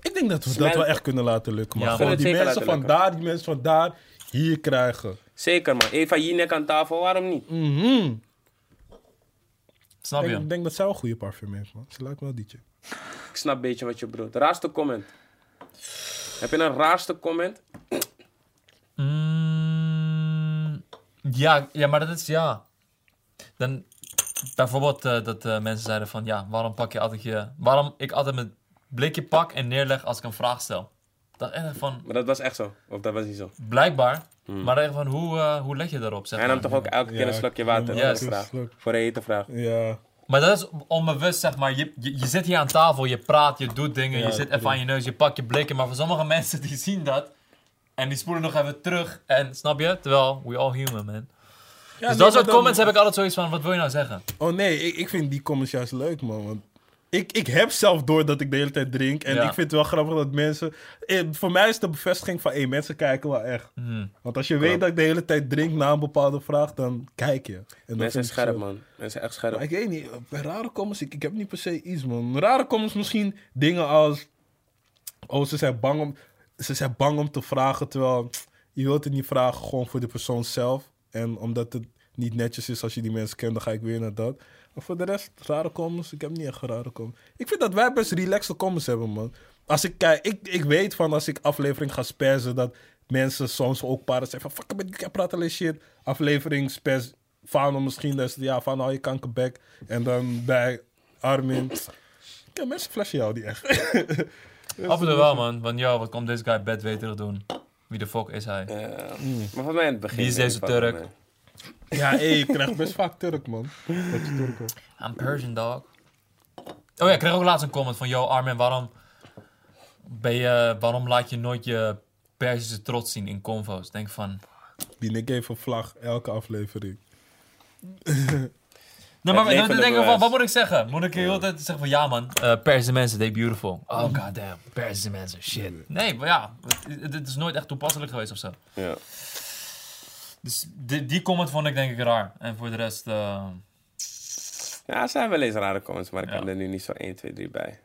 [SPEAKER 4] Ik denk dat we dat
[SPEAKER 1] Smelten.
[SPEAKER 4] wel echt kunnen laten lukken. Maar
[SPEAKER 2] Ja,
[SPEAKER 4] gewoon
[SPEAKER 1] we
[SPEAKER 4] die
[SPEAKER 1] kunnen het
[SPEAKER 4] mensen
[SPEAKER 1] zeker
[SPEAKER 4] van
[SPEAKER 1] laten
[SPEAKER 4] daar, die mensen van daar, hier krijgen.
[SPEAKER 1] Zeker man, Eva Jinek aan tafel, waarom niet?
[SPEAKER 4] Mhm.
[SPEAKER 2] Snap
[SPEAKER 4] Ik
[SPEAKER 2] je?
[SPEAKER 4] denk, denk dat zij wel een goede parfum heeft, man. Ze lijkt me wel dietje.
[SPEAKER 1] Ik snap een beetje wat je bedoelt. Raarste comment. Heb je een raarste comment?
[SPEAKER 2] Mm, Ja, ja, maar dat is ja. Dan, bijvoorbeeld eh, dat eh, mensen zeiden van ja, waarom pak je altijd je. Waarom ik altijd mijn blikje pak en neerleg als ik een vraag stel. Dat echt van
[SPEAKER 1] Maar dat was echt zo. Of dat was niet zo.
[SPEAKER 2] blijkbaar. Maar echt van hoe, eh, hoe leg je daarop? Zeg
[SPEAKER 1] Hij
[SPEAKER 2] maar.
[SPEAKER 1] nam toch ook elke keer een
[SPEAKER 4] Ja,
[SPEAKER 1] slokje water?
[SPEAKER 2] ja,
[SPEAKER 1] voor de
[SPEAKER 2] een
[SPEAKER 1] vraag.
[SPEAKER 4] slok.
[SPEAKER 1] Voor een hete vraag.
[SPEAKER 4] Ja.
[SPEAKER 2] Maar dat is onbewust, zeg maar. Je, je, je zit hier aan tafel, je praat, je doet dingen, je zit even aan je neus, je pakt je blikken. Maar voor sommige mensen die zien dat en die spoelen nog even terug. En snap je? Terwijl, we all human, man.
[SPEAKER 4] Ja,
[SPEAKER 2] dus
[SPEAKER 4] nee,
[SPEAKER 2] dat soort
[SPEAKER 4] maar dan-
[SPEAKER 2] comments heb ik altijd zoiets van, wat wil je nou zeggen?
[SPEAKER 4] Oh nee, ik, ik vind die comments juist leuk, man. Want ik, ik heb zelf door dat ik de hele tijd drink. En
[SPEAKER 2] Ja.
[SPEAKER 4] ik vind het wel grappig dat mensen... eh, voor mij is de bevestiging van... Hé, mensen kijken wel echt.
[SPEAKER 2] Hmm.
[SPEAKER 4] Want als je weet dat ik de hele tijd drink na een bepaalde vraag, dan kijk je. En dat vind
[SPEAKER 1] Mensen zijn
[SPEAKER 4] ik
[SPEAKER 1] scherp,
[SPEAKER 4] zo-
[SPEAKER 1] man. Mensen zijn echt
[SPEAKER 4] Maar
[SPEAKER 1] scherp.
[SPEAKER 4] ik weet niet, bij rare comments, ik, ik heb niet per se iets, man. Rare comments misschien dingen als... Oh, ze zijn bang om, ze zijn bang om te vragen, terwijl je wilt het niet vragen gewoon voor de persoon zelf. En omdat het niet netjes is als je die mensen kent, dan ga ik weer naar dat. Maar voor de rest, rare comments, ik heb niet echt rare comments. Ik vind dat wij best relaxte comments hebben, man. Als ik kijk, ik, ik weet van als ik aflevering ga spazzen, dat mensen soms ook paren zijn van... Fuck, ik ik praat alleen shit. Aflevering spaz, Fano misschien, dus ja, Fano, je kankerbek. En dan bij Armin... Ja, mensen flashen jou die echt.
[SPEAKER 2] Af en toe wel, man. Want ja, wat komt deze guy bedweterig doen? Wie de fuck is hij?
[SPEAKER 1] Eh, Maar voor mij in het begin.
[SPEAKER 2] Wie is
[SPEAKER 1] in ieder
[SPEAKER 2] deze
[SPEAKER 1] geval,
[SPEAKER 2] Turk?
[SPEAKER 1] man.
[SPEAKER 4] Ja, hé, ik krijg best vaak Turk, man.
[SPEAKER 2] I'm Persian, dog. Oh ja, ik kreeg ook laatst een comment van... Yo, Armin, waarom, ben je, waarom laat je nooit je Persische trots zien in convo's? Denk van...
[SPEAKER 4] Die Nick heeft een vlag elke aflevering.
[SPEAKER 2] Nee, maar
[SPEAKER 1] Het
[SPEAKER 2] dan
[SPEAKER 1] levende
[SPEAKER 2] denk ik van,
[SPEAKER 1] bewijs.
[SPEAKER 2] wat moet ik zeggen? Moet ik de hele tijd zeggen van, ja man, eh Persische mensen, they beautiful. Oh goddamn, Persische mensen, shit. Nee, maar ja, het, het is nooit echt toepasselijk geweest of zo.
[SPEAKER 1] Ja.
[SPEAKER 2] Dus die, die comment vond ik denk ik raar. En voor de rest, eh,
[SPEAKER 1] Ja, er zijn wel eens rare comments, maar ik
[SPEAKER 2] Ja.
[SPEAKER 1] heb er nu niet zo 1, 2, 3 bij.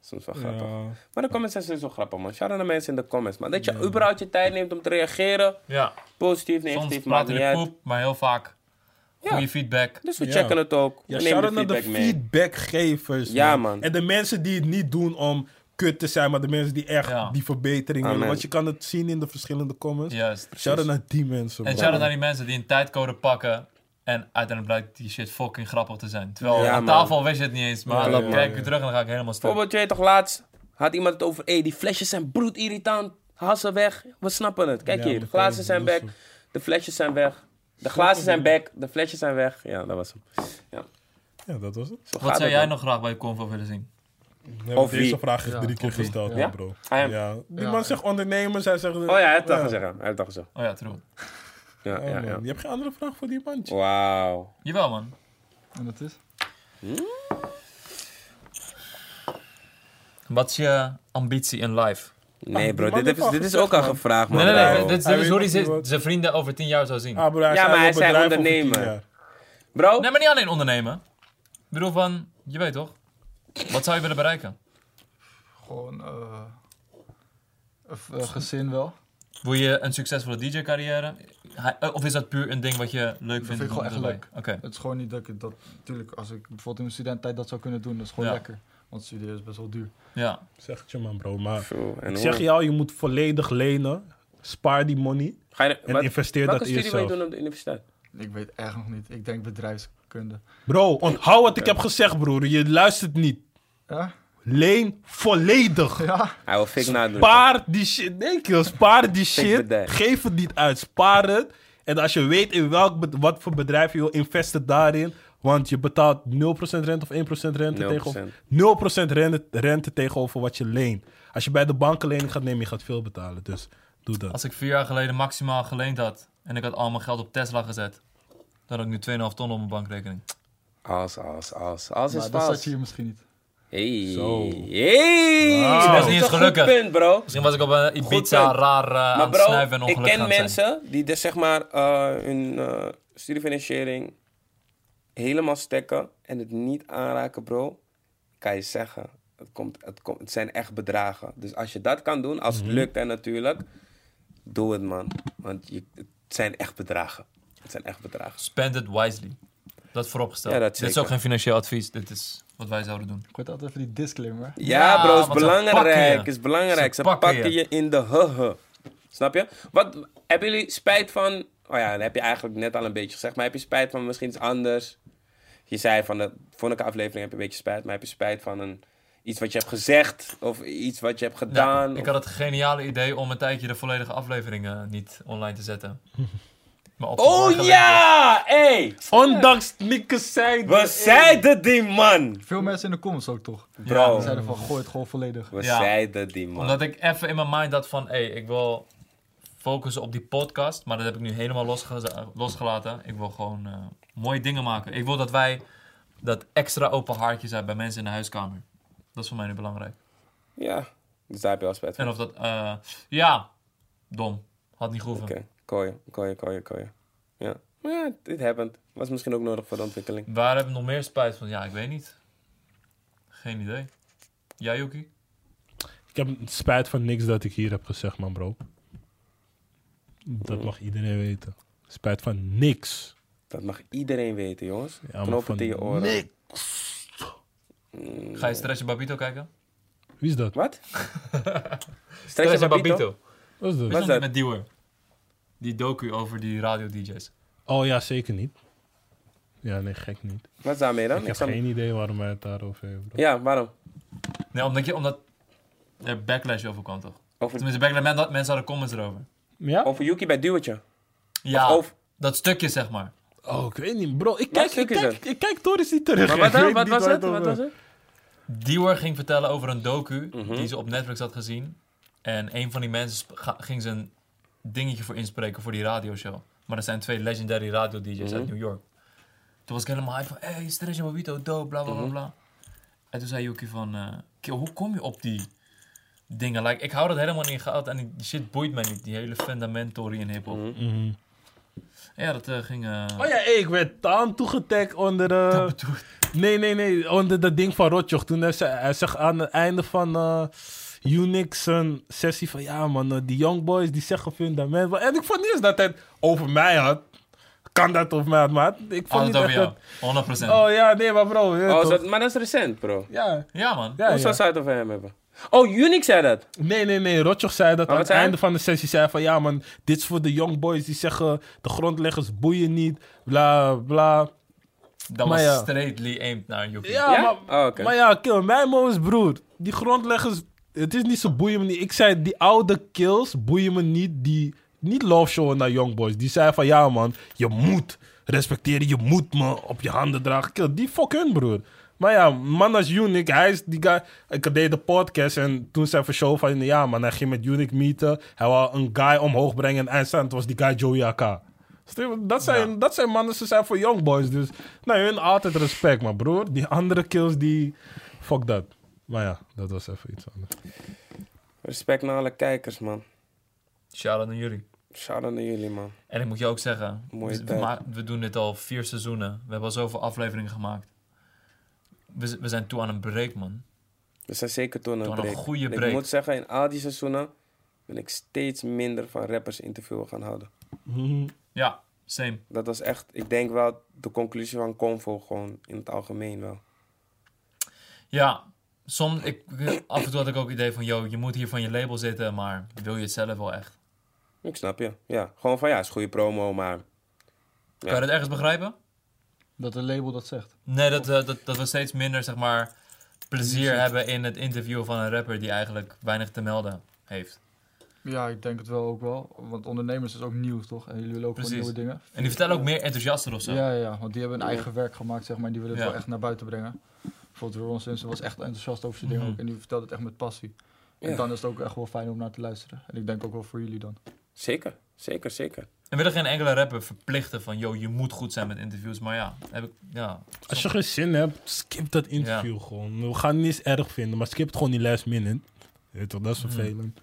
[SPEAKER 1] Soms wel grappig.
[SPEAKER 4] Ja.
[SPEAKER 1] Maar de comments zijn sowieso grappig, man. Shout out naar mensen in de comments, man. Dat je überhaupt je tijd neemt om te reageren.
[SPEAKER 2] ja,
[SPEAKER 1] Positief,
[SPEAKER 2] soms
[SPEAKER 1] negatief, maakt
[SPEAKER 2] praten
[SPEAKER 1] niet
[SPEAKER 2] we de
[SPEAKER 1] uit.
[SPEAKER 2] poep, maar heel vaak
[SPEAKER 1] Ja.
[SPEAKER 2] goede feedback.
[SPEAKER 1] Dus we
[SPEAKER 4] Ja.
[SPEAKER 1] checken het ook.
[SPEAKER 4] Ja,
[SPEAKER 1] we nemen
[SPEAKER 4] shout-out
[SPEAKER 1] de
[SPEAKER 4] naar de
[SPEAKER 1] feedback mee.
[SPEAKER 4] feedbackgevers.
[SPEAKER 1] Ja, man.
[SPEAKER 4] En de mensen die het niet doen om kut te zijn, maar de mensen die echt
[SPEAKER 2] Ja.
[SPEAKER 4] die verbetering willen.
[SPEAKER 1] Amen.
[SPEAKER 4] Want je kan het zien in de verschillende comments.
[SPEAKER 2] Juist.
[SPEAKER 4] Shout-out naar die mensen, man.
[SPEAKER 2] En shout-out naar die mensen die een tijdcode pakken en uiteindelijk blijkt die shit fucking grappig te zijn. Terwijl
[SPEAKER 1] Ja,
[SPEAKER 2] aan
[SPEAKER 1] man.
[SPEAKER 2] tafel wist je het niet eens, maar
[SPEAKER 4] Ja,
[SPEAKER 2] dan
[SPEAKER 4] ja,
[SPEAKER 2] kijk
[SPEAKER 4] ja.
[SPEAKER 2] ik weer terug en dan ga ik helemaal stuk.
[SPEAKER 1] Bijvoorbeeld, je weet toch laatst, had iemand het over, hey, die flesjes zijn bloedirritant. Haal ze weg. We snappen het. Kijk
[SPEAKER 4] Ja,
[SPEAKER 1] hier, de
[SPEAKER 4] dat
[SPEAKER 1] glazen
[SPEAKER 4] kan
[SPEAKER 1] zijn
[SPEAKER 4] ik
[SPEAKER 1] weg.
[SPEAKER 4] bedoelen.
[SPEAKER 1] De flesjes zijn weg. De glazen zijn weg. De flesjes zijn weg. Ja, dat was hem.
[SPEAKER 4] Ja, dat was het.
[SPEAKER 1] Zo gaat
[SPEAKER 2] Wat zou
[SPEAKER 1] het,
[SPEAKER 2] jij
[SPEAKER 1] man.
[SPEAKER 2] nog graag bij Convo willen zien?
[SPEAKER 4] We hebben
[SPEAKER 1] Of
[SPEAKER 4] deze
[SPEAKER 1] wie?
[SPEAKER 4] vraag is
[SPEAKER 5] Ja,
[SPEAKER 4] drie keer
[SPEAKER 2] of wie?
[SPEAKER 4] gesteld,
[SPEAKER 1] Ja?
[SPEAKER 4] man, bro.
[SPEAKER 1] I am.
[SPEAKER 4] Ja. Die
[SPEAKER 5] Ja.
[SPEAKER 4] man zegt ondernemers, hij zegt...
[SPEAKER 1] Oh ja, hij heeft dat gezegd. ja. Hij heeft dat gezegd.
[SPEAKER 2] Oh ja, true.
[SPEAKER 1] Ja,
[SPEAKER 4] Oh,
[SPEAKER 1] ja,
[SPEAKER 4] man.
[SPEAKER 1] ja.
[SPEAKER 4] Je hebt geen andere vraag voor die man.
[SPEAKER 1] Wauw.
[SPEAKER 2] Jawel man.
[SPEAKER 5] En dat is?
[SPEAKER 2] Wat is je ambitie in life?
[SPEAKER 1] Nee, bro,
[SPEAKER 4] Ah, die man
[SPEAKER 1] dit is,
[SPEAKER 4] heeft
[SPEAKER 1] dit is
[SPEAKER 4] al
[SPEAKER 1] ook al
[SPEAKER 4] gezegd, man.
[SPEAKER 1] gevraagd, man.
[SPEAKER 2] Nee, nee, nee.
[SPEAKER 1] Bro.
[SPEAKER 2] Dit, is-
[SPEAKER 4] Hij
[SPEAKER 2] dit
[SPEAKER 4] weet
[SPEAKER 2] is hoe
[SPEAKER 4] ook niet
[SPEAKER 2] hij
[SPEAKER 4] wat-
[SPEAKER 2] zijn vrienden over tien jaar zou zien.
[SPEAKER 4] Ah, bro, hij
[SPEAKER 1] Ja, maar
[SPEAKER 4] wel
[SPEAKER 1] hij zei
[SPEAKER 4] bedrijf over tien
[SPEAKER 1] ondernemer.
[SPEAKER 4] jaar.
[SPEAKER 1] Bro,
[SPEAKER 2] Nee, maar niet alleen ondernemen. Ik bedoel van, je weet toch? Wat zou je willen bereiken?
[SPEAKER 5] Gewoon eh, een v- een gezin wel.
[SPEAKER 2] Wil je een succesvolle DJ-carrière? Hij- eh, Of is dat puur een ding wat je leuk vindt?
[SPEAKER 5] vind ik
[SPEAKER 2] om
[SPEAKER 5] gewoon
[SPEAKER 2] te
[SPEAKER 5] echt
[SPEAKER 2] doen?
[SPEAKER 5] leuk.
[SPEAKER 2] Oké.
[SPEAKER 5] Het is gewoon niet dat ik dat... Natuurlijk, als ik bijvoorbeeld in mijn studententijd dat zou kunnen doen, dat is gewoon
[SPEAKER 2] Ja.
[SPEAKER 5] lekker. Want studeren is best wel duur.
[SPEAKER 2] Ja.
[SPEAKER 4] Zeg het je, man, bro. Maar
[SPEAKER 1] Zo, en
[SPEAKER 4] ik
[SPEAKER 1] hoe?
[SPEAKER 4] zeg jou, je moet volledig lenen. Spaar die money.
[SPEAKER 1] Ga je,
[SPEAKER 4] En
[SPEAKER 1] wat-
[SPEAKER 4] investeer
[SPEAKER 1] welke
[SPEAKER 4] dat in
[SPEAKER 1] studie wil je
[SPEAKER 4] jezelf.
[SPEAKER 1] doen op de universiteit?
[SPEAKER 5] Ik weet echt nog niet. Ik denk bedrijfskunde.
[SPEAKER 4] Bro, onthoud wat ik heb gezegd, broer. Je luistert niet.
[SPEAKER 5] Ja?
[SPEAKER 4] Leen volledig.
[SPEAKER 5] Ja.
[SPEAKER 1] Hij wil fik nadoen.
[SPEAKER 4] Spaar die shit. Nee, kill. Spaar die shit.
[SPEAKER 1] bedrijf.
[SPEAKER 4] Geef het niet uit. Spaar het. En als je weet in welk, bed- wat voor bedrijf je wil, investeer daarin. Want je betaalt 0% rente of 1% rente
[SPEAKER 1] 0%.
[SPEAKER 4] tegenover... 0% rente, rente tegenover wat je leent. Als je bij de bank een lening gaat nemen, je gaat veel betalen. Dus doe dat.
[SPEAKER 2] Als ik vier jaar geleden maximaal geleend had en ik had al mijn geld op Tesla gezet, dan had ik nu 2,5 ton op mijn bankrekening.
[SPEAKER 1] Als, als, als. Als is
[SPEAKER 5] Maar dat zat
[SPEAKER 1] vast.
[SPEAKER 5] je hier misschien niet.
[SPEAKER 1] Hey.
[SPEAKER 4] Zo.
[SPEAKER 1] Hey.
[SPEAKER 4] Wauw.
[SPEAKER 1] Dat
[SPEAKER 4] Dat
[SPEAKER 1] is
[SPEAKER 4] is
[SPEAKER 2] niet
[SPEAKER 1] een
[SPEAKER 2] eens gelukkig.
[SPEAKER 1] goed punt, bro.
[SPEAKER 2] Misschien was ik op een Ibiza
[SPEAKER 1] punt.
[SPEAKER 2] raar eh, aan
[SPEAKER 1] Maar
[SPEAKER 2] het snuiven en
[SPEAKER 1] bro, ik
[SPEAKER 2] ongelukkig aan
[SPEAKER 1] ken
[SPEAKER 2] het zijn.
[SPEAKER 1] mensen die dus zeg maar eh, hun eh, studiefinanciering helemaal stekken en het niet aanraken, bro. Kan je zeggen, het, komt, het, komt, het zijn echt bedragen. Dus als je dat kan doen, als
[SPEAKER 2] Mhm.
[SPEAKER 1] het lukt en natuurlijk, doe het man. Want je, het zijn echt bedragen. Het zijn echt bedragen.
[SPEAKER 2] Spend it wisely. Dat vooropgesteld.
[SPEAKER 1] Ja, dat
[SPEAKER 2] Dit is
[SPEAKER 1] zeker.
[SPEAKER 2] ook geen financieel advies. Dit is wat wij zouden doen.
[SPEAKER 5] Ik hoor altijd even die disclaimer.
[SPEAKER 1] Ja,
[SPEAKER 2] Ja,
[SPEAKER 1] bro, is
[SPEAKER 2] want ze pakken
[SPEAKER 1] belangrijk.
[SPEAKER 2] je.
[SPEAKER 1] Is belangrijk. Ze, pakken, je. in de huh. Snap je? Wat, hebben jullie spijt van Oh ja, dan heb je eigenlijk net al een beetje gezegd. Maar heb je spijt van misschien iets anders? Je zei van de vorige aflevering heb je een beetje spijt. Maar heb je spijt van een, iets wat je hebt gezegd? Of iets wat je hebt gedaan?
[SPEAKER 2] ik
[SPEAKER 1] Of-
[SPEAKER 2] had het geniale idee om een tijdje de volledige aflevering eh, niet online te zetten. Maar op
[SPEAKER 1] Oh ja! Hey!
[SPEAKER 3] Ondanks niks zijn.
[SPEAKER 1] We zeiden die man!
[SPEAKER 5] Veel mensen in de comments ook toch.
[SPEAKER 1] Bro,
[SPEAKER 5] Die zeiden van, gooi het gewoon volledig.
[SPEAKER 1] we
[SPEAKER 2] Ja.
[SPEAKER 1] zeiden die man.
[SPEAKER 2] Omdat ik even in mijn mind had van, hé, hey, ik wil focussen op die podcast. Maar dat heb ik nu helemaal losge- losgelaten. Ik wil gewoon eh, mooie dingen maken. Ik wil dat wij dat extra open haartje zijn bij mensen in de huiskamer. Dat is voor mij nu belangrijk.
[SPEAKER 1] Ja, dus daar heb je wel spijt van.
[SPEAKER 2] En of dat, eh, ja, dom. Had niet gehoeven.
[SPEAKER 1] Oké, kooien, kooien, kooien, kooien. Ja. Maar ja, dit happened. Was misschien ook nodig voor de ontwikkeling.
[SPEAKER 2] Waar heb ik nog meer spijt van? Ja, ik weet niet. Geen idee. Jij, Yuki?
[SPEAKER 4] Ik heb spijt van niks dat ik hier heb gezegd, man, bro.
[SPEAKER 1] Hmm.
[SPEAKER 4] Dat mag iedereen weten. Spijt van niks.
[SPEAKER 1] Dat mag iedereen weten, jongens.
[SPEAKER 4] Ja, maar
[SPEAKER 1] Knop
[SPEAKER 4] van
[SPEAKER 1] het in je oren.
[SPEAKER 2] Ga je Stretch Babito kijken?
[SPEAKER 4] Wie is dat?
[SPEAKER 1] Wat? Stretch Babito?
[SPEAKER 4] Wat is dat?
[SPEAKER 1] Wat? is
[SPEAKER 2] Is dat
[SPEAKER 1] dat?
[SPEAKER 2] niet met Diewer? Die docu over die radio-dj's.
[SPEAKER 4] Oh ja, zeker niet. Ja, nee, gek niet.
[SPEAKER 1] Wat is daarmee dan?
[SPEAKER 4] Ik heb
[SPEAKER 1] snap-
[SPEAKER 4] geen idee waarom hij het daarover heeft, bro.
[SPEAKER 1] Ja, waarom?
[SPEAKER 2] Nee, omdat, je, omdat er backlash over kwam, toch?
[SPEAKER 1] Over,
[SPEAKER 2] Tenminste, backlash, men- dat- mensen hadden comments erover.
[SPEAKER 4] Ja?
[SPEAKER 1] over Yuki bij Duwetje.
[SPEAKER 2] Ja,
[SPEAKER 4] Ah.
[SPEAKER 1] Of over-
[SPEAKER 2] dat stukje, zeg maar.
[SPEAKER 4] Oh, ik weet niet, bro. Ik
[SPEAKER 1] Wat
[SPEAKER 4] kijk, ik
[SPEAKER 1] stuk is
[SPEAKER 4] kijk,
[SPEAKER 1] het?
[SPEAKER 4] ik kijk Torres niet terug.
[SPEAKER 1] Maar
[SPEAKER 4] Ik
[SPEAKER 1] wat, dan?
[SPEAKER 4] weet
[SPEAKER 1] wat
[SPEAKER 4] niet
[SPEAKER 1] was
[SPEAKER 4] waar
[SPEAKER 1] het? Wat
[SPEAKER 4] over-
[SPEAKER 1] was het?
[SPEAKER 2] Diewer ging vertellen over een docu
[SPEAKER 1] Mhm.
[SPEAKER 2] die ze op Netflix had gezien. En een van die mensen sp- ga- ging zijn dingetje voor inspreken voor die radioshow. Maar er zijn twee legendary radio-dj's uit
[SPEAKER 1] Mhm.
[SPEAKER 2] New York. Toen was ik helemaal hype van, hey, Stretch Babito, dope, bla bla bla
[SPEAKER 1] Mhm.
[SPEAKER 2] bla. En toen zei Yuki van, eh, "Kill, hoe kom je op die dingen? Like, ik hou dat helemaal niet in gehouden en die die shit boeit mij niet. Die hele fundamentory in hiphop.
[SPEAKER 1] Mhm.
[SPEAKER 4] Mhm.
[SPEAKER 2] Ja, dat eh, ging... eh,
[SPEAKER 4] Oh ja, hey, ik werd aan toegetagd onder... eh,
[SPEAKER 2] dat bedoel-
[SPEAKER 4] Nee, nee, nee. Onder dat ding van Rotjoch. Toen heeft ze- hij zegt aan het einde van eh Unix een sessie van... Ja man, eh, die young boys die zeggen fundament. En ik vond niet eens dat hij het over mij had. Kan dat over mij had, maar ik vond
[SPEAKER 2] Altijd
[SPEAKER 4] niet
[SPEAKER 2] over
[SPEAKER 4] echt
[SPEAKER 2] jou.
[SPEAKER 4] dat-
[SPEAKER 2] 100%.
[SPEAKER 4] Oh ja, nee, maar bro. je weet
[SPEAKER 1] Oh,
[SPEAKER 4] toch.
[SPEAKER 1] is dat- Oh, maar dat is recent, bro.
[SPEAKER 4] Ja,
[SPEAKER 2] Ja, man.
[SPEAKER 4] ja,
[SPEAKER 1] Hoe
[SPEAKER 4] ja.
[SPEAKER 1] zou ze het over hem hebben? Oh, Unix zei dat.
[SPEAKER 4] Nee, nee, nee. Rotjoch zei dat
[SPEAKER 1] Maar
[SPEAKER 4] aan
[SPEAKER 1] wat
[SPEAKER 4] het
[SPEAKER 1] zei hij?
[SPEAKER 4] einde van de sessie. Zei van, ja man, dit is voor de young boys die zeggen... De grondleggers boeien niet, bla, bla.
[SPEAKER 2] Dat
[SPEAKER 4] Maar
[SPEAKER 2] was
[SPEAKER 4] ja.
[SPEAKER 2] straightly aimed naar Yuki.
[SPEAKER 4] Ja,
[SPEAKER 1] Ja?
[SPEAKER 4] maar,
[SPEAKER 1] Oh, oké.
[SPEAKER 4] maar ja, kill, mijn moms, broer. Die grondleggers, het is niet zo boeien me niet. Ik zei, die oude kills boeien me niet. Die, niet love show naar Young Boys. Die zei van, ja man, je moet respecteren. Je moet me op je handen dragen. Kill, die fuck hun, broer. Maar ja, man als Unic, hij is die guy. Ik deed de podcast en toen zei voor show van, ja man, hij ging met Unic meeten. Hij wou een guy omhoog brengen en eindstand was die guy Joey AK. Snap je? Dat zijn, dat zijn mannen, ze zijn voor young boys. Dus nee, hun altijd respect, maar broer. Die andere kills, die... Fuck dat. Maar ja, dat was even iets anders.
[SPEAKER 1] Respect naar alle kijkers, man.
[SPEAKER 2] Shout-out naar jullie.
[SPEAKER 1] Shout out naar jullie, man.
[SPEAKER 2] En ik moet je ook zeggen,
[SPEAKER 1] Mooie
[SPEAKER 2] we,
[SPEAKER 1] tijd.
[SPEAKER 2] ma- we doen dit al vier seizoenen. We hebben al zoveel afleveringen gemaakt. We, z- we zijn toe aan een break, man.
[SPEAKER 1] We zijn zeker toen een
[SPEAKER 2] Toen een
[SPEAKER 1] break.
[SPEAKER 2] goede
[SPEAKER 1] En
[SPEAKER 2] break.
[SPEAKER 1] Ik moet zeggen, in al die seizoenen ben ik steeds minder van rappers interviewen gaan houden.
[SPEAKER 2] Ja, same.
[SPEAKER 1] Dat was echt, ik denk wel, de conclusie van Convo gewoon in het algemeen wel.
[SPEAKER 2] Ja, soms, ik, af en toe had ik ook het idee van, yo, je moet hier van je label zitten, maar wil je het zelf wel echt?
[SPEAKER 1] Ik snap je. Ja, gewoon van ja, is goede promo, maar
[SPEAKER 2] Kan je dat ergens begrijpen?
[SPEAKER 5] Dat een label dat zegt.
[SPEAKER 2] Nee, dat, eh, dat, dat we steeds minder, zeg maar, plezier hebben in het interviewen van een rapper die eigenlijk weinig te melden heeft.
[SPEAKER 5] Ja, ik denk het wel ook wel. Want ondernemers is ook nieuw, toch? En jullie willen ook
[SPEAKER 2] Precies.
[SPEAKER 5] gewoon nieuwe dingen.
[SPEAKER 2] En die vertellen ook meer enthousiaster of zo.
[SPEAKER 5] Ja, ja, ja, want die hebben hun eigen werk gemaakt, zeg maar. En die willen het
[SPEAKER 2] Ja.
[SPEAKER 5] wel echt naar buiten brengen. Bijvoorbeeld Ron Simpson was echt enthousiast over zijn
[SPEAKER 2] Mhm.
[SPEAKER 5] dingen ook. En die vertelde het echt met passie.
[SPEAKER 1] Ja.
[SPEAKER 5] En dan is het ook echt wel fijn om naar te luisteren. En ik denk ook wel voor jullie dan.
[SPEAKER 1] zeker, zeker, zeker.
[SPEAKER 2] En willen geen enkele rapper verplichten van, yo, je moet goed zijn met interviews. Maar ja, heb ik, ja.
[SPEAKER 4] Als je geen zin hebt, skip dat interview gewoon. We gaan het niet eens erg vinden, maar skip het gewoon die last minute. Je Weet toch, dat is
[SPEAKER 2] Mhm.
[SPEAKER 4] vervelend.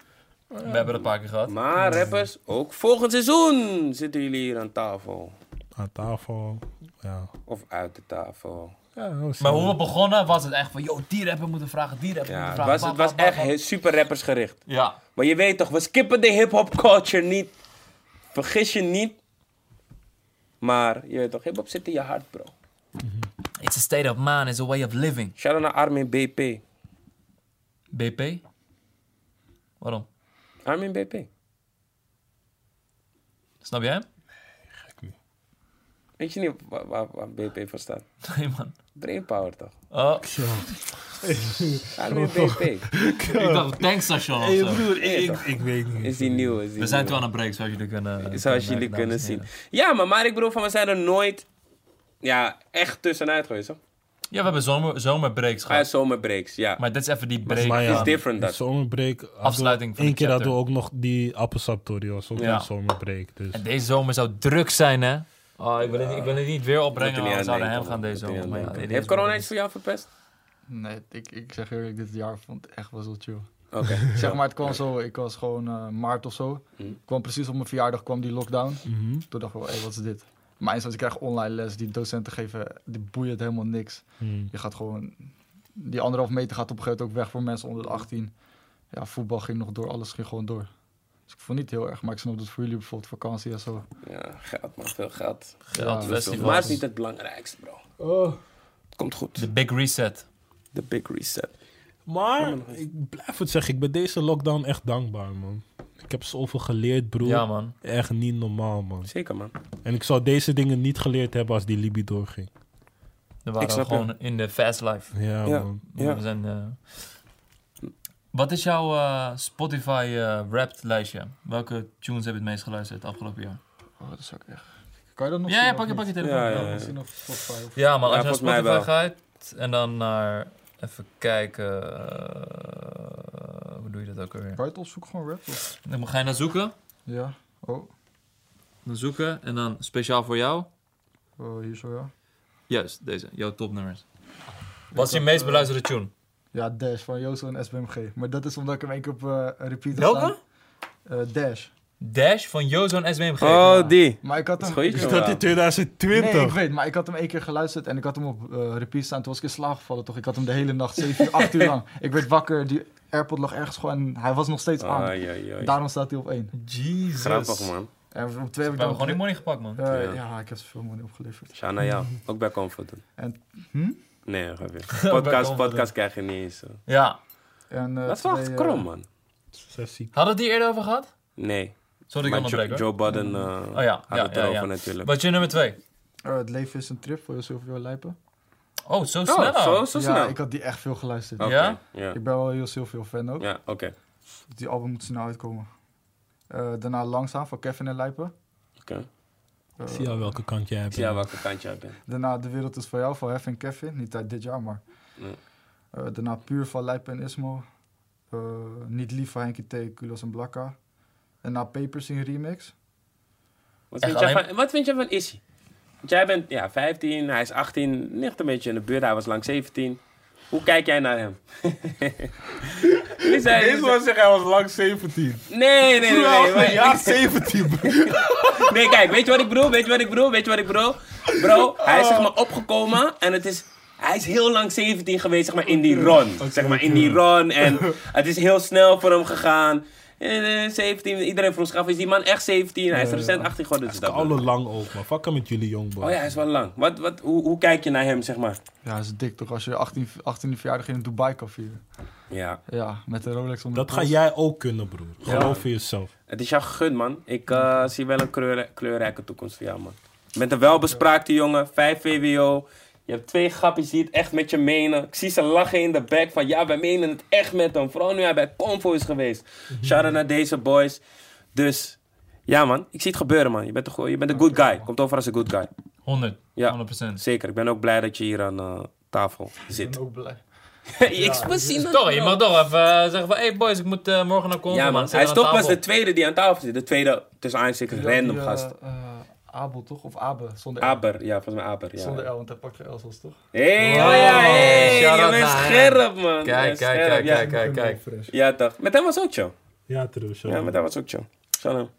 [SPEAKER 2] we hebben dat een paar keer gehad.
[SPEAKER 1] Maar rappers, ook volgend seizoen zitten jullie hier aan tafel.
[SPEAKER 4] Aan tafel, ja.
[SPEAKER 1] Of uit de tafel.
[SPEAKER 4] ja we zien
[SPEAKER 2] Maar hoe we
[SPEAKER 4] wel.
[SPEAKER 2] begonnen was het echt van, yo, die rapper moeten vragen, die rapper
[SPEAKER 1] Ja, het
[SPEAKER 2] moeten vragen.
[SPEAKER 1] was, het was echt heel super rappers gericht.
[SPEAKER 2] Ja,
[SPEAKER 1] Maar je weet toch, we skippen de hip-hop culture niet. Vergis je niet. Maar je weet toch, hip-hop zit in je hart, bro.
[SPEAKER 2] it's a state of mind, it's a way of living.
[SPEAKER 1] Shout out naar Armin BP.
[SPEAKER 2] BP? Waarom?
[SPEAKER 1] Armin BP.
[SPEAKER 2] Snap jij hem?
[SPEAKER 1] Weet je niet waar, waar, waar BP voor staat?
[SPEAKER 2] Nee, man.
[SPEAKER 1] Brainpower toch?
[SPEAKER 2] Oh,
[SPEAKER 1] Ga nu BP.
[SPEAKER 2] ik dacht tankstation of
[SPEAKER 4] Hey,
[SPEAKER 2] zo.
[SPEAKER 4] broer, ik,
[SPEAKER 1] Nee,
[SPEAKER 4] ik, ik weet niet.
[SPEAKER 1] Is die nieuw? Is die
[SPEAKER 2] We zijn
[SPEAKER 1] nieuw.
[SPEAKER 2] toe aan het break, zoals jullie kunnen
[SPEAKER 1] Zoals jullie
[SPEAKER 2] merken,
[SPEAKER 1] kunnen
[SPEAKER 2] dames en
[SPEAKER 1] zien.
[SPEAKER 2] heren.
[SPEAKER 1] Ja, maar, maar ik bedoel van, we zijn er nooit ja, echt tussenuit geweest. Hoor.
[SPEAKER 2] Ja, we hebben zomer, zomerbreaks
[SPEAKER 1] Ah, ja,
[SPEAKER 2] gehad.
[SPEAKER 1] zomerbreaks, ja.
[SPEAKER 2] Maar dit is even die
[SPEAKER 4] Maar
[SPEAKER 2] break.
[SPEAKER 4] ja,
[SPEAKER 1] It's different, dat.
[SPEAKER 4] Zomerbreak. hadden we-
[SPEAKER 2] Afsluiting van
[SPEAKER 4] Eén
[SPEAKER 2] de
[SPEAKER 4] keer hadden we
[SPEAKER 2] chapter.
[SPEAKER 4] ook nog die appelsaptorio. was ook
[SPEAKER 2] Ja.
[SPEAKER 4] een zomerbreak. Dus.
[SPEAKER 2] En deze zomer zou druk zijn, hè? Oh, ik wil het, ik wil het niet weer opbrengen,
[SPEAKER 1] Moet er
[SPEAKER 2] want
[SPEAKER 1] niet
[SPEAKER 2] we
[SPEAKER 1] aan
[SPEAKER 2] zouden hem
[SPEAKER 1] denken,
[SPEAKER 2] gaan
[SPEAKER 1] man.
[SPEAKER 2] deze
[SPEAKER 1] Moet er
[SPEAKER 2] zomer.
[SPEAKER 1] niet
[SPEAKER 2] maar
[SPEAKER 1] aan
[SPEAKER 2] ja,
[SPEAKER 1] denken.
[SPEAKER 2] dit
[SPEAKER 1] Heeft
[SPEAKER 2] is
[SPEAKER 1] corona
[SPEAKER 2] wel-
[SPEAKER 1] iets voor jou verpest?
[SPEAKER 5] Nee, ik, ik zeg eerlijk, dit jaar vond ik echt wel zo chill.
[SPEAKER 1] Oké.
[SPEAKER 5] Zeg maar, het kwam zo, ik was gewoon eh, maart of zo.
[SPEAKER 2] Mhm.
[SPEAKER 1] Hmm.
[SPEAKER 5] Kwam precies op mijn verjaardag, kwam die lockdown.
[SPEAKER 4] Mhm.
[SPEAKER 5] Toen dacht ik wel, hé, wat is dit? Maar eens als ik krijg online les, die docenten geven, die boeien het helemaal niks.
[SPEAKER 4] Hmm.
[SPEAKER 5] Je gaat gewoon, die anderhalf meter gaat op een gegeven moment ook weg voor mensen onder de 18. Ja, voetbal ging nog door, alles ging gewoon door. Dus ik vond het niet heel erg, maar ik snap dat voor jullie bijvoorbeeld vakantie en zo.
[SPEAKER 1] Ja, geld man, veel geld.
[SPEAKER 2] Geld,
[SPEAKER 5] Ja,
[SPEAKER 2] festivals.
[SPEAKER 1] Maar het is niet het belangrijkste, bro. Het komt goed.
[SPEAKER 2] De big reset.
[SPEAKER 1] The big reset.
[SPEAKER 4] Maar ik blijf het zeggen, ik ben deze lockdown echt dankbaar, man. Ik heb zoveel geleerd, broer.
[SPEAKER 2] Ja, man.
[SPEAKER 4] Echt niet normaal, man.
[SPEAKER 1] Zeker, man.
[SPEAKER 4] En ik zou deze dingen niet geleerd hebben als die Libi doorging.
[SPEAKER 2] Dan
[SPEAKER 1] Ik
[SPEAKER 2] waren we
[SPEAKER 1] snap
[SPEAKER 2] gewoon in de fast life.
[SPEAKER 4] Ja,
[SPEAKER 1] Ja.
[SPEAKER 4] man.
[SPEAKER 1] Ja.
[SPEAKER 2] We zijn, eh, Wat is jouw eh, Spotify eh, Wrapped lijstje? Welke tunes heb je het meest geluisterd het afgelopen jaar?
[SPEAKER 5] Oh, dat is ook echt... Kan je dat nog
[SPEAKER 2] Ja,
[SPEAKER 5] zien
[SPEAKER 2] ja,
[SPEAKER 5] of
[SPEAKER 2] pak je,
[SPEAKER 5] niet?
[SPEAKER 2] pak je telefoon.
[SPEAKER 1] Ja,
[SPEAKER 2] Ja,
[SPEAKER 1] ja,
[SPEAKER 2] man.
[SPEAKER 1] ja.
[SPEAKER 5] Misschien op Spotify of-
[SPEAKER 2] als
[SPEAKER 1] Ja,
[SPEAKER 2] je naar
[SPEAKER 1] volgens mij
[SPEAKER 2] Spotify
[SPEAKER 1] wel.
[SPEAKER 2] gaat en dan naar... Even kijken... eh, hoe doe je dat ook alweer?
[SPEAKER 5] Kan je het opzoeken, gewoon rap? of-
[SPEAKER 2] Dan ga je naar zoeken.
[SPEAKER 5] Ja, oh,
[SPEAKER 2] Dan zoeken en dan speciaal voor jou.
[SPEAKER 5] oh, hier zo ja.
[SPEAKER 2] Juist, deze. Jouw topnummers.
[SPEAKER 5] Ik
[SPEAKER 2] Wat is je
[SPEAKER 5] had,
[SPEAKER 2] meest
[SPEAKER 5] eh,
[SPEAKER 2] beluisterde tune?
[SPEAKER 5] Ja, Dash van Jozo en SBMG. Maar dat is omdat ik hem één keer op eh, repeat had
[SPEAKER 2] Welke?
[SPEAKER 5] staan. Eh, Dash.
[SPEAKER 2] Dash van Jozo en SWMG.
[SPEAKER 1] Oh, die.
[SPEAKER 5] Maar ik had hem...
[SPEAKER 1] Dat is goed,
[SPEAKER 5] ik-
[SPEAKER 1] joh.
[SPEAKER 4] Is dat in 2020?
[SPEAKER 5] Nee, ik weet, maar ik had hem één keer geluisterd en ik had hem op eh repeat staan. Toen was ik in slaap gevallen, toch? Ik had hem de hele nacht, 7 uur, 8 uur lang. Ik werd wakker, die airpod lag ergens gewoon en hij was nog steeds aan.
[SPEAKER 1] Ai, ai, ai.
[SPEAKER 5] Daarom staat hij op één.
[SPEAKER 2] Jesus.
[SPEAKER 1] Grappig, man.
[SPEAKER 5] En op twee heb
[SPEAKER 2] We
[SPEAKER 5] ik
[SPEAKER 2] hebben
[SPEAKER 5] dan...
[SPEAKER 2] gewoon die money gepakt, man.
[SPEAKER 5] Eh,
[SPEAKER 1] Ja.
[SPEAKER 5] ja. ik heb zoveel money opgeleverd.
[SPEAKER 1] Shana, jou. Ook bij Comfort doen.
[SPEAKER 5] En- hm?
[SPEAKER 1] Nee, ga weer. Podcast,
[SPEAKER 2] Comfort
[SPEAKER 1] podcast krijg je niet eens. hoor.
[SPEAKER 2] Ja.
[SPEAKER 5] En, eh,
[SPEAKER 1] Dat is wel
[SPEAKER 5] twee,
[SPEAKER 1] echt
[SPEAKER 5] eh,
[SPEAKER 1] krom, man.
[SPEAKER 4] Sessie.
[SPEAKER 2] Hadden we het hier eerder over gehad?
[SPEAKER 1] Nee.
[SPEAKER 2] Sorry, ik
[SPEAKER 1] Maar Jo-
[SPEAKER 2] onderbreek hoor.
[SPEAKER 1] Joe Budden eh,
[SPEAKER 2] Oh ja,
[SPEAKER 1] had
[SPEAKER 2] ja,
[SPEAKER 1] het
[SPEAKER 2] ja,
[SPEAKER 1] erover
[SPEAKER 2] ja.
[SPEAKER 1] natuurlijk.
[SPEAKER 2] Wat is je nummer twee?
[SPEAKER 5] eh, het leven is een trip voor Silvio Lijpen.
[SPEAKER 2] Oh, zo snel.
[SPEAKER 1] Oh, zo, zo
[SPEAKER 5] ja,
[SPEAKER 1] snel.
[SPEAKER 5] ik had die echt veel geluisterd.
[SPEAKER 1] Oké,
[SPEAKER 2] Ja?
[SPEAKER 1] Ja,
[SPEAKER 5] Ik ben wel heel Silvio fan ook.
[SPEAKER 1] Oh. Ja, oké.
[SPEAKER 5] Die album moet snel uitkomen. Eh, daarna Langzaam van Kevin en Lijpen.
[SPEAKER 1] Oké.
[SPEAKER 5] Eh,
[SPEAKER 4] Zie je welke kant jij hebt.
[SPEAKER 1] Ik zie aan welke kant jij bent.
[SPEAKER 5] Daarna De Wereld is van jou van Hef en Kevin. Niet uit dit jaar, maar.
[SPEAKER 1] Nee.
[SPEAKER 5] Eh, daarna Puur van Lijpen en Ismo. Eh, niet lief van Henkie T, Kulos en Blakka. Daarna Papers in Remix.
[SPEAKER 1] Wat
[SPEAKER 2] Echt
[SPEAKER 1] vind, jij
[SPEAKER 2] alleen-
[SPEAKER 1] van, wat vind jij van Issy? Want jij bent ja, 15, hij is 18, ligt een beetje in de buurt, hij was lang 17. Hoe kijk jij naar hem? Wie zei- wie
[SPEAKER 4] Deze
[SPEAKER 1] zei-
[SPEAKER 4] man zegt hij was lang 17.
[SPEAKER 1] Nee, nee, nee.
[SPEAKER 4] Hij
[SPEAKER 1] nee,
[SPEAKER 4] was een
[SPEAKER 1] maar-
[SPEAKER 4] jaar 17, broer.
[SPEAKER 1] Nee, kijk, weet je wat ik bedoel? Weet je wat ik bedoel? Weet je wat ik bedoel? Bro, hij is zeg maar opgekomen en het is... Hij is heel lang 17 geweest, zeg maar, in die run. zeg maar, in die run. En het is heel snel voor hem gegaan. Eh, eh, 17, iedereen vroeg zich af, is die man echt 17? Hij is recent 18 geworden. Dus dat
[SPEAKER 4] Alle lang ook, man. Fuck hem met jullie, jongboy.
[SPEAKER 1] Oh ja, hij is wel lang. Wat, wat, hoe, hoe kijk je naar hem, zeg maar?
[SPEAKER 5] Ja, dat is dik toch als je 18, 18e verjaardag in Dubai kan vieren.
[SPEAKER 1] Ja,
[SPEAKER 5] Ja, met een Rolex onder
[SPEAKER 4] Dat
[SPEAKER 5] de
[SPEAKER 4] ga
[SPEAKER 5] pols.
[SPEAKER 4] jij ook kunnen, broer. Geloof in jezelf.
[SPEAKER 1] het is jouw gun, man. Ik eh, zie wel een kleurrij- kleurrijke toekomst voor jou, man. Je bent een welbespraakte jongen, 5 VWO. Je hebt twee grappies die het echt met je menen. Ik zie ze lachen in de back van ja, wij menen het echt met hem. Vooral nu hij bij Convo is geweest. Shout-out naar deze boys. Dus, ja man, ik zie het gebeuren, man. Je bent, een, goe- je bent een good guy. Komt over als een good guy.
[SPEAKER 2] 100.
[SPEAKER 1] Ja.
[SPEAKER 2] 100%.
[SPEAKER 1] Zeker, ik ben ook blij dat je hier aan eh, tafel
[SPEAKER 5] Ik
[SPEAKER 1] zit.
[SPEAKER 5] ben ook blij.
[SPEAKER 1] ik zie dat,
[SPEAKER 2] Toch, je
[SPEAKER 1] bro.
[SPEAKER 2] mag toch even eh, zeggen van... Hey boys, ik moet eh, morgen naar Congo,
[SPEAKER 1] Ja, man.
[SPEAKER 2] man. Zit
[SPEAKER 1] Hij is
[SPEAKER 2] aan
[SPEAKER 1] toch pas
[SPEAKER 2] tafel.
[SPEAKER 1] de tweede die aan tafel zit. De tweede, tussen aanstekens, random
[SPEAKER 5] Die, eh,
[SPEAKER 1] gast.
[SPEAKER 5] eh, Abel toch? Of Abe, zonder L.
[SPEAKER 1] Aber, ja, volgens mij Aber. Ja.
[SPEAKER 5] Zonder L, want hij pakt je L's als toch?
[SPEAKER 1] hey,
[SPEAKER 2] Wow.
[SPEAKER 1] oh ja, hey,
[SPEAKER 2] Shout
[SPEAKER 1] je
[SPEAKER 2] out
[SPEAKER 1] bent
[SPEAKER 2] naar
[SPEAKER 1] scherp, man. Je
[SPEAKER 2] Kijk,
[SPEAKER 1] bent
[SPEAKER 2] kijk,
[SPEAKER 1] scherp,
[SPEAKER 2] kijk,
[SPEAKER 1] eh, ja.
[SPEAKER 2] kijk, kijk, kijk.
[SPEAKER 5] Fresh.
[SPEAKER 1] Ja, toch. Met hem was ook chill.
[SPEAKER 4] Ja, trouwens.
[SPEAKER 1] Ja, met hem was ook chill. Shalom.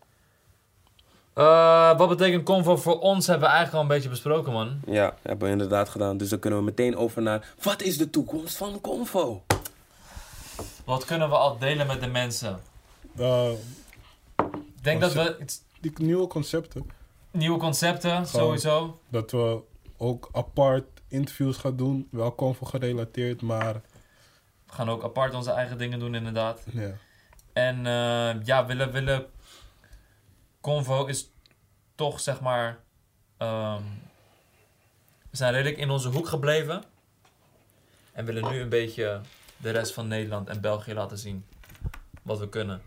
[SPEAKER 2] Eh, wat betekent Convo voor ons? Hebben we eigenlijk al een beetje besproken, man.
[SPEAKER 1] Ja, hebben we inderdaad gedaan. Dus dan kunnen we meteen over naar... Wat is de toekomst van Convo?
[SPEAKER 2] Wat kunnen we al delen met de mensen? Ik denk dat we... iets-
[SPEAKER 4] Eh, die nieuwe concepten.
[SPEAKER 2] Nieuwe concepten, sowieso.
[SPEAKER 4] Dat we ook apart interviews gaan doen. Wel comfort gerelateerd, maar...
[SPEAKER 2] We gaan ook apart onze eigen dingen doen, inderdaad.
[SPEAKER 4] Ja.
[SPEAKER 2] En eh, ja, willen, willen. Convo is toch zeg maar. ehm, We zijn redelijk in onze hoek gebleven. En willen nu een beetje de rest van Nederland en België laten zien wat we kunnen.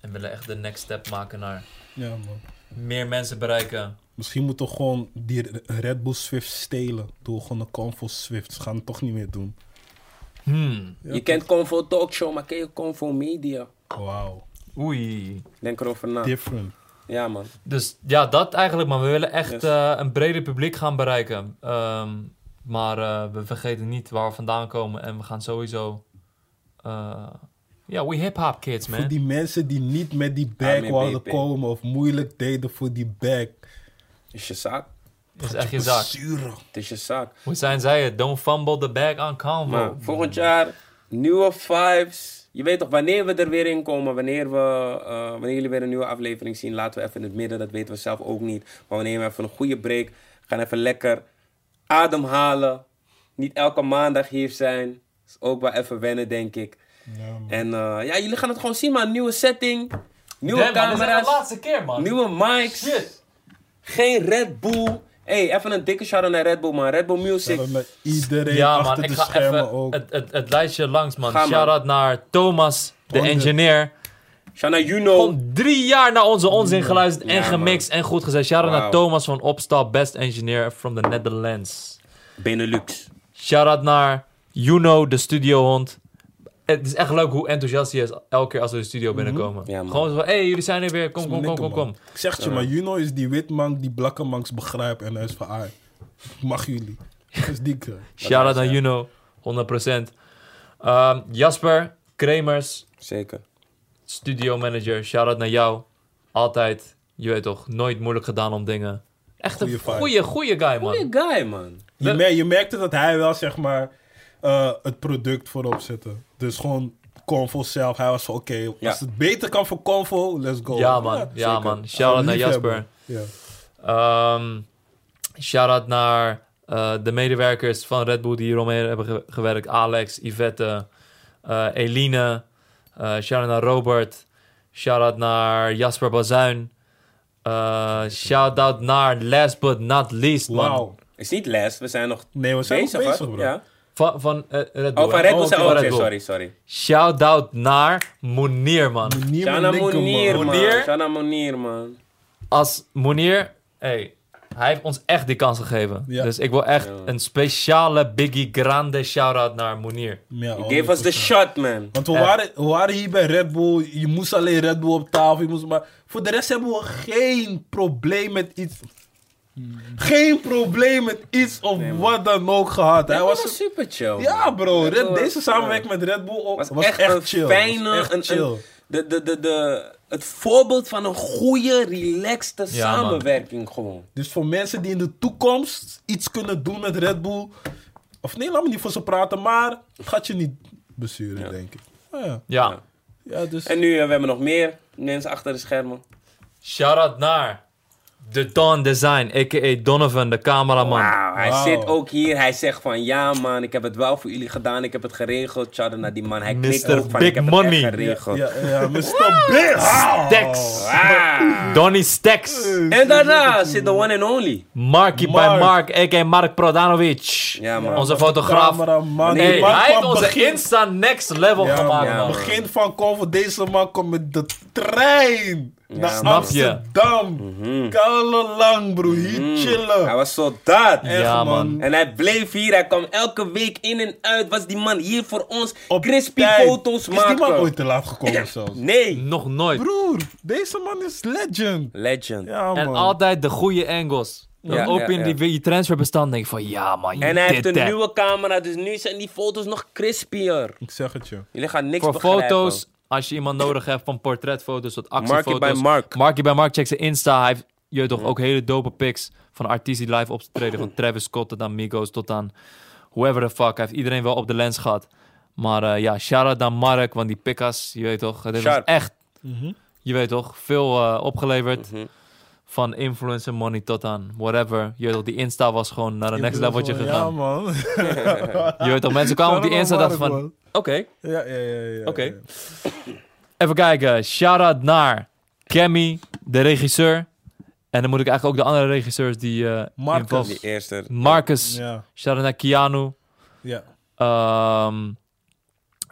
[SPEAKER 2] En willen echt de next step maken naar
[SPEAKER 4] Ja, man.
[SPEAKER 2] meer mensen bereiken.
[SPEAKER 4] Misschien moeten we gewoon die Red Bull Swift stelen. Door gewoon de Convo Swift. Ze gaan het toch niet meer doen.
[SPEAKER 2] Hmm.
[SPEAKER 4] Ja,
[SPEAKER 1] je kent Convo Talkshow, maar ken je Convo Media?
[SPEAKER 4] Wauw.
[SPEAKER 2] Oei.
[SPEAKER 1] Denk erover na.
[SPEAKER 4] Different.
[SPEAKER 1] Ja, man.
[SPEAKER 2] Dus ja, dat eigenlijk. Maar we willen echt
[SPEAKER 1] Yes.
[SPEAKER 2] eh, een breder publiek gaan bereiken. Ehm, maar eh, we vergeten niet waar we vandaan komen. En we gaan sowieso... eh, Ja, we hip-hop kids,
[SPEAKER 4] Voor
[SPEAKER 2] man.
[SPEAKER 4] die mensen die niet met die
[SPEAKER 1] Ah,
[SPEAKER 4] bag
[SPEAKER 1] met
[SPEAKER 4] wilden
[SPEAKER 1] BP.
[SPEAKER 4] komen. Of moeilijk deden voor die bag.
[SPEAKER 1] Is je zaak?
[SPEAKER 2] Dat is echt je zaak.
[SPEAKER 4] Zuren.
[SPEAKER 1] Het is je zaak.
[SPEAKER 2] Hoe zijn zij het? Don't fumble the bag on convo.
[SPEAKER 1] Maar volgend jaar, nieuwe vibes. Je weet toch, wanneer we er weer in komen, wanneer, we, eh, wanneer jullie weer een nieuwe aflevering zien, laten we even in het midden, dat weten we zelf ook niet. Maar wanneer we even een goede break, gaan even lekker ademhalen. Niet elke maandag hier zijn. Is ook wel even wennen, denk ik. En eh, ja, jullie gaan het gewoon zien, man. Nieuwe setting, nieuwe
[SPEAKER 2] Damn, man, dit is echt de
[SPEAKER 1] camera's,
[SPEAKER 2] laatste keer, man.
[SPEAKER 1] nieuwe mics.
[SPEAKER 2] Shit.
[SPEAKER 1] Geen Red Bull. hey, even een dikke shout-out naar Red Bull, man. Red Bull Music.
[SPEAKER 4] Samen met iedereen
[SPEAKER 2] Ja,
[SPEAKER 4] achter
[SPEAKER 2] man, ik
[SPEAKER 4] de
[SPEAKER 2] ga
[SPEAKER 4] schermen
[SPEAKER 2] even
[SPEAKER 4] ook.
[SPEAKER 2] het, het, het lijstje langs, man.
[SPEAKER 1] Ga, man.
[SPEAKER 2] Shout-out naar Thomas, de
[SPEAKER 4] Honderd.
[SPEAKER 2] engineer.
[SPEAKER 1] Shout-out naar Juno.
[SPEAKER 2] Gewoon drie jaar naar onze onzin geluisterd en
[SPEAKER 1] Ja,
[SPEAKER 2] gemixt en goed gezet. Shout-out naar
[SPEAKER 1] Wauw.
[SPEAKER 2] Thomas van Opstap, best engineer from the Netherlands.
[SPEAKER 1] Benelux.
[SPEAKER 2] Shout-out naar Juno, de studiohond. Het is echt leuk hoe enthousiast hij is elke keer als we de studio binnenkomen.
[SPEAKER 1] Mhm. Ja, man.
[SPEAKER 2] Gewoon zo van, hé, hey, jullie zijn er weer, kom, kom, kom, kom, kom.
[SPEAKER 4] Ik zeg het je, maar Juno is die witmank die blakke manks begrijpt. En hij is van, ah, ik mag jullie. Dat is die guy.
[SPEAKER 2] Shout-out naar Juno, 100%. Ehm, Jasper, Kremers,
[SPEAKER 1] Zeker.
[SPEAKER 2] studio manager. Shout-out naar jou. Altijd, je weet toch, nooit moeilijk gedaan om dingen. Echt een
[SPEAKER 4] Goeie vibe.
[SPEAKER 2] goeie, goeie guy, man.
[SPEAKER 1] Goeie guy, man.
[SPEAKER 4] Je, mer- je merkte dat hij wel, zeg maar, eh, het product voorop zette. Dus gewoon Convo zelf. Hij was van, oké,
[SPEAKER 1] Ja.
[SPEAKER 4] als het beter kan voor Convo, let's go.
[SPEAKER 2] Ja, man. Ja,
[SPEAKER 1] Oh. zeker.
[SPEAKER 2] man. Shout-out naar Jasper.
[SPEAKER 4] Liefhebber. Ja.
[SPEAKER 2] Ehm shout-out naar eh, de medewerkers van Red Bull die hieromheen hebben ge- gewerkt. Alex, Yvette, eh, Eline. Eh, shout-out naar Robert. Shout-out naar Jasper Bazuin. Eh, shout-out naar last but not least, man.
[SPEAKER 4] Wauw.
[SPEAKER 1] Is niet les, we zijn nog
[SPEAKER 4] Nee, we zijn
[SPEAKER 1] bezig,
[SPEAKER 4] nog
[SPEAKER 1] hoor.
[SPEAKER 4] bezig, bro.
[SPEAKER 1] Ja.
[SPEAKER 2] Van, van eh, Red Bull.
[SPEAKER 1] Oh, van
[SPEAKER 2] hè?
[SPEAKER 1] Red Bull zijn
[SPEAKER 2] oké,
[SPEAKER 1] ook
[SPEAKER 2] Red
[SPEAKER 1] weer,
[SPEAKER 2] Bull.
[SPEAKER 1] sorry, sorry.
[SPEAKER 2] Shout-out naar Monier, man.
[SPEAKER 4] Monier,
[SPEAKER 1] Shana
[SPEAKER 4] man, linker,
[SPEAKER 1] Monier,
[SPEAKER 4] man. Oh,
[SPEAKER 1] man.
[SPEAKER 2] Monier?
[SPEAKER 1] Shana Monier, man.
[SPEAKER 2] Als Monier... Hey, hij heeft ons echt die kans gegeven.
[SPEAKER 4] Ja.
[SPEAKER 2] Dus ik wil echt
[SPEAKER 1] Ja.
[SPEAKER 2] een speciale Biggie Grande shout-out naar Monier.
[SPEAKER 4] Ja,
[SPEAKER 1] You gave us the
[SPEAKER 4] 100%.
[SPEAKER 1] shot, man.
[SPEAKER 4] Want we
[SPEAKER 2] Ja.
[SPEAKER 4] waren, we waren hier bij Red Bull. Je moest alleen Red Bull op tafel. Je moest maar... Voor de rest hebben we geen probleem met iets.
[SPEAKER 2] Hmm.
[SPEAKER 4] Geen probleem met iets of wat dan ook gehad. Hij
[SPEAKER 1] Hij was
[SPEAKER 4] was...
[SPEAKER 1] super chill.
[SPEAKER 4] Ja,
[SPEAKER 1] man.
[SPEAKER 4] bro.
[SPEAKER 1] Red
[SPEAKER 4] Red-
[SPEAKER 1] Bull
[SPEAKER 4] deze
[SPEAKER 1] was-
[SPEAKER 4] samenwerking met Red Bull ook,
[SPEAKER 1] was,
[SPEAKER 4] was,
[SPEAKER 1] echt, een
[SPEAKER 4] chill.
[SPEAKER 1] fijne...
[SPEAKER 4] was echt
[SPEAKER 1] een,
[SPEAKER 4] chill.
[SPEAKER 1] Een, de, de, de, de, het voorbeeld van een goede, relaxte
[SPEAKER 2] Ja, man.
[SPEAKER 1] samenwerking gewoon.
[SPEAKER 4] Dus voor mensen die in de toekomst iets kunnen doen met Red Bull. Of nee, laat me niet voor ze praten. Maar het gaat je niet besturen, denk ik. Ah, ja.
[SPEAKER 2] Ja.
[SPEAKER 4] ja, dus...
[SPEAKER 1] En nu, eh, we hebben nog meer mensen achter de schermen.
[SPEAKER 2] Shout-out naar de Don Design, a.k.a. Donovan, de cameraman.
[SPEAKER 1] Wauw, hij
[SPEAKER 4] Wauw.
[SPEAKER 1] zit ook hier. Hij zegt van, ja man, ik heb het wel voor jullie gedaan. Ik heb het geregeld. Shout-out naar die man. Hij knikt
[SPEAKER 2] Mr.
[SPEAKER 1] ook van,
[SPEAKER 2] Big
[SPEAKER 1] ik heb
[SPEAKER 2] Money.
[SPEAKER 1] het echt geregeld.
[SPEAKER 4] Ja, ja, Mr. Big!
[SPEAKER 2] Stacks.
[SPEAKER 1] Wauw.
[SPEAKER 2] Donnie Stacks.
[SPEAKER 1] Ah. En daarna zit de one and only.
[SPEAKER 2] Marky by
[SPEAKER 4] Mark.
[SPEAKER 2] Mark, a.k.a. Mark Prodanovic.
[SPEAKER 1] Ja, man.
[SPEAKER 2] Onze fotograaf.
[SPEAKER 4] Cameraman.
[SPEAKER 2] Hey,
[SPEAKER 4] Maar
[SPEAKER 2] hij heeft
[SPEAKER 4] kwam
[SPEAKER 2] onze
[SPEAKER 4] begin-
[SPEAKER 2] Insta next level
[SPEAKER 4] Ja,
[SPEAKER 2] gemaakt,
[SPEAKER 4] man.
[SPEAKER 1] ja,
[SPEAKER 2] man.
[SPEAKER 4] Begin van Convo, deze man komt met de trein naar
[SPEAKER 2] Snap je?
[SPEAKER 4] Amsterdam. Kale lang, bro. Hier chillen.
[SPEAKER 1] Hij was soldaat.
[SPEAKER 4] Echt,
[SPEAKER 2] Ja, man.
[SPEAKER 4] man.
[SPEAKER 1] En hij bleef hier. Hij kwam elke week in en uit. Was die man hier voor ons.
[SPEAKER 4] Op
[SPEAKER 1] crispy
[SPEAKER 4] tijd.
[SPEAKER 1] foto's
[SPEAKER 4] Is die man
[SPEAKER 1] maken.
[SPEAKER 4] ooit te laat gekomen zelfs?
[SPEAKER 1] Nee.
[SPEAKER 2] Nog nooit.
[SPEAKER 4] Broer, deze man is legend.
[SPEAKER 1] Legend.
[SPEAKER 4] Ja,
[SPEAKER 2] En
[SPEAKER 4] man.
[SPEAKER 2] altijd de goede angles. Dan
[SPEAKER 1] Ja,
[SPEAKER 2] open je
[SPEAKER 1] ja,
[SPEAKER 2] die, je transferbestand denk je van, ja man, je
[SPEAKER 1] En hij heeft
[SPEAKER 2] dit,
[SPEAKER 1] een
[SPEAKER 2] hè.
[SPEAKER 1] nieuwe camera. Dus nu zijn die foto's nog crispier.
[SPEAKER 4] Ik zeg het je.
[SPEAKER 1] Jullie gaan niks
[SPEAKER 2] Voor
[SPEAKER 1] begrijpen.
[SPEAKER 2] foto's, als je iemand nodig hebt van portretfoto's tot actiefoto's.
[SPEAKER 1] Markie by Mark.
[SPEAKER 2] Markie bij Mark, check zijn Insta. Hij heeft je toch ook hele dope pics van artiesten die live optreden. Van Travis Scott tot aan Migos tot aan whoever the fuck. Hij heeft iedereen wel op de lens gehad. Maar eh, ja, shout-out aan Mark, want die pikas, je weet toch. Het heeft ons
[SPEAKER 1] Sharp.
[SPEAKER 2] echt, je weet toch, veel eh, opgeleverd.
[SPEAKER 1] Mhm.
[SPEAKER 2] Van influencer money tot aan whatever. Je weet toch, die Insta was gewoon naar de next leveltje
[SPEAKER 4] Ja,
[SPEAKER 2] gegaan.
[SPEAKER 4] man.
[SPEAKER 2] je weet toch, mensen kwamen op die Insta en dachten van, oké.
[SPEAKER 4] Ja, ja, ja. ja,
[SPEAKER 2] Oké.
[SPEAKER 4] ja.
[SPEAKER 2] Even kijken. Shout-out naar Cammy, de regisseur. En dan moet ik eigenlijk ook de andere regisseurs die... eh
[SPEAKER 4] Marcus.
[SPEAKER 2] involved-
[SPEAKER 1] Die eerste.
[SPEAKER 2] Marcus.
[SPEAKER 4] Ja,
[SPEAKER 2] Shout out naar Keanu.
[SPEAKER 4] ja.
[SPEAKER 2] Ehm,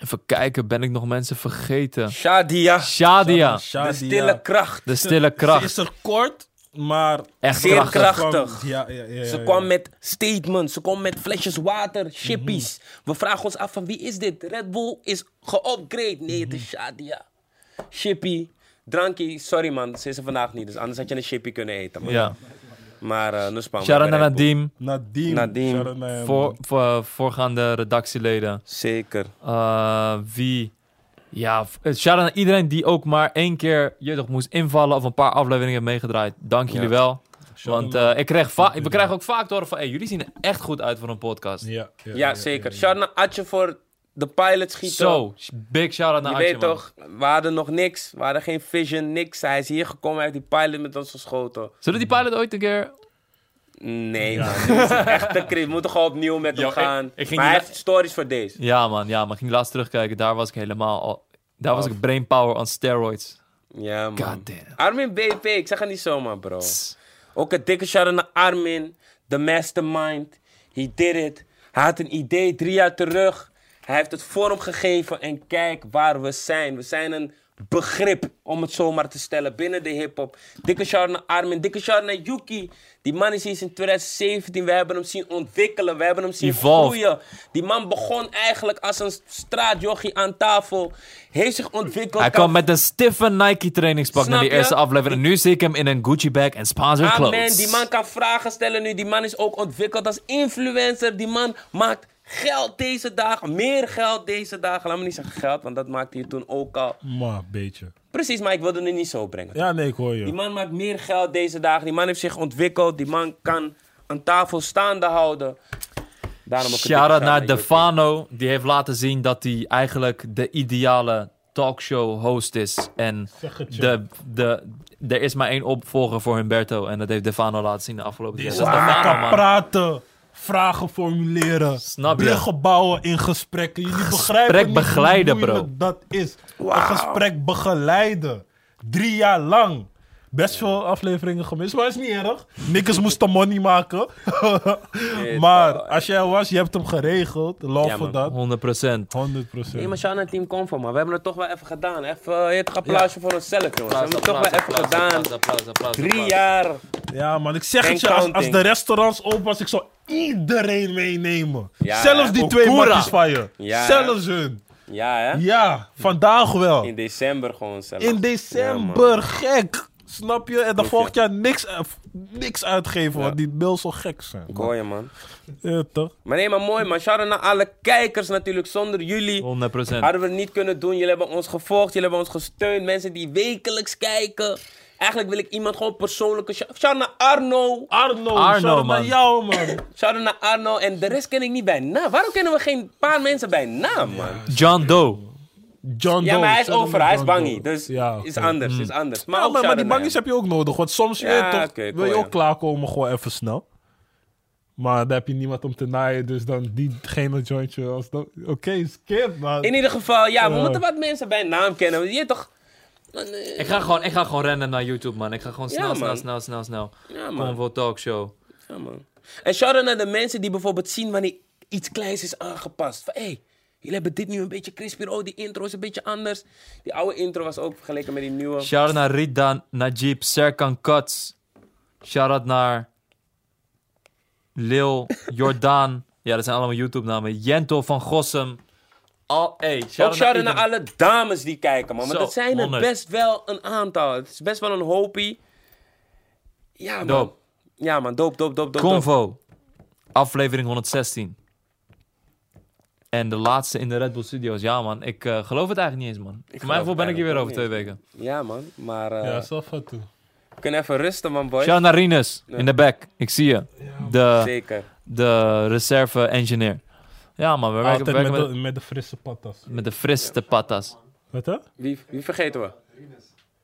[SPEAKER 2] even kijken, ben ik nog mensen vergeten?
[SPEAKER 1] Shadia.
[SPEAKER 2] Shadia.
[SPEAKER 1] De
[SPEAKER 4] Shadia.
[SPEAKER 1] stille kracht.
[SPEAKER 2] De stille
[SPEAKER 4] Ze is
[SPEAKER 2] kracht.
[SPEAKER 4] er kort, maar...
[SPEAKER 2] Echt
[SPEAKER 1] zeer
[SPEAKER 2] krachtig.
[SPEAKER 1] kracht-
[SPEAKER 4] kwam-
[SPEAKER 1] Prachtig.
[SPEAKER 4] Ja, ja, ja, ja,
[SPEAKER 1] Ze
[SPEAKER 4] ja.
[SPEAKER 1] kwam met statements, ze kwam met flesjes
[SPEAKER 2] Mhm.
[SPEAKER 1] water, chippies. We vragen ons af van wie is dit? Red Bull is geupgrade. Nee, het is
[SPEAKER 2] Mhm.
[SPEAKER 1] Shadia. Chippy, drankie, sorry man, ze is er vandaag niet. Dus anders had je een chippy kunnen eten. Man.
[SPEAKER 2] Ja.
[SPEAKER 1] Maar eh nu spam.
[SPEAKER 2] Shout out naar Nadim.
[SPEAKER 4] Nadim.
[SPEAKER 1] Nadim.
[SPEAKER 4] Shout-out naar hem,
[SPEAKER 2] Voor,
[SPEAKER 4] man.
[SPEAKER 2] voor, eh, voorgaande redactieleden.
[SPEAKER 1] Zeker.
[SPEAKER 2] Eh, wie? Ja, v- eh, shout out naar iedereen die ook maar één keer je toch moest invallen of een paar afleveringen heeft meegedraaid. Dank jullie wel. Want eh, ik kreeg va- we krijgen ook vaak te horen van, hey, jullie zien er echt goed uit voor een podcast.
[SPEAKER 4] Ja, ja,
[SPEAKER 1] Ja, zeker. Shout out naar Atje voor de pilot schieten.
[SPEAKER 2] Zo, big shout out naar
[SPEAKER 1] Je
[SPEAKER 2] Adje,
[SPEAKER 1] weet
[SPEAKER 2] man.
[SPEAKER 1] toch, we hadden nog niks. We hadden geen vision, niks. Hij is hier gekomen, hij heeft die pilot met ons geschoten.
[SPEAKER 2] Zullen die pilot ooit een keer...
[SPEAKER 1] Nee, man. Dit is echt te cri- We moeten gewoon opnieuw met hem
[SPEAKER 2] Yo, ik-
[SPEAKER 1] gaan.
[SPEAKER 2] ik ging
[SPEAKER 1] maar hij
[SPEAKER 2] die-
[SPEAKER 1] heeft stories voor deze.
[SPEAKER 2] Ja man, ja man. Ik ging laatst terugkijken, daar was ik helemaal al... Daar was ik brain power on steroids.
[SPEAKER 1] Ja, man.
[SPEAKER 2] God damn.
[SPEAKER 1] Armin BP, ik zeg het niet zomaar, bro. Ook een dikke shout-out naar Armin, the mastermind. He did it. Hij had een idee drie jaar terug. Hij heeft het vorm gegeven en kijk waar we zijn. We zijn een begrip, om het zomaar te stellen, binnen de hip-hop. Dikke shout-out naar Armin, dikke shout-out naar Yuki. Die man is hier sinds 2017. We hebben hem zien ontwikkelen, we hebben hem zien
[SPEAKER 2] Evolve.
[SPEAKER 1] groeien. Die man begon eigenlijk als een straatjochie aan tafel. Heeft zich ontwikkeld.
[SPEAKER 2] Hij kwam met een stiffe Nike trainingspak
[SPEAKER 1] Oh, Snap
[SPEAKER 2] naar die
[SPEAKER 1] je?
[SPEAKER 2] eerste aflevering. En nu zie ik hem in een Gucci bag en sponsored
[SPEAKER 1] Amen.
[SPEAKER 2] clothes.
[SPEAKER 1] Die man kan vragen stellen nu. Die man is ook ontwikkeld als influencer. Die man maakt geld deze dagen. Meer geld deze dagen. Laat me niet zeggen geld, want dat maakte je toen ook al.
[SPEAKER 4] Maar, een beetje.
[SPEAKER 1] Precies, maar ik wilde het niet zo brengen.
[SPEAKER 4] Ja, nee, ik hoor je.
[SPEAKER 1] Die man maakt meer geld deze dagen. Die man heeft zich ontwikkeld. Die man kan een tafel staande houden. Daarom ook een dikke
[SPEAKER 2] Shout-out naar
[SPEAKER 1] Yuki.
[SPEAKER 2] Defano. Die heeft laten zien dat hij eigenlijk de ideale talkshow-host is. En de, de, er is maar één opvolger voor Humberto. En dat heeft Defano laten zien de afgelopen
[SPEAKER 4] Is
[SPEAKER 2] tijd.
[SPEAKER 4] dat
[SPEAKER 2] Dat is
[SPEAKER 4] man
[SPEAKER 2] Defano,
[SPEAKER 4] kan
[SPEAKER 2] man.
[SPEAKER 4] praten, vragen formuleren,
[SPEAKER 2] Snap je?
[SPEAKER 4] bruggen bouwen in gesprekken. Jullie begrijpen niet hoe
[SPEAKER 2] begeleiden, bro.
[SPEAKER 4] moeilijk dat is. Een gesprek begeleiden. Drie jaar lang. Best veel afleveringen gemist, maar is niet erg. Nikkers moesten money maken. maar als jij er was, je hebt hem geregeld. Love
[SPEAKER 1] Ja,
[SPEAKER 4] voor
[SPEAKER 1] man.
[SPEAKER 4] dat.
[SPEAKER 2] 100%.
[SPEAKER 4] 100
[SPEAKER 1] Nee, maar shout-out naar Team Comfort, man. We hebben het toch wel even gedaan. Even eh, het applausje voor onszelf, jongens. We hebben het toch wel even gedaan. Drie jaar.
[SPEAKER 4] Ja man, ik zeg
[SPEAKER 1] En
[SPEAKER 4] het je, als, als
[SPEAKER 1] counting.
[SPEAKER 4] de restaurants open was, ik zou iedereen meenemen.
[SPEAKER 1] Ja,
[SPEAKER 4] Zelfs
[SPEAKER 1] hè?
[SPEAKER 4] die twee
[SPEAKER 2] Okura.
[SPEAKER 4] matjes van je.
[SPEAKER 1] Ja, hè?
[SPEAKER 4] Zelfs hun.
[SPEAKER 1] Ja, hè?
[SPEAKER 4] Ja, vandaag wel.
[SPEAKER 1] In december gewoon zelf.
[SPEAKER 4] In december, gek. Snap je? En dan
[SPEAKER 1] Hoef
[SPEAKER 4] volgend jaar niks, eh, f- niks uitgeven, want die mails zo gek zijn.
[SPEAKER 1] Ik hoor je, man.
[SPEAKER 4] Ja, toch?
[SPEAKER 1] Maar nee, maar mooi, man. Shout-out naar alle kijkers natuurlijk. Zonder jullie
[SPEAKER 2] 100%.
[SPEAKER 1] hadden we het niet kunnen doen. Jullie hebben ons gevolgd, jullie hebben ons gesteund. Mensen die wekelijks kijken. Eigenlijk wil ik iemand gewoon persoonlijke... shout- Shout-out naar Arno.
[SPEAKER 4] Arno,
[SPEAKER 2] Arno,
[SPEAKER 4] shout out naar
[SPEAKER 2] man.
[SPEAKER 4] jou, man.
[SPEAKER 1] Shout-out naar Arno. En de rest ken ik niet bij naam. Waarom kennen we geen paar mensen bij naam, man?
[SPEAKER 2] John Doe.
[SPEAKER 4] John
[SPEAKER 1] Ja,
[SPEAKER 4] Doe,
[SPEAKER 1] maar hij is
[SPEAKER 4] shout out
[SPEAKER 1] over.
[SPEAKER 4] naar
[SPEAKER 1] Hij is
[SPEAKER 4] John
[SPEAKER 1] bangie.
[SPEAKER 4] Doe.
[SPEAKER 1] Dus
[SPEAKER 4] Ja,
[SPEAKER 1] is
[SPEAKER 4] oké. Mm.
[SPEAKER 1] anders, is anders. Maar,
[SPEAKER 4] Ja,
[SPEAKER 1] ook
[SPEAKER 4] maar,
[SPEAKER 1] shout-out
[SPEAKER 4] maar die
[SPEAKER 1] naar
[SPEAKER 4] bangies
[SPEAKER 1] hem.
[SPEAKER 4] heb je ook nodig, want soms je
[SPEAKER 1] Ja,
[SPEAKER 4] weet toch,
[SPEAKER 1] oké, ik
[SPEAKER 4] wil je
[SPEAKER 1] hoor
[SPEAKER 4] ook
[SPEAKER 1] je.
[SPEAKER 4] klaarkomen gewoon even snel. Maar dan heb je niemand om te naaien, dus dan diegene joint je als dan- Oké, skip, man.
[SPEAKER 1] In ieder geval, ja, we
[SPEAKER 4] Ja.
[SPEAKER 1] moeten wat mensen bij naam kennen. Want Je weet toch...
[SPEAKER 2] Ik ga, gewoon, ik ga gewoon rennen naar YouTube, man. Ik ga gewoon snel,
[SPEAKER 1] Ja,
[SPEAKER 2] snel,
[SPEAKER 1] man.
[SPEAKER 2] snel, snel, snel.
[SPEAKER 1] Ja, man.
[SPEAKER 2] Convo Talkshow.
[SPEAKER 1] Ja, man. En shout-out naar de mensen die bijvoorbeeld zien wanneer iets kleins is aangepast. Van, hé, hey, jullie hebben dit nu een beetje crispier. Oh, die intro is een beetje anders. Die oude intro was ook vergeleken met die nieuwe.
[SPEAKER 2] Shout-out naar Rida, Najib, Serkan Cuts. Shout-out naar Lil, Jordaan. ja, dat zijn allemaal YouTube-namen. Jento van Gossem. Al, hey,
[SPEAKER 1] ook
[SPEAKER 2] shout-out
[SPEAKER 1] shout-out naar
[SPEAKER 2] iedereen.
[SPEAKER 1] alle dames die kijken, man. Want
[SPEAKER 2] Zo,
[SPEAKER 1] dat zijn er
[SPEAKER 2] 100.
[SPEAKER 1] best wel een aantal. Het is best wel een hopie. Ja, man.
[SPEAKER 2] Dope.
[SPEAKER 1] Ja, man. Doop, doop, doop, doop.
[SPEAKER 2] Convo, aflevering 116. En de laatste in de Red Bull Studios. Ja, man, ik eh, geloof het eigenlijk niet eens, man. Voor
[SPEAKER 1] geloof
[SPEAKER 2] mijn gevoel
[SPEAKER 1] het
[SPEAKER 2] ben ik hier weer over
[SPEAKER 1] eigenlijk
[SPEAKER 2] twee weken.
[SPEAKER 1] Ja, man. Maar eh,
[SPEAKER 4] Ja, zelf wat toe.
[SPEAKER 1] we kunnen even rusten, man, boy.
[SPEAKER 2] Shout-out naar Rinus, in de back. Ik zie je. De,
[SPEAKER 1] Zeker.
[SPEAKER 2] de reserve-engineer. Ja, man, we werken,
[SPEAKER 4] Altijd met,
[SPEAKER 2] werken met,
[SPEAKER 4] de, met de frisse patas.
[SPEAKER 2] met de friste patas.
[SPEAKER 4] Wat hè?
[SPEAKER 1] Wie, wie vergeten we?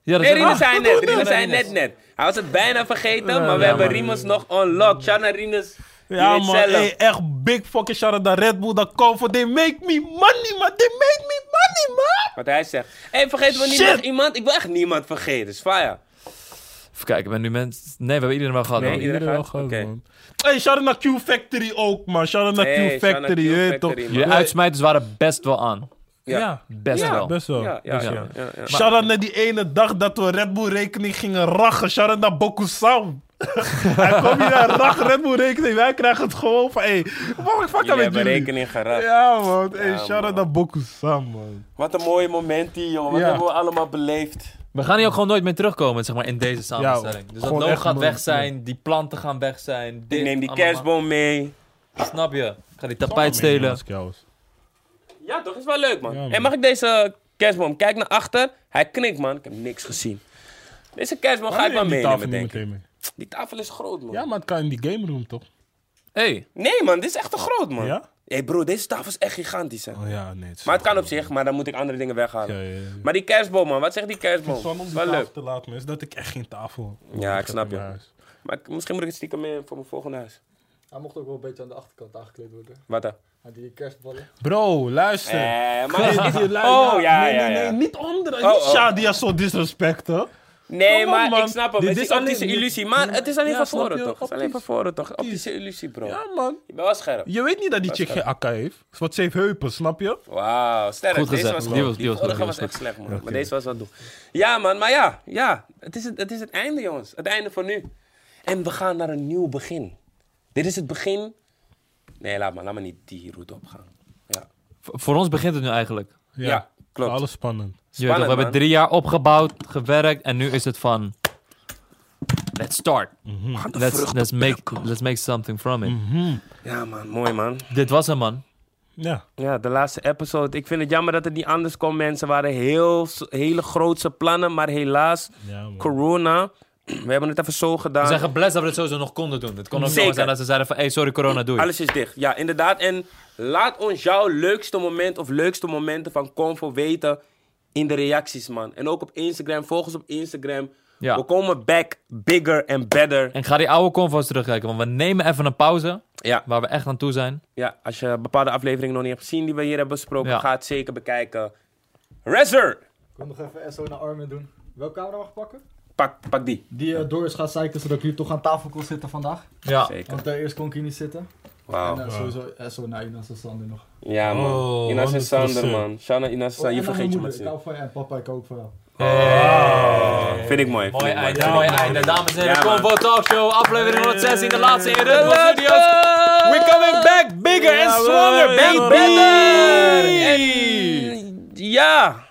[SPEAKER 2] Ja, dat
[SPEAKER 1] Nee,
[SPEAKER 2] is-
[SPEAKER 1] Rinus
[SPEAKER 2] Ah,
[SPEAKER 1] zei net. Rinus
[SPEAKER 2] Rinus.
[SPEAKER 1] zei net net. Hij was het bijna vergeten, maar we
[SPEAKER 2] ja,
[SPEAKER 1] hebben
[SPEAKER 2] man.
[SPEAKER 1] Rinus nog unlocked. Shout naar Rinus. Je
[SPEAKER 4] Ja
[SPEAKER 1] weet
[SPEAKER 4] man,
[SPEAKER 1] zelf.
[SPEAKER 4] hey, echt big fucking shout-out naar Red Bull, dat Convo. They make me money, man. They make me money, man.
[SPEAKER 1] Wat hij zegt. Hé, vergeten we niet
[SPEAKER 4] Shit.
[SPEAKER 1] nog iemand? Ik wil echt niemand vergeten. Svaya.
[SPEAKER 2] Even kijken, ben nu mensen... Nee, we hebben iedereen wel gehad.
[SPEAKER 1] Nee,
[SPEAKER 2] man.
[SPEAKER 1] iedereen
[SPEAKER 4] Iedereen wel
[SPEAKER 1] gaat?
[SPEAKER 4] gehad,
[SPEAKER 1] Oké.
[SPEAKER 4] man.
[SPEAKER 3] Hey, shout-out naar Q-Factory ook, man. Shout-out naar
[SPEAKER 1] Hey,
[SPEAKER 3] Q-Factory, je
[SPEAKER 1] Shana
[SPEAKER 3] weet
[SPEAKER 1] Q
[SPEAKER 3] toch.
[SPEAKER 1] Factory, man.
[SPEAKER 2] Jullie uitsmijters waren best wel aan.
[SPEAKER 1] Ja.
[SPEAKER 4] Ja.
[SPEAKER 2] Best
[SPEAKER 4] Ja,
[SPEAKER 2] wel.
[SPEAKER 4] best wel.
[SPEAKER 1] Ja, ja,
[SPEAKER 2] Ja.
[SPEAKER 1] ja, ja, ja.
[SPEAKER 3] Shout-out naar die ene dag dat we Red Bull rekening gingen rachen. Shout-out naar Bokusam. Hij kwam hier en rach Red Bull rekening. Wij krijgen het gewoon van, hey, wat fuck met
[SPEAKER 1] Jullie hebben
[SPEAKER 3] jullie?
[SPEAKER 1] rekening geraakt.
[SPEAKER 3] Ja, man. Hey,
[SPEAKER 1] Ja, man.
[SPEAKER 3] shout-out naar Bokusam, man.
[SPEAKER 1] Wat een mooie momentie, jongen. Wat
[SPEAKER 3] Ja.
[SPEAKER 1] hebben we allemaal beleefd.
[SPEAKER 2] We gaan hier ook gewoon nooit meer terugkomen, zeg maar, in deze samenstelling. dus dat
[SPEAKER 4] gewoon
[SPEAKER 2] logo
[SPEAKER 4] echt
[SPEAKER 2] gaat
[SPEAKER 4] nooit
[SPEAKER 2] weg
[SPEAKER 4] meer.
[SPEAKER 2] zijn, die planten gaan weg zijn. Dit,
[SPEAKER 1] Ik neem die
[SPEAKER 2] allemaal.
[SPEAKER 1] kerstboom mee.
[SPEAKER 2] Snap je? Ik ga die tapijt stelen.
[SPEAKER 1] Ja, toch? Is wel leuk, man.
[SPEAKER 4] Ja, man.
[SPEAKER 1] En mag ik deze kerstboom? Kijk naar achter. Hij knikt, man. Ik heb niks gezien. Deze kerstboom ga ik wel meenemen, denk ik.
[SPEAKER 4] mee.
[SPEAKER 1] Die tafel is groot, man.
[SPEAKER 4] Ja, maar het kan in die game room toch?
[SPEAKER 2] hey,
[SPEAKER 1] Nee, man. Dit is echt te groot, man.
[SPEAKER 4] Ja?
[SPEAKER 1] hey, bro. Deze tafel is echt gigantisch, hè.
[SPEAKER 4] Oh ja, nee.
[SPEAKER 1] Maar het kan op zich, maar dan moet ik andere dingen weghalen.
[SPEAKER 4] Ja, ja, ja.
[SPEAKER 1] Maar die kerstboom, man. Wat zegt die kerstboom?
[SPEAKER 4] Van om
[SPEAKER 1] Is
[SPEAKER 4] die
[SPEAKER 1] wel
[SPEAKER 4] tafel
[SPEAKER 1] leuk.
[SPEAKER 4] te laten, man, is dat ik echt geen tafel.
[SPEAKER 1] Ja, ik snap
[SPEAKER 4] heb in
[SPEAKER 1] je.
[SPEAKER 4] mijn huis.
[SPEAKER 1] Maar ik- misschien moet ik het stiekem mee voor mijn volgende huis.
[SPEAKER 5] Hij mocht ook wel een beetje aan de achterkant aangekleed worden.
[SPEAKER 1] Wat dan?
[SPEAKER 5] Hij die kerstballen.
[SPEAKER 4] Bro,
[SPEAKER 1] Eh,
[SPEAKER 4] luister.
[SPEAKER 1] maar...
[SPEAKER 3] Oh,
[SPEAKER 1] Oh, ja, ja,
[SPEAKER 3] Nee,
[SPEAKER 1] ja.
[SPEAKER 3] nee, niet onder.
[SPEAKER 1] Oh,
[SPEAKER 3] niet
[SPEAKER 1] oh.
[SPEAKER 3] Shadia zo disrespecten.
[SPEAKER 1] Nee,
[SPEAKER 3] Kom op,
[SPEAKER 1] maar ik
[SPEAKER 3] man.
[SPEAKER 1] snap hem.
[SPEAKER 3] Dit
[SPEAKER 1] het is
[SPEAKER 3] is alleen-
[SPEAKER 1] optische illusie. Maar het is alleen
[SPEAKER 3] Ja,
[SPEAKER 1] van
[SPEAKER 3] snap
[SPEAKER 1] voren,
[SPEAKER 3] je?
[SPEAKER 1] toch? Het is alleen van
[SPEAKER 3] Optisch.
[SPEAKER 1] voren, toch? Optische illusie, bro.
[SPEAKER 3] Ja, man.
[SPEAKER 1] Je bent wel scherp.
[SPEAKER 3] Je weet niet dat die chick geen akka heeft. Wat ze heeft heupen, snap je?
[SPEAKER 1] Wauw, sterk.
[SPEAKER 2] Goed
[SPEAKER 1] Deze
[SPEAKER 2] gezegd.
[SPEAKER 1] was
[SPEAKER 2] Die
[SPEAKER 1] goed.
[SPEAKER 2] was- die
[SPEAKER 1] Die
[SPEAKER 2] was
[SPEAKER 1] vorige
[SPEAKER 2] goed,
[SPEAKER 1] was
[SPEAKER 2] die was
[SPEAKER 1] echt slecht, man. Maar deze was wel doen. Ja, man. Maar ja, ja. Het is het, het is het einde, jongens. Het einde voor nu. En we gaan naar een nieuw begin. Dit is het begin. Nee, laat maar. Laat maar niet die route opgaan. Ja,
[SPEAKER 2] v- voor ons begint het nu eigenlijk. Je
[SPEAKER 1] ja. klopt.
[SPEAKER 4] Alles spannend.
[SPEAKER 2] weet toch, we
[SPEAKER 1] Spannend,
[SPEAKER 2] hebben
[SPEAKER 1] man.
[SPEAKER 2] drie jaar opgebouwd, gewerkt en nu is het van... Let's start. Let's, let's, make, let's make something from it.
[SPEAKER 1] Ja, man. Mooi, man.
[SPEAKER 2] Dit was hem, man.
[SPEAKER 4] Ja.
[SPEAKER 1] Ja, de laatste episode. Ik vind het jammer dat het niet anders kon, mensen. waren heel, s- hele grootse plannen, maar helaas,
[SPEAKER 4] Ja, man.
[SPEAKER 1] corona. We hebben het even zo
[SPEAKER 2] We
[SPEAKER 1] gedaan.
[SPEAKER 2] zijn geblest dat we dit sowieso nog konden doen. Het kon ook
[SPEAKER 1] Ah. Zeker.
[SPEAKER 2] nog zijn dat ze zeiden van... Hey, sorry corona, doei.
[SPEAKER 1] Alles is dicht. Ja, inderdaad. En laat ons jouw leukste moment of leukste momenten van Convo weten in de reacties, man. En ook op Instagram. Volg ons op Instagram.
[SPEAKER 2] Ja.
[SPEAKER 1] We komen back bigger and better.
[SPEAKER 2] En ga die oude convo's terugkijken, want we nemen even een pauze.
[SPEAKER 1] Ja.
[SPEAKER 2] Waar we echt aan toe zijn.
[SPEAKER 1] ja, als je bepaalde afleveringen nog niet hebt gezien die we hier hebben besproken,
[SPEAKER 2] Ja.
[SPEAKER 1] ga het zeker bekijken. Rezer!
[SPEAKER 5] Ik wil nog even SO naar Armin doen. Welke camera mag ik pakken?
[SPEAKER 1] Pak, pak die.
[SPEAKER 5] Die eh, Doris gaat zeiken zodat ik hier toch aan tafel kon zitten vandaag.
[SPEAKER 2] Ja.
[SPEAKER 1] Zeker.
[SPEAKER 5] Want daar eerst kon ik hier niet zitten.
[SPEAKER 1] Wauw.
[SPEAKER 5] En eh, sowieso SO naar Inas en Sander nog.
[SPEAKER 1] Ja, man.
[SPEAKER 4] Oh,
[SPEAKER 1] Inas en
[SPEAKER 4] 100%.
[SPEAKER 1] Sander, man. Shana, Inas en
[SPEAKER 5] Oh, en
[SPEAKER 1] Sander. Je
[SPEAKER 5] aan
[SPEAKER 1] vergeet
[SPEAKER 5] mijn
[SPEAKER 1] je
[SPEAKER 5] moeder.
[SPEAKER 1] maar
[SPEAKER 5] Ik hou van je en papa, ik hou ook van jou.
[SPEAKER 1] Vind ik mooi.
[SPEAKER 2] Mooi
[SPEAKER 1] vind ik
[SPEAKER 2] einde, mooi einde. Dames en heren,
[SPEAKER 1] Ja, man. Eh.
[SPEAKER 2] Combo Talkshow, aflevering 116, de laatste in de
[SPEAKER 1] De
[SPEAKER 2] Eh. Red Bull
[SPEAKER 1] laatste.
[SPEAKER 2] Studios. We're coming back bigger and stronger, baby!
[SPEAKER 1] En- Ja!